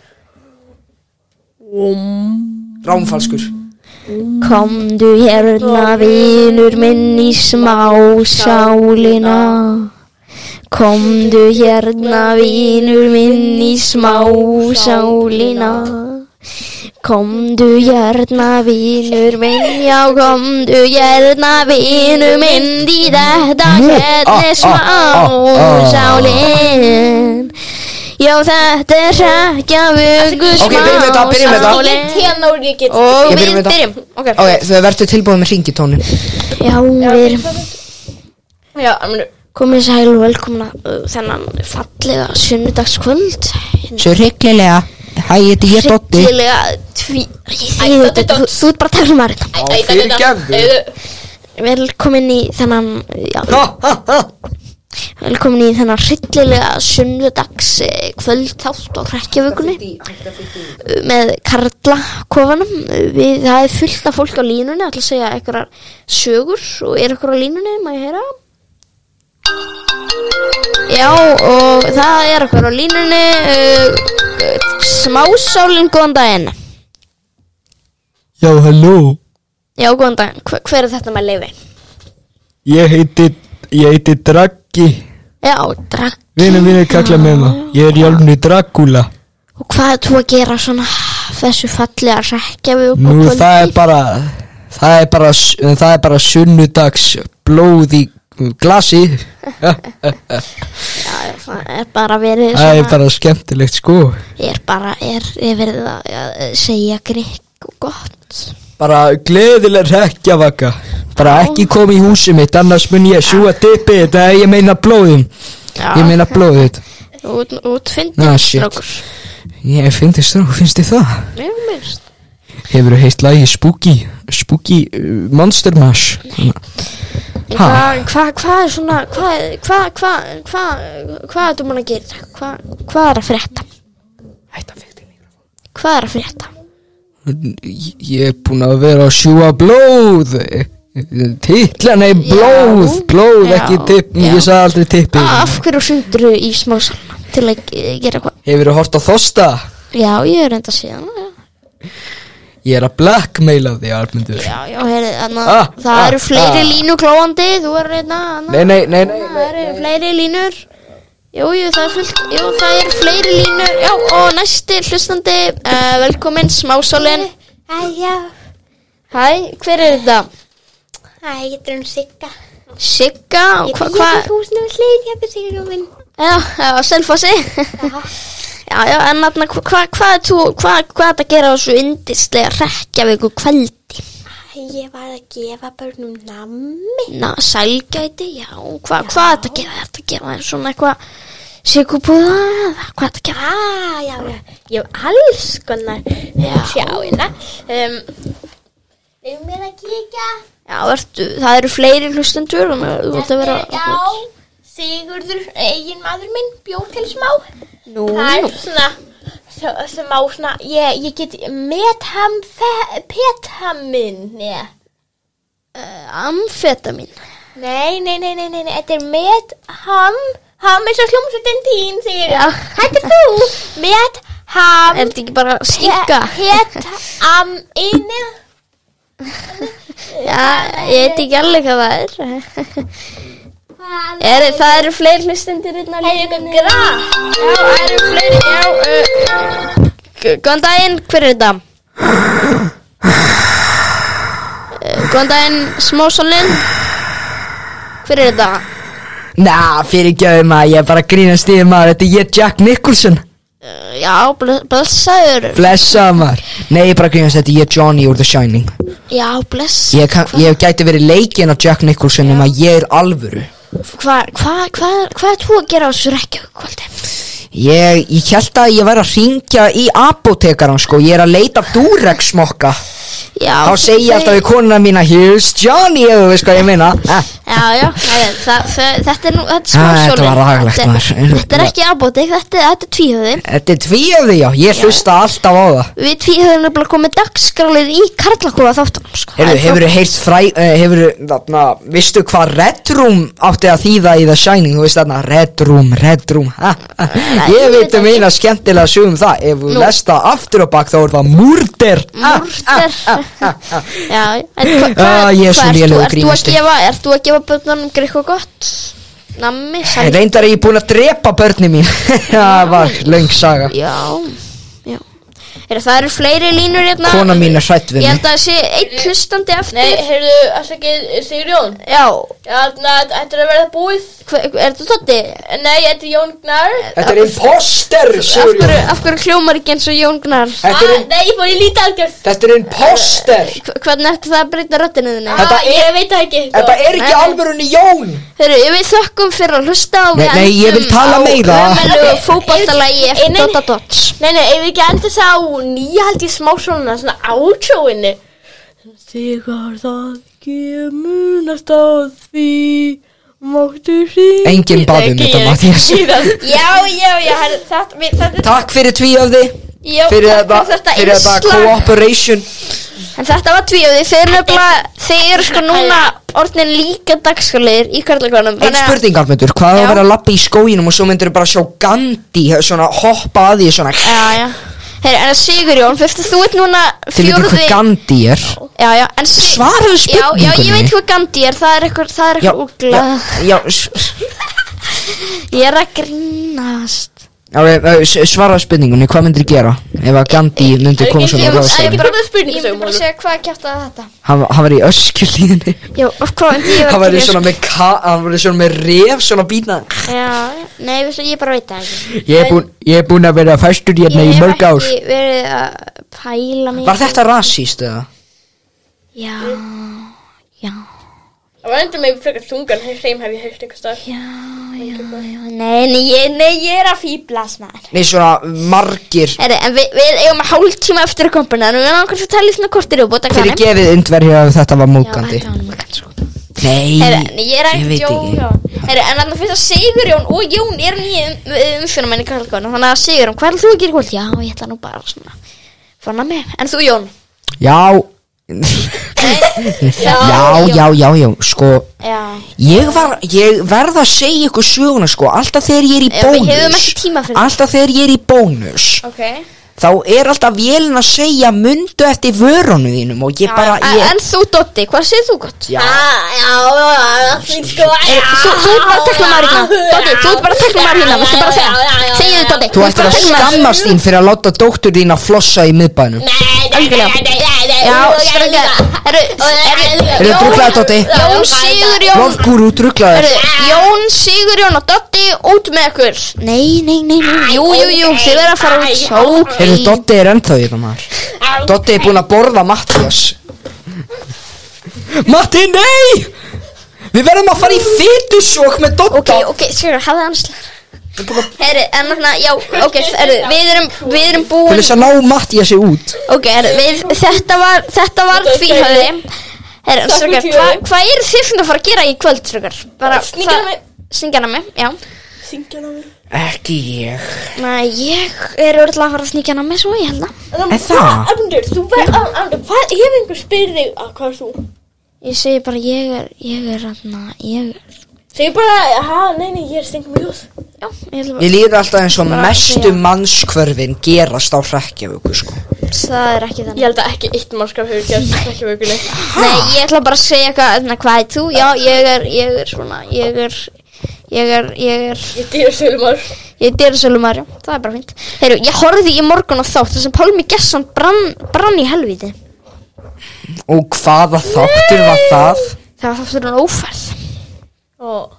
[SPEAKER 1] ekki Rámfalskur
[SPEAKER 3] Komdu hérna vinur minn í smá sálina Komdu hérna vinur minn í smá sálina Komdu hérna vinur minn, já komdu hérna vinur minn Því þetta
[SPEAKER 1] ah,
[SPEAKER 3] hérna er smá sálin Já þetta er sækja vögu smá
[SPEAKER 1] Ok, byrjum þetta, byrjum þetta.
[SPEAKER 3] sálin
[SPEAKER 2] Ég tenna úr ég get
[SPEAKER 3] Og
[SPEAKER 1] Ég
[SPEAKER 3] við
[SPEAKER 1] byrjum þetta.
[SPEAKER 3] byrjum Ok
[SPEAKER 1] Ok, þau verður tilbúið með ringitónin
[SPEAKER 3] Já, við erum
[SPEAKER 2] Já, hann munur
[SPEAKER 3] komið sæl og velkomin að uh, þennan fallega sunnudagskvöld Hérna
[SPEAKER 1] Svo reglilega Hæ, ég heiti ég Dotti
[SPEAKER 3] Hryllilega tví Æ,
[SPEAKER 2] Doddi,
[SPEAKER 3] Doddi, Þú
[SPEAKER 2] Doddi.
[SPEAKER 3] þú ert bara að tala um aðrita
[SPEAKER 2] Æ, fyrirgefðu
[SPEAKER 3] Velkomin í þennan já,
[SPEAKER 1] Ha, ha, ha
[SPEAKER 3] Velkomin í þennan hryllilega sunnudags eh, kvöldtátt á hrekkjavökunni eh, með Karla kofanum. Við, það er fullt af fólk á línunni, ætla að segja eitthvað sögur og er eitthvað á línunni, má ég heyra? Já, og það er eitthvað á línunni, uh, smásálinn, góðan daginn.
[SPEAKER 6] Já, halló.
[SPEAKER 3] Já, góðan daginn, hver, hver er þetta með leifi?
[SPEAKER 6] Ég heiti, ég heiti Draggi.
[SPEAKER 3] Já, drakk.
[SPEAKER 6] Vinur mínir kalla með maður. Ég er hjálpni Dragula.
[SPEAKER 3] Og hvað er þú að gera svona þessu fallega rekja við okkur
[SPEAKER 6] Nú, það er bara, það er bara, það er bara sunnudags blóð í glasi.
[SPEAKER 3] Það er bara verið
[SPEAKER 6] Það
[SPEAKER 3] svona,
[SPEAKER 6] er bara skemmtilegt, sko.
[SPEAKER 3] er bara, er, er verið að að segja grík og gott.
[SPEAKER 6] Bara gleðileg rekjavaka. Bara ekki koma í húsið mitt, annars mun ég sjúa dippið þetta, ég meina blóðum.
[SPEAKER 3] Já,
[SPEAKER 6] Ég meina blóðið þetta.
[SPEAKER 3] út,
[SPEAKER 6] Ah,
[SPEAKER 3] útfindin
[SPEAKER 6] shit.
[SPEAKER 3] strókur.
[SPEAKER 6] Ég finnst þið strók, finnst þið það?
[SPEAKER 3] Mér minnst.
[SPEAKER 6] Hefur þú heilt lagi Spooky, Spooky uh, Monster Mash? Ha.
[SPEAKER 3] Hvað hva, hva er svona, hvað, hvað, hvað, hvað, hvað er þú mann að gera? Hvað hva er að frétta?
[SPEAKER 6] Hætt að fyrir
[SPEAKER 3] Hvað er að frétta?
[SPEAKER 6] Ég er búinn að vera að sjúa blóð Titlan er blóð Blóð,
[SPEAKER 3] já,
[SPEAKER 6] ekki tipp
[SPEAKER 3] já.
[SPEAKER 6] Ég sagði aldrei tippi
[SPEAKER 3] Ah, Af hverju sundur í smásalna til að eh, gera hvað?
[SPEAKER 6] Hefur þú hort á þosta?
[SPEAKER 3] Já, ég er enda síðan, já.
[SPEAKER 6] Ég er að blackmaila þig, Armundur
[SPEAKER 3] Já, já, heyrðu, þannig
[SPEAKER 6] Ah,
[SPEAKER 3] það
[SPEAKER 6] ah,
[SPEAKER 3] eru fleiri
[SPEAKER 6] ah.
[SPEAKER 3] línu glóandi, þú er reyna,
[SPEAKER 6] Nei, nei, nei, nei
[SPEAKER 3] það eru fleiri línur, jú, jú, það er fullt, jú, það eru fleiri línur, já, og næsti hlustandi, uh, velkomin, smásálinn,
[SPEAKER 4] Æ, já.
[SPEAKER 3] hæ, hver er þetta?
[SPEAKER 4] Æ, ég getur um sigga.
[SPEAKER 3] Sigga, og hva, hva,
[SPEAKER 4] húsinu við hlið hérna, Sigrún minn.
[SPEAKER 3] já, já, selfossi, já, já, en þarna, hva, hva, hvað er þú, hva, hvað er þetta að gera á þessu yndislega rekkjavíku kveldi?
[SPEAKER 4] Ég var að gefa börnum nammi.
[SPEAKER 3] Na, sælgæti, já, hva, hvað er þetta að gera, er þetta að gera svona eitthvað sigubúða, eða hvað er þetta að gera?
[SPEAKER 4] Á, já, já. Ég hef alls konar sjáina. Um, Leif mér að kíkja.
[SPEAKER 3] Já, ertu, það eru fleiri hlustendur þannig að þú ætti að vera
[SPEAKER 4] Já, Sigurður, eigin maður minn, bjóð til smá.
[SPEAKER 3] Nú,
[SPEAKER 4] Það
[SPEAKER 3] nú.
[SPEAKER 4] er svona, s- smá svona, ég, ég get metham, petamin, ég.
[SPEAKER 3] Eh, Amfetamin
[SPEAKER 4] Nei, nei, nei, nei, nei, nei, þetta er met ham, ham eins og hljómsveitin þín, segir
[SPEAKER 3] Já.
[SPEAKER 4] Þetta er þú, met ham,
[SPEAKER 3] Er þetta ekki bara skinka?
[SPEAKER 4] het am inni.
[SPEAKER 3] Já, ég veit ekki alveg hvað það er
[SPEAKER 4] Það
[SPEAKER 3] Er, það eru fleiri hlustendur hérna
[SPEAKER 4] er eitthvað grænt.
[SPEAKER 3] Já, það eru fleiri, já uh, g- Góðan daginn, hver er þetta? Uh, Góðan daginn, smósólinn Hver er þetta?
[SPEAKER 1] Na, fyrir maður, ég er bara að grínast í þér, maður Þetta er ég Jack Nicholson
[SPEAKER 3] Uh, Já, ble- blessaður
[SPEAKER 1] Blessa maður Nei, ég er bara að grínast, þetta er ég Johnny úr The Shining
[SPEAKER 3] Já, bless
[SPEAKER 1] Ég, kann, ég gæti verið leikinn á Jack Nicholson nema ég er alvöru
[SPEAKER 3] Hvað hva, hva, hva er þú að gera á þessu rekja kvöldi?
[SPEAKER 1] Ég, ég held að ég væri að ringja í apotekaran sko, ég er að leita Durex smokka
[SPEAKER 3] Já,
[SPEAKER 1] Þá segi ég
[SPEAKER 3] þau-
[SPEAKER 1] alltaf við konuna mína Here's Johnny, ef þú veist hvað ég meina Ha,
[SPEAKER 3] Já, já, það, er- það, það, þetta er nú, þetta er
[SPEAKER 1] Ah,
[SPEAKER 3] smásjólin
[SPEAKER 1] þetta var ragalegt, maður.
[SPEAKER 3] Þetta er ekki abótik, þetta, er- þetta er tvíhöði
[SPEAKER 1] Þetta er tvíöfði já, ég hlusta alltaf á það
[SPEAKER 3] Við tvíhöðin er bara komið dagskrálið í karlakóða þáttunum sko.
[SPEAKER 1] Heyrðu, hefurðu heyrt fræ, uh, hefurðu, þarna, veistu hvað Red Room átti að þýða í The Shining, þú veist þarna, Red Room, Red Room, ha, ha, ég
[SPEAKER 3] ég veit
[SPEAKER 1] veit um
[SPEAKER 3] ekki.
[SPEAKER 1] eina skemmtilega sögum það, ef þú
[SPEAKER 3] Nú.
[SPEAKER 1] lest það aftur og bakk þá er það Murder, ha, ha,
[SPEAKER 3] Múrter
[SPEAKER 1] ha, ha, ha.
[SPEAKER 3] Já, en hva, hva,
[SPEAKER 1] Ah, ég er svo
[SPEAKER 3] hvað
[SPEAKER 1] lélegur
[SPEAKER 3] ert þú að
[SPEAKER 1] grínisti.
[SPEAKER 3] gefa, ert þú að gefa bönnunum greið eitthvað gott? Nammi, sæl
[SPEAKER 1] reyndar er ég búin að drepa börni mín, það var löng saga,
[SPEAKER 3] Já, já Er, það eru fleiri línur hérna
[SPEAKER 1] kona mín er hrætt við mig,
[SPEAKER 3] Ég held að það sé einn hlustandi aftur
[SPEAKER 2] Nei, heyrðu, afsakið, Sigrjón
[SPEAKER 3] Já,
[SPEAKER 2] Þarna, þetta er að verða búið
[SPEAKER 3] hver, er þú tótti?
[SPEAKER 2] Nei, þetta er Jón Gnar
[SPEAKER 1] þetta er imposter,
[SPEAKER 3] Af
[SPEAKER 1] Sigurjón,
[SPEAKER 3] hverju, af hverju hljómar ekki eins og Jón Gunnar?
[SPEAKER 1] þetta er,
[SPEAKER 2] Ah, Nei, ég fór í lítið algjörð
[SPEAKER 1] þetta er imposter,
[SPEAKER 3] Hv- Hvernig ertu það að breyta röttinu þinni?
[SPEAKER 1] Þetta
[SPEAKER 2] ah, Ég veit það ekki
[SPEAKER 1] þetta er ekki alvörunni Jón,
[SPEAKER 3] Hörru, við þökkum fyrir að hlusta og við
[SPEAKER 1] Nei, nei, ég vil tala meira.
[SPEAKER 3] Ömelu fókbaltalagi eftir
[SPEAKER 2] Nei, nei.
[SPEAKER 3] Dota Dots
[SPEAKER 2] Nei, nei, ef við ekki enda þess á nýja held ég smá svona, svona átrúinni. Þegar það kemur næst á því Máttu hringi
[SPEAKER 1] Enginn bað um þetta, Matthías.
[SPEAKER 2] Já, já, já, herri, þetta, við- þetta er
[SPEAKER 1] Takk fyrir tvíöfði
[SPEAKER 2] já,
[SPEAKER 1] Fyrir
[SPEAKER 2] takk
[SPEAKER 1] þetta, fyrir þetta
[SPEAKER 2] innslag.
[SPEAKER 1] cooperation
[SPEAKER 3] En þetta var tvíöði, þeir eru nefnilega, þeir eru sko núna orðin líka dagskálir í karlakonum
[SPEAKER 1] Einn spurning Almendur, hvað á að
[SPEAKER 3] Já.
[SPEAKER 1] vera að lappa í skóginum og svo myndur bara sjá Gandhi svona hoppa að því svona
[SPEAKER 3] Já, já Heyri, en Sigurjón, fyrst þú ert núna
[SPEAKER 1] Þið veitir
[SPEAKER 3] fjórði
[SPEAKER 1] hvað Gandhi er
[SPEAKER 3] Já, já, en Sig-
[SPEAKER 1] Svaraðu
[SPEAKER 3] Já, já, ég
[SPEAKER 1] spurningunni.
[SPEAKER 3] veit hvað Gandhi er, það er eitthvað, það er
[SPEAKER 1] Já,
[SPEAKER 3] eitthvað
[SPEAKER 1] já,
[SPEAKER 3] úgla
[SPEAKER 1] já, s-
[SPEAKER 3] Ég er að grínast
[SPEAKER 1] já við- við- s- svaraðu spurningunni, hvað myndir gera ef að Gandhi myndir koma
[SPEAKER 2] Ég-
[SPEAKER 1] svona
[SPEAKER 2] ég-
[SPEAKER 1] og
[SPEAKER 2] ég-
[SPEAKER 1] ráðast
[SPEAKER 2] ég-
[SPEAKER 1] að
[SPEAKER 2] bara með spurningu,
[SPEAKER 3] Ég myndi bara
[SPEAKER 2] Sigurður.
[SPEAKER 3] segja hvað að kjæfta þetta
[SPEAKER 1] Hann hann var í öskjulíðinni
[SPEAKER 3] Já, of hvað, en ég
[SPEAKER 1] Hann
[SPEAKER 3] var
[SPEAKER 1] var í
[SPEAKER 3] ekki
[SPEAKER 1] svona með, ka- hann var í svona með ref, svona býtna
[SPEAKER 3] Já, já, nei, veistu, ég bara veit það ekki
[SPEAKER 6] Ég er búinn- ég er búinn að vera fæstur hérna í
[SPEAKER 3] Ég hef
[SPEAKER 6] mörg ár
[SPEAKER 3] ekki verið að pæla mig
[SPEAKER 1] Var þetta rasíst eða?
[SPEAKER 3] Já, já
[SPEAKER 2] Það var endur með frekar þungan hreim hef ég heyrt einhvers dag
[SPEAKER 3] Já, já, já, nei, nei, ég, nei, ég er að fýblast maður
[SPEAKER 1] Nei, svona margir
[SPEAKER 3] Herri, en við, við eigum að hálf tíma eftir að kompuna Nú erum við langar að tala í svona kortir og bóta
[SPEAKER 1] Fyrir gefið indverja ef þetta var múkandi Nei,
[SPEAKER 3] Herri, en ég er
[SPEAKER 1] ég
[SPEAKER 3] ekki
[SPEAKER 1] veit ekki.
[SPEAKER 3] djóka Herri, en þannig fyrst að Sigurjón og Jón um, eru nýjum umfjörnumenni kallkona Þannig að Sigurjón, hvað er þú að gera í kvöld? Já, ég ætla nú bara svona Fanna mig, en þú Jón?
[SPEAKER 1] Já Já,
[SPEAKER 3] Jón.
[SPEAKER 1] já, já, já, sko
[SPEAKER 3] Já
[SPEAKER 1] Ég, var, ég verð að segja ykkur söguna sko Alltaf þegar ég er í
[SPEAKER 3] Já, við
[SPEAKER 1] bónus
[SPEAKER 3] höfum ekki tíma fyrir
[SPEAKER 1] Alltaf þegar ég er í bónus
[SPEAKER 3] Ok
[SPEAKER 1] Þá er alltaf vélin að segja Mundu eftir vörunum þínum Og ég bara
[SPEAKER 3] En
[SPEAKER 1] ég,
[SPEAKER 3] en þú Dotti, hvað segir þú gott?
[SPEAKER 1] Já.
[SPEAKER 2] sko,
[SPEAKER 3] Herri, Þú þú ert bara að tekla maður hérna Dotti, þú ert bara að tekla maður hérna, viltu bara segja Segðu Dotti,
[SPEAKER 1] Þú ættir
[SPEAKER 3] ert bara
[SPEAKER 1] að
[SPEAKER 3] tekla maður.
[SPEAKER 1] skammast þín fyrir að láta dóttur þín að flossa í miðbænum
[SPEAKER 3] Já, strengja Herru,
[SPEAKER 1] Er
[SPEAKER 3] herru
[SPEAKER 1] þetta drugglaði Dotti?
[SPEAKER 3] Jón Sigurjón
[SPEAKER 1] Lofgúru drugglaður
[SPEAKER 3] Herru, Jón Sigurjón og Dotti út með ykkur Nei, nei, nei, nei Jú, jú, jú, þið verða að fara út Ok
[SPEAKER 1] Heyrðu, Dotti er ennþá í þetta maður Dotti er búin að borða Mattias Matti, nei! Við verðum að fara í fytusók með Dotta
[SPEAKER 3] Ok, ok, Sigurjón, hafði anslar Herru, en þarna, já, ok, herru, við erum, við erum
[SPEAKER 1] Til
[SPEAKER 3] búin
[SPEAKER 1] þess að ná Mattiasi út
[SPEAKER 3] Ok, herru, við, þetta var, þetta var tvíhöfði Herru,
[SPEAKER 2] Takk fyrir
[SPEAKER 3] strókar,
[SPEAKER 2] tvíhöfði.
[SPEAKER 3] hvað hva eru þið svona að fara að gera í kvöld, strókar? Bara,
[SPEAKER 2] Sníkjana mig.
[SPEAKER 3] Sningjana mig, já
[SPEAKER 2] Syngja námi
[SPEAKER 1] Ekki ég
[SPEAKER 3] Nei, ég er örgulega að fara að sníkjana mig svo, ég held að
[SPEAKER 1] Er það?
[SPEAKER 2] Andur, þú verð Andur, hvað ef einhver spyrir þig að hvað er þú?
[SPEAKER 3] Ég segi bara, ég er, ég er, hérna, ég er,
[SPEAKER 2] Segir bara, ha, nei, nei, ég er stengum ljóð
[SPEAKER 3] já, ég ætla bara,
[SPEAKER 1] Ég líður alltaf eins og
[SPEAKER 3] Bara
[SPEAKER 1] mestu
[SPEAKER 3] segja.
[SPEAKER 1] mannskvörfin gerast á hrekkjavöku sko
[SPEAKER 3] það er ekki
[SPEAKER 2] Ég
[SPEAKER 3] þannig.
[SPEAKER 2] held að ekki eitt mannskap hefur gerst ekki vökunni
[SPEAKER 3] Nei, ég ætla bara að segja eitthvað, hérna, hvað er þú? Já, ég er, ég er svona, ég er, ég er, ég er,
[SPEAKER 2] Ég dýra sölumar
[SPEAKER 3] ég er dyrasölumar, já, það er bara fint. Heyru, ég horfði í morgun á þátt þar sem Pálmi Gesson brann, brann í helviti.
[SPEAKER 1] Og hvaða þáttur var það?
[SPEAKER 3] Það var þáttur hann ófærð.
[SPEAKER 2] Og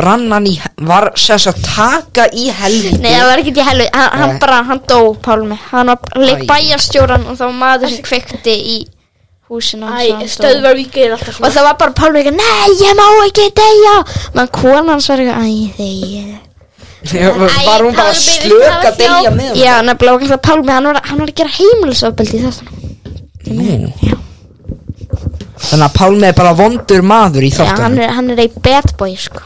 [SPEAKER 1] Brannan í, var sess að taka í helviti
[SPEAKER 3] Nei, það var ekkert í helviti, hann, hann
[SPEAKER 1] Nei.
[SPEAKER 3] bara, hann dó, Pálmi. Hann var leik
[SPEAKER 1] Æ.
[SPEAKER 3] bæjarstjóran og það var maður sem kveikti í húsinu. hans og
[SPEAKER 2] Æ,
[SPEAKER 3] hann dó.
[SPEAKER 2] stöðvar vikið er alltaf
[SPEAKER 3] Og
[SPEAKER 2] svona
[SPEAKER 3] það var bara Pálmi eitthvað, nei, ég má ekki deyja. Menn konan hans var eitthvað, æ, þegi.
[SPEAKER 1] Var hún bara
[SPEAKER 3] Æ, Pálmi,
[SPEAKER 1] slök
[SPEAKER 3] það var
[SPEAKER 1] að delja
[SPEAKER 3] hljóp.
[SPEAKER 1] með
[SPEAKER 3] Já, nefnilega var alltaf Pálmi, hann var, hann var að gera heimilisofbeldi í þessum.
[SPEAKER 1] Nú. Þannig að Pálmi er bara vondur maður í
[SPEAKER 3] Já, hann
[SPEAKER 1] þáttunum
[SPEAKER 3] er, hann er ei bad boy, sko.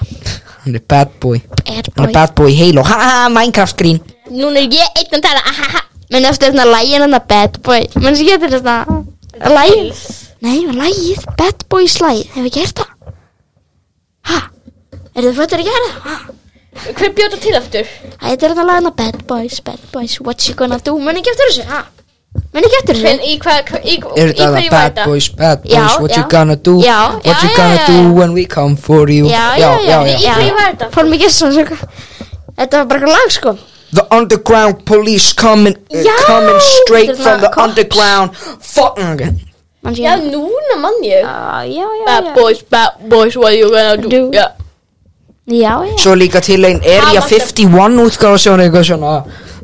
[SPEAKER 1] Hann er bad boy
[SPEAKER 3] Bad
[SPEAKER 1] Hann
[SPEAKER 3] boy.
[SPEAKER 1] er bad boy í Halo Ha ha Minecraft grín
[SPEAKER 3] Núna er ég einn að tala, ahaha. Minn eftir þarna lægin hann að bad boy. Menn sem getur þarna lægin. Nei, lægið, bad boy slæð. Hefur ég gert það? Ha? Er þið fötur að gera það? Ha?
[SPEAKER 2] Hver bjóta til aftur?
[SPEAKER 3] Æ, þetta er þarna lagina Bad boys, bad boys, what you gonna do Meni ekki eftir þessu, ha? Meni ekki eftir
[SPEAKER 2] Hvern,
[SPEAKER 3] þessu
[SPEAKER 2] í hvað, í, í
[SPEAKER 1] Er þetta það
[SPEAKER 2] hverju var
[SPEAKER 1] um bad
[SPEAKER 2] þetta?
[SPEAKER 1] boys, bad boys,
[SPEAKER 3] Já,
[SPEAKER 1] what you
[SPEAKER 3] já.
[SPEAKER 1] gonna do
[SPEAKER 3] Já,
[SPEAKER 1] What
[SPEAKER 3] já,
[SPEAKER 1] you
[SPEAKER 3] já,
[SPEAKER 1] gonna
[SPEAKER 3] já,
[SPEAKER 1] do
[SPEAKER 3] já.
[SPEAKER 1] when we come for you
[SPEAKER 3] Já, já, já,
[SPEAKER 2] Í hverju var þetta?
[SPEAKER 3] Pálmi Gesson, svo eitthvað Þetta var bara eitthvað lag, sko
[SPEAKER 1] The underground police coming, uh,
[SPEAKER 3] Já,
[SPEAKER 1] coming straight
[SPEAKER 3] þetta er
[SPEAKER 1] from the
[SPEAKER 3] svona cops.
[SPEAKER 1] underground Fucking
[SPEAKER 3] Man sé
[SPEAKER 2] Já, núna mann ég
[SPEAKER 3] Já, já, já,
[SPEAKER 2] Bad
[SPEAKER 3] já
[SPEAKER 2] boys, bad boys, what you gonna do?
[SPEAKER 3] Do.
[SPEAKER 2] Já
[SPEAKER 3] Já, já
[SPEAKER 1] Svo líka til einn Area
[SPEAKER 2] Hafa-
[SPEAKER 1] 51 útgáfa svona eitthvað svona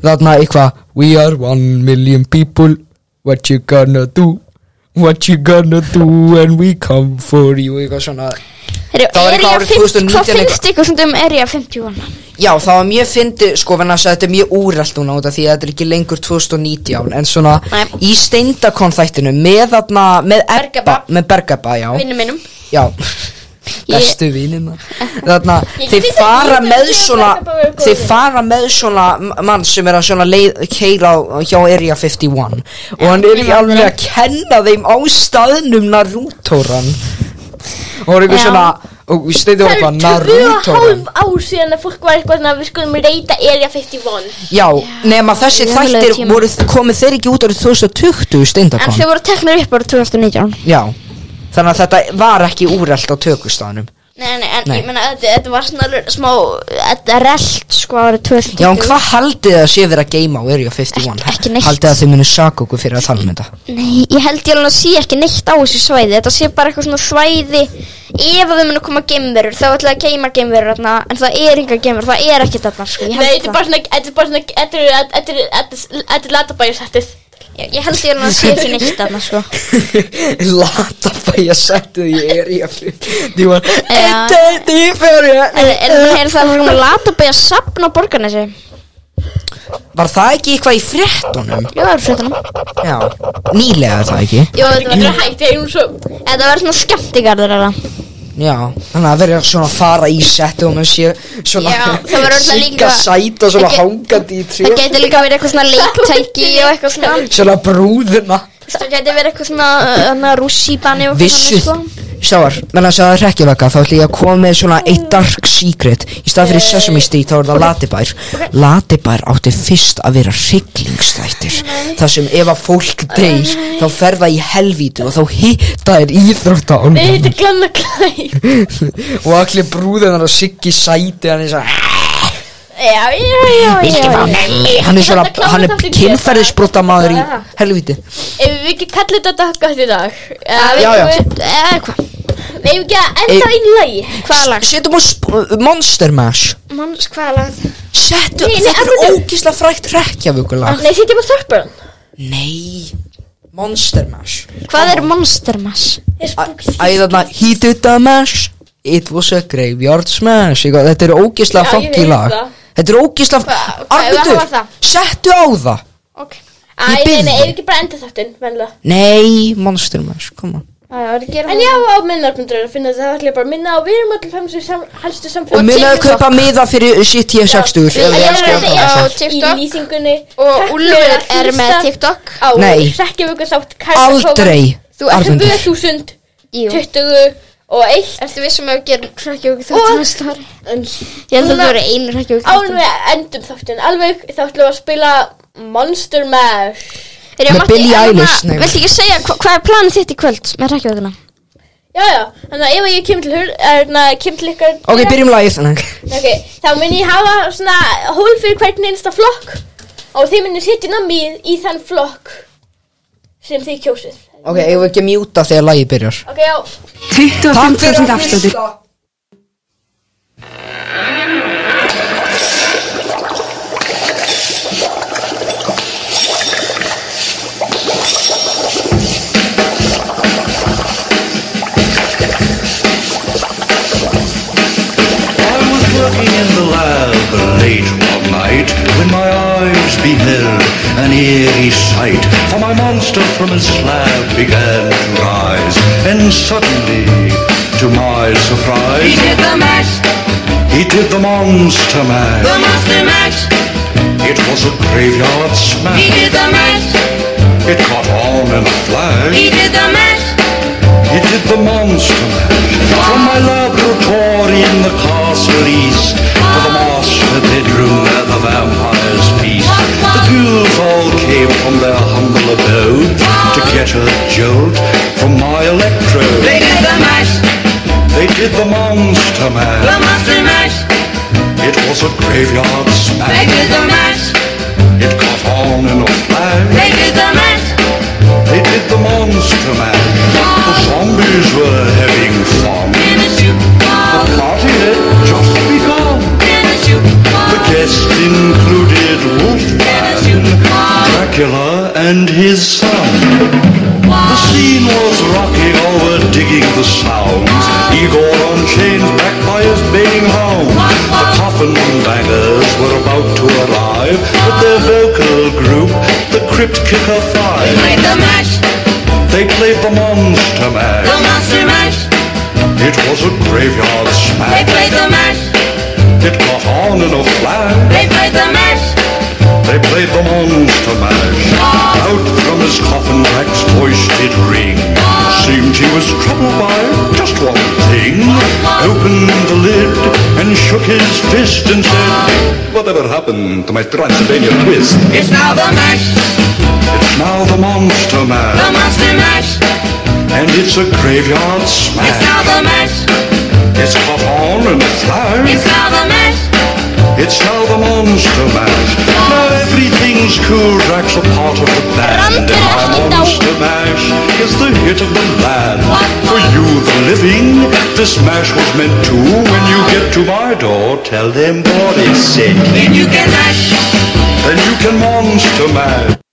[SPEAKER 1] Þarna eitthvað
[SPEAKER 6] We are one million people What you gonna do What you gonna do when we come for you
[SPEAKER 1] Jú, eitthvað svona
[SPEAKER 3] Herri,
[SPEAKER 1] Það var eitthvað
[SPEAKER 3] Area
[SPEAKER 1] árið
[SPEAKER 3] 50 Hvað
[SPEAKER 1] 2019
[SPEAKER 3] finnst ykkur svona um Area 51?
[SPEAKER 1] Já, það var mjög fyndið, sko, en þess að þetta er mjög úrælt núna út af því að þetta er ekki lengur 2019 En svona,
[SPEAKER 3] Nei.
[SPEAKER 1] í steindakonþættinu, með þarna, með Ebba,
[SPEAKER 3] Bergabba.
[SPEAKER 1] með Bergabba, já
[SPEAKER 3] Vinnum minnum
[SPEAKER 1] Já, bestu vinina þarna, þeir fara með svona þeir fara með svona mann sem er að svona leið, keira á- hjá Area 51 og hann er í alveg að kenna þeim á staðnum Narutoran og hann er eitthvað
[SPEAKER 3] Já.
[SPEAKER 1] svona og við steytum
[SPEAKER 2] Það
[SPEAKER 1] okkur
[SPEAKER 2] er tvö og
[SPEAKER 1] Narutoran
[SPEAKER 2] hálf ár síðan að fólk var eitthvað svona við skulum reyta Area 51
[SPEAKER 1] já, nema þessi
[SPEAKER 3] Í raunverulega
[SPEAKER 1] þættir
[SPEAKER 3] tíma.
[SPEAKER 1] voru, komu þeir ekki út árið 2020
[SPEAKER 3] En
[SPEAKER 1] steindakon
[SPEAKER 3] þau voru teknir upp ára 2019
[SPEAKER 1] já, þannig að þetta var ekki úrælt á tökustaðnum
[SPEAKER 3] Nei, nei, en
[SPEAKER 1] Nei.
[SPEAKER 3] ég meina, þetta, þetta var svona alveg smá, þetta er relt, sko, árið 2020.
[SPEAKER 1] Já, en hvað haldið þið að sé verið að geima á Area 51?
[SPEAKER 3] Ekki- ekki neitt.
[SPEAKER 1] Haldið þið að þið munu saka okkur fyrir að tala um þetta?
[SPEAKER 3] Nei, ég held ég alveg að sé ekki neitt á þessu svæði, þetta sé bara eitthvað svona svæði, ef að þau munu koma geimverur, þá ætla að geima geimverur þarna, en það er enga geimverur, það er ekkert þarna, sko, ég
[SPEAKER 2] Nei,
[SPEAKER 3] held
[SPEAKER 2] þetta er bara svona Þetta er bara svona Þetta er Þetta er Þetta er latabæjarsættið
[SPEAKER 3] Ég, ég held ég alveg að sé ekki neitt þarna, sko.
[SPEAKER 1] Lata bæja sættu því Area 51
[SPEAKER 3] Já.
[SPEAKER 1] Þetta er því fyrir
[SPEAKER 3] En, en er það svona latabæja safn á borgarnesi?
[SPEAKER 1] Var það ekki eitthvað í fréttunum?
[SPEAKER 3] Jú, það er fréttunum.
[SPEAKER 1] Já, nýlega er það ekki
[SPEAKER 3] Jú, þetta
[SPEAKER 2] Þetta
[SPEAKER 3] var,
[SPEAKER 2] er hægt Ég er nú svo
[SPEAKER 3] þetta var svona skemmtigarður, eða?
[SPEAKER 1] Já, þannig að verið svona að fara í settu og maður sé svona
[SPEAKER 3] Já, það var örugglega líka-
[SPEAKER 1] sigga sæta svona
[SPEAKER 3] Það ge-
[SPEAKER 1] hangandi í tré
[SPEAKER 3] Það gæti líka verið eitthvað svona leiktæki og eitthvað svona
[SPEAKER 1] Svona brúðuna
[SPEAKER 3] Það gæti verið eitthvað svona, uh, svona rússíbani og eitthvað sko.
[SPEAKER 1] Vissu Sjáar, menn að segja það rekkjavaka Þá ætla ég að koma með svona eitt dark secret Í stað fyrir Sesame Street þá er það Latibær Latibær átti fyrst að vera hrygglingstættir Þar sem ef að fólk deyr Þá fer það í helvítu og þá hitta þér íþrótta
[SPEAKER 2] Nei, þetta er glanna klæð
[SPEAKER 1] Og allir brúðunar og Siggi sæti Hann er svona, "Ah,
[SPEAKER 2] Já, já, já, já
[SPEAKER 1] hann er svona, hann er kynferðisbrota maður í helvíti
[SPEAKER 2] Ef við ekki kallum þetta dagast í dag
[SPEAKER 1] Já, já.
[SPEAKER 3] Eða eitthvað
[SPEAKER 2] Nei, ekki að enda
[SPEAKER 1] Ey.
[SPEAKER 2] í lagi
[SPEAKER 3] Hvaða lag?
[SPEAKER 1] Settum á sp- Monster Mash
[SPEAKER 3] Manns hvaða lag?
[SPEAKER 1] Settu,
[SPEAKER 2] Nei, nei,
[SPEAKER 1] þetta
[SPEAKER 2] akkur-
[SPEAKER 1] er ógislega frækt rekkjavökulag
[SPEAKER 2] Nei, sitjum á þorparan
[SPEAKER 1] Nei Monster Mash
[SPEAKER 3] Hvað er Monster Mash?
[SPEAKER 1] Æ, þarna He did a mash It was a graveyard smash Eitthvað, Þetta er ógislega
[SPEAKER 2] Já, ég
[SPEAKER 1] funky
[SPEAKER 2] veit
[SPEAKER 1] lag
[SPEAKER 2] það.
[SPEAKER 1] Þetta er ógislega
[SPEAKER 3] Hva- hvað- hvað var
[SPEAKER 1] Arbitur,
[SPEAKER 3] það?
[SPEAKER 1] settu á það
[SPEAKER 3] Ok
[SPEAKER 2] Æ,
[SPEAKER 1] Ég bið
[SPEAKER 2] nei, nei,
[SPEAKER 1] þig.
[SPEAKER 2] ef við ekki bara enda þáttinn venlega
[SPEAKER 1] Nei, Monster Mash, koma
[SPEAKER 3] Það var að gera
[SPEAKER 2] En já, á minnarpundur að finna það ætla ég bara að minna á Við erum allir fem sem sam, helstu
[SPEAKER 1] Og
[SPEAKER 2] samfélag
[SPEAKER 1] minnaðu að kaupa miða fyrir shit ég sextu
[SPEAKER 2] Við erum
[SPEAKER 3] elskum
[SPEAKER 2] allir
[SPEAKER 3] það.
[SPEAKER 2] á
[SPEAKER 3] Á
[SPEAKER 2] TikTok
[SPEAKER 3] TikTok.
[SPEAKER 2] Í lýsingunni
[SPEAKER 3] Og Úlfur er með
[SPEAKER 2] TikTok
[SPEAKER 3] TikTok
[SPEAKER 2] á
[SPEAKER 1] Nei.
[SPEAKER 2] Rekkjavíku sátt
[SPEAKER 1] Aldrei
[SPEAKER 2] Þú ert
[SPEAKER 1] Arnundur.
[SPEAKER 2] 2000
[SPEAKER 3] Jú
[SPEAKER 2] 20 og 1
[SPEAKER 3] Ertu vissum að við gerum hrækjók þátt
[SPEAKER 2] Og-
[SPEAKER 3] næsta ári?
[SPEAKER 2] En
[SPEAKER 3] Ég held að
[SPEAKER 2] Núna-
[SPEAKER 3] það voru einu hrækjók
[SPEAKER 2] ánum
[SPEAKER 3] þátt
[SPEAKER 2] við endum þáttin alveg Þá ætlum við að spila Monster Mash
[SPEAKER 1] Með Billie Eilish, nei.
[SPEAKER 3] hérna, Viltu ekki segja hva, hvað er planið þitt í kvöld með hrækjókuna?
[SPEAKER 2] Já, já, þannig að ef ég kem til, hur, erna, kem til ykkar
[SPEAKER 1] Ok, byrjum lagið
[SPEAKER 2] Ok, þá mun ég hafa svona hól fyrir hvern einsta flokk og þið munir setja namið í þann flokk sem þið kjósið.
[SPEAKER 1] Ok, ég vil ekki að mjúta þegar lagið byrjar
[SPEAKER 2] Ok, já.
[SPEAKER 7] 25% afsláttur.
[SPEAKER 8] I was working in the lab late one night when my eyes beheld an eerie sight. For my monster from his slab began to rise, and suddenly, to my surprise,
[SPEAKER 7] Did the mash,
[SPEAKER 8] he did the
[SPEAKER 7] the
[SPEAKER 8] monster man.
[SPEAKER 7] monster mash.
[SPEAKER 8] It was a graveyard
[SPEAKER 7] He
[SPEAKER 8] smash.
[SPEAKER 7] did the mash,
[SPEAKER 8] It caught on in a flash.
[SPEAKER 7] he did the mash.
[SPEAKER 8] He did the monster mash. From my laboratory in the castle east To the master bedroom where the vampires feast The ghouls all came from their humble abode To get a jolt from my electrode
[SPEAKER 7] They did the mash,
[SPEAKER 8] They did the
[SPEAKER 7] the
[SPEAKER 8] monster mash
[SPEAKER 7] monster mash.
[SPEAKER 8] It was a graveyard
[SPEAKER 7] They
[SPEAKER 8] smash
[SPEAKER 7] did the mash,
[SPEAKER 8] It caught on in a flash
[SPEAKER 7] they did the mash.
[SPEAKER 8] They did the monster mash The zombies were having fun
[SPEAKER 7] In a shoe ball,
[SPEAKER 8] The party had just begun
[SPEAKER 7] in a shoe
[SPEAKER 8] The
[SPEAKER 7] ball,
[SPEAKER 8] guests included
[SPEAKER 7] in a
[SPEAKER 8] Wolfman,
[SPEAKER 7] shoe ball.
[SPEAKER 8] Dracula, and his son. The scene was rocking, all were digging the sounds. Igor on chains, backed by his baying hounds. The coffin bangers were about to arrive with their vocal group, the Crypt Kicker Five.
[SPEAKER 7] Played the mash,
[SPEAKER 8] They played the
[SPEAKER 7] the
[SPEAKER 8] Monster Mash.
[SPEAKER 7] monster mash.
[SPEAKER 8] It was a graveyard
[SPEAKER 7] They
[SPEAKER 8] smash.
[SPEAKER 7] played the mash.
[SPEAKER 8] It got on in a flash.
[SPEAKER 7] They played the mash.
[SPEAKER 8] They played the monster mash.
[SPEAKER 7] Oh.
[SPEAKER 8] Out from his coffin Jack's voice did ring. Seemed he was troubled by just one thing. Opened the lid and shook his fist and said, Whatever happened to my Transylvania twist?
[SPEAKER 7] It's now the mash.
[SPEAKER 8] It's now the monster
[SPEAKER 7] The
[SPEAKER 8] mash.
[SPEAKER 7] monster mash.
[SPEAKER 8] And it's a graveyard
[SPEAKER 7] It's
[SPEAKER 8] smash.
[SPEAKER 7] now the mash.
[SPEAKER 8] It's got on in a flash.
[SPEAKER 7] It's now the mash. Oh.
[SPEAKER 8] It's now the monster mash. Now everything's cool. Jack's a part of the band.
[SPEAKER 3] Run,
[SPEAKER 8] And my
[SPEAKER 3] Jack, no.
[SPEAKER 8] monster mash is the hit of the land. For you, the living, this mash was meant to. When you get to my door, tell them what it said.
[SPEAKER 7] Then you can mash.
[SPEAKER 8] Then you can monster mash.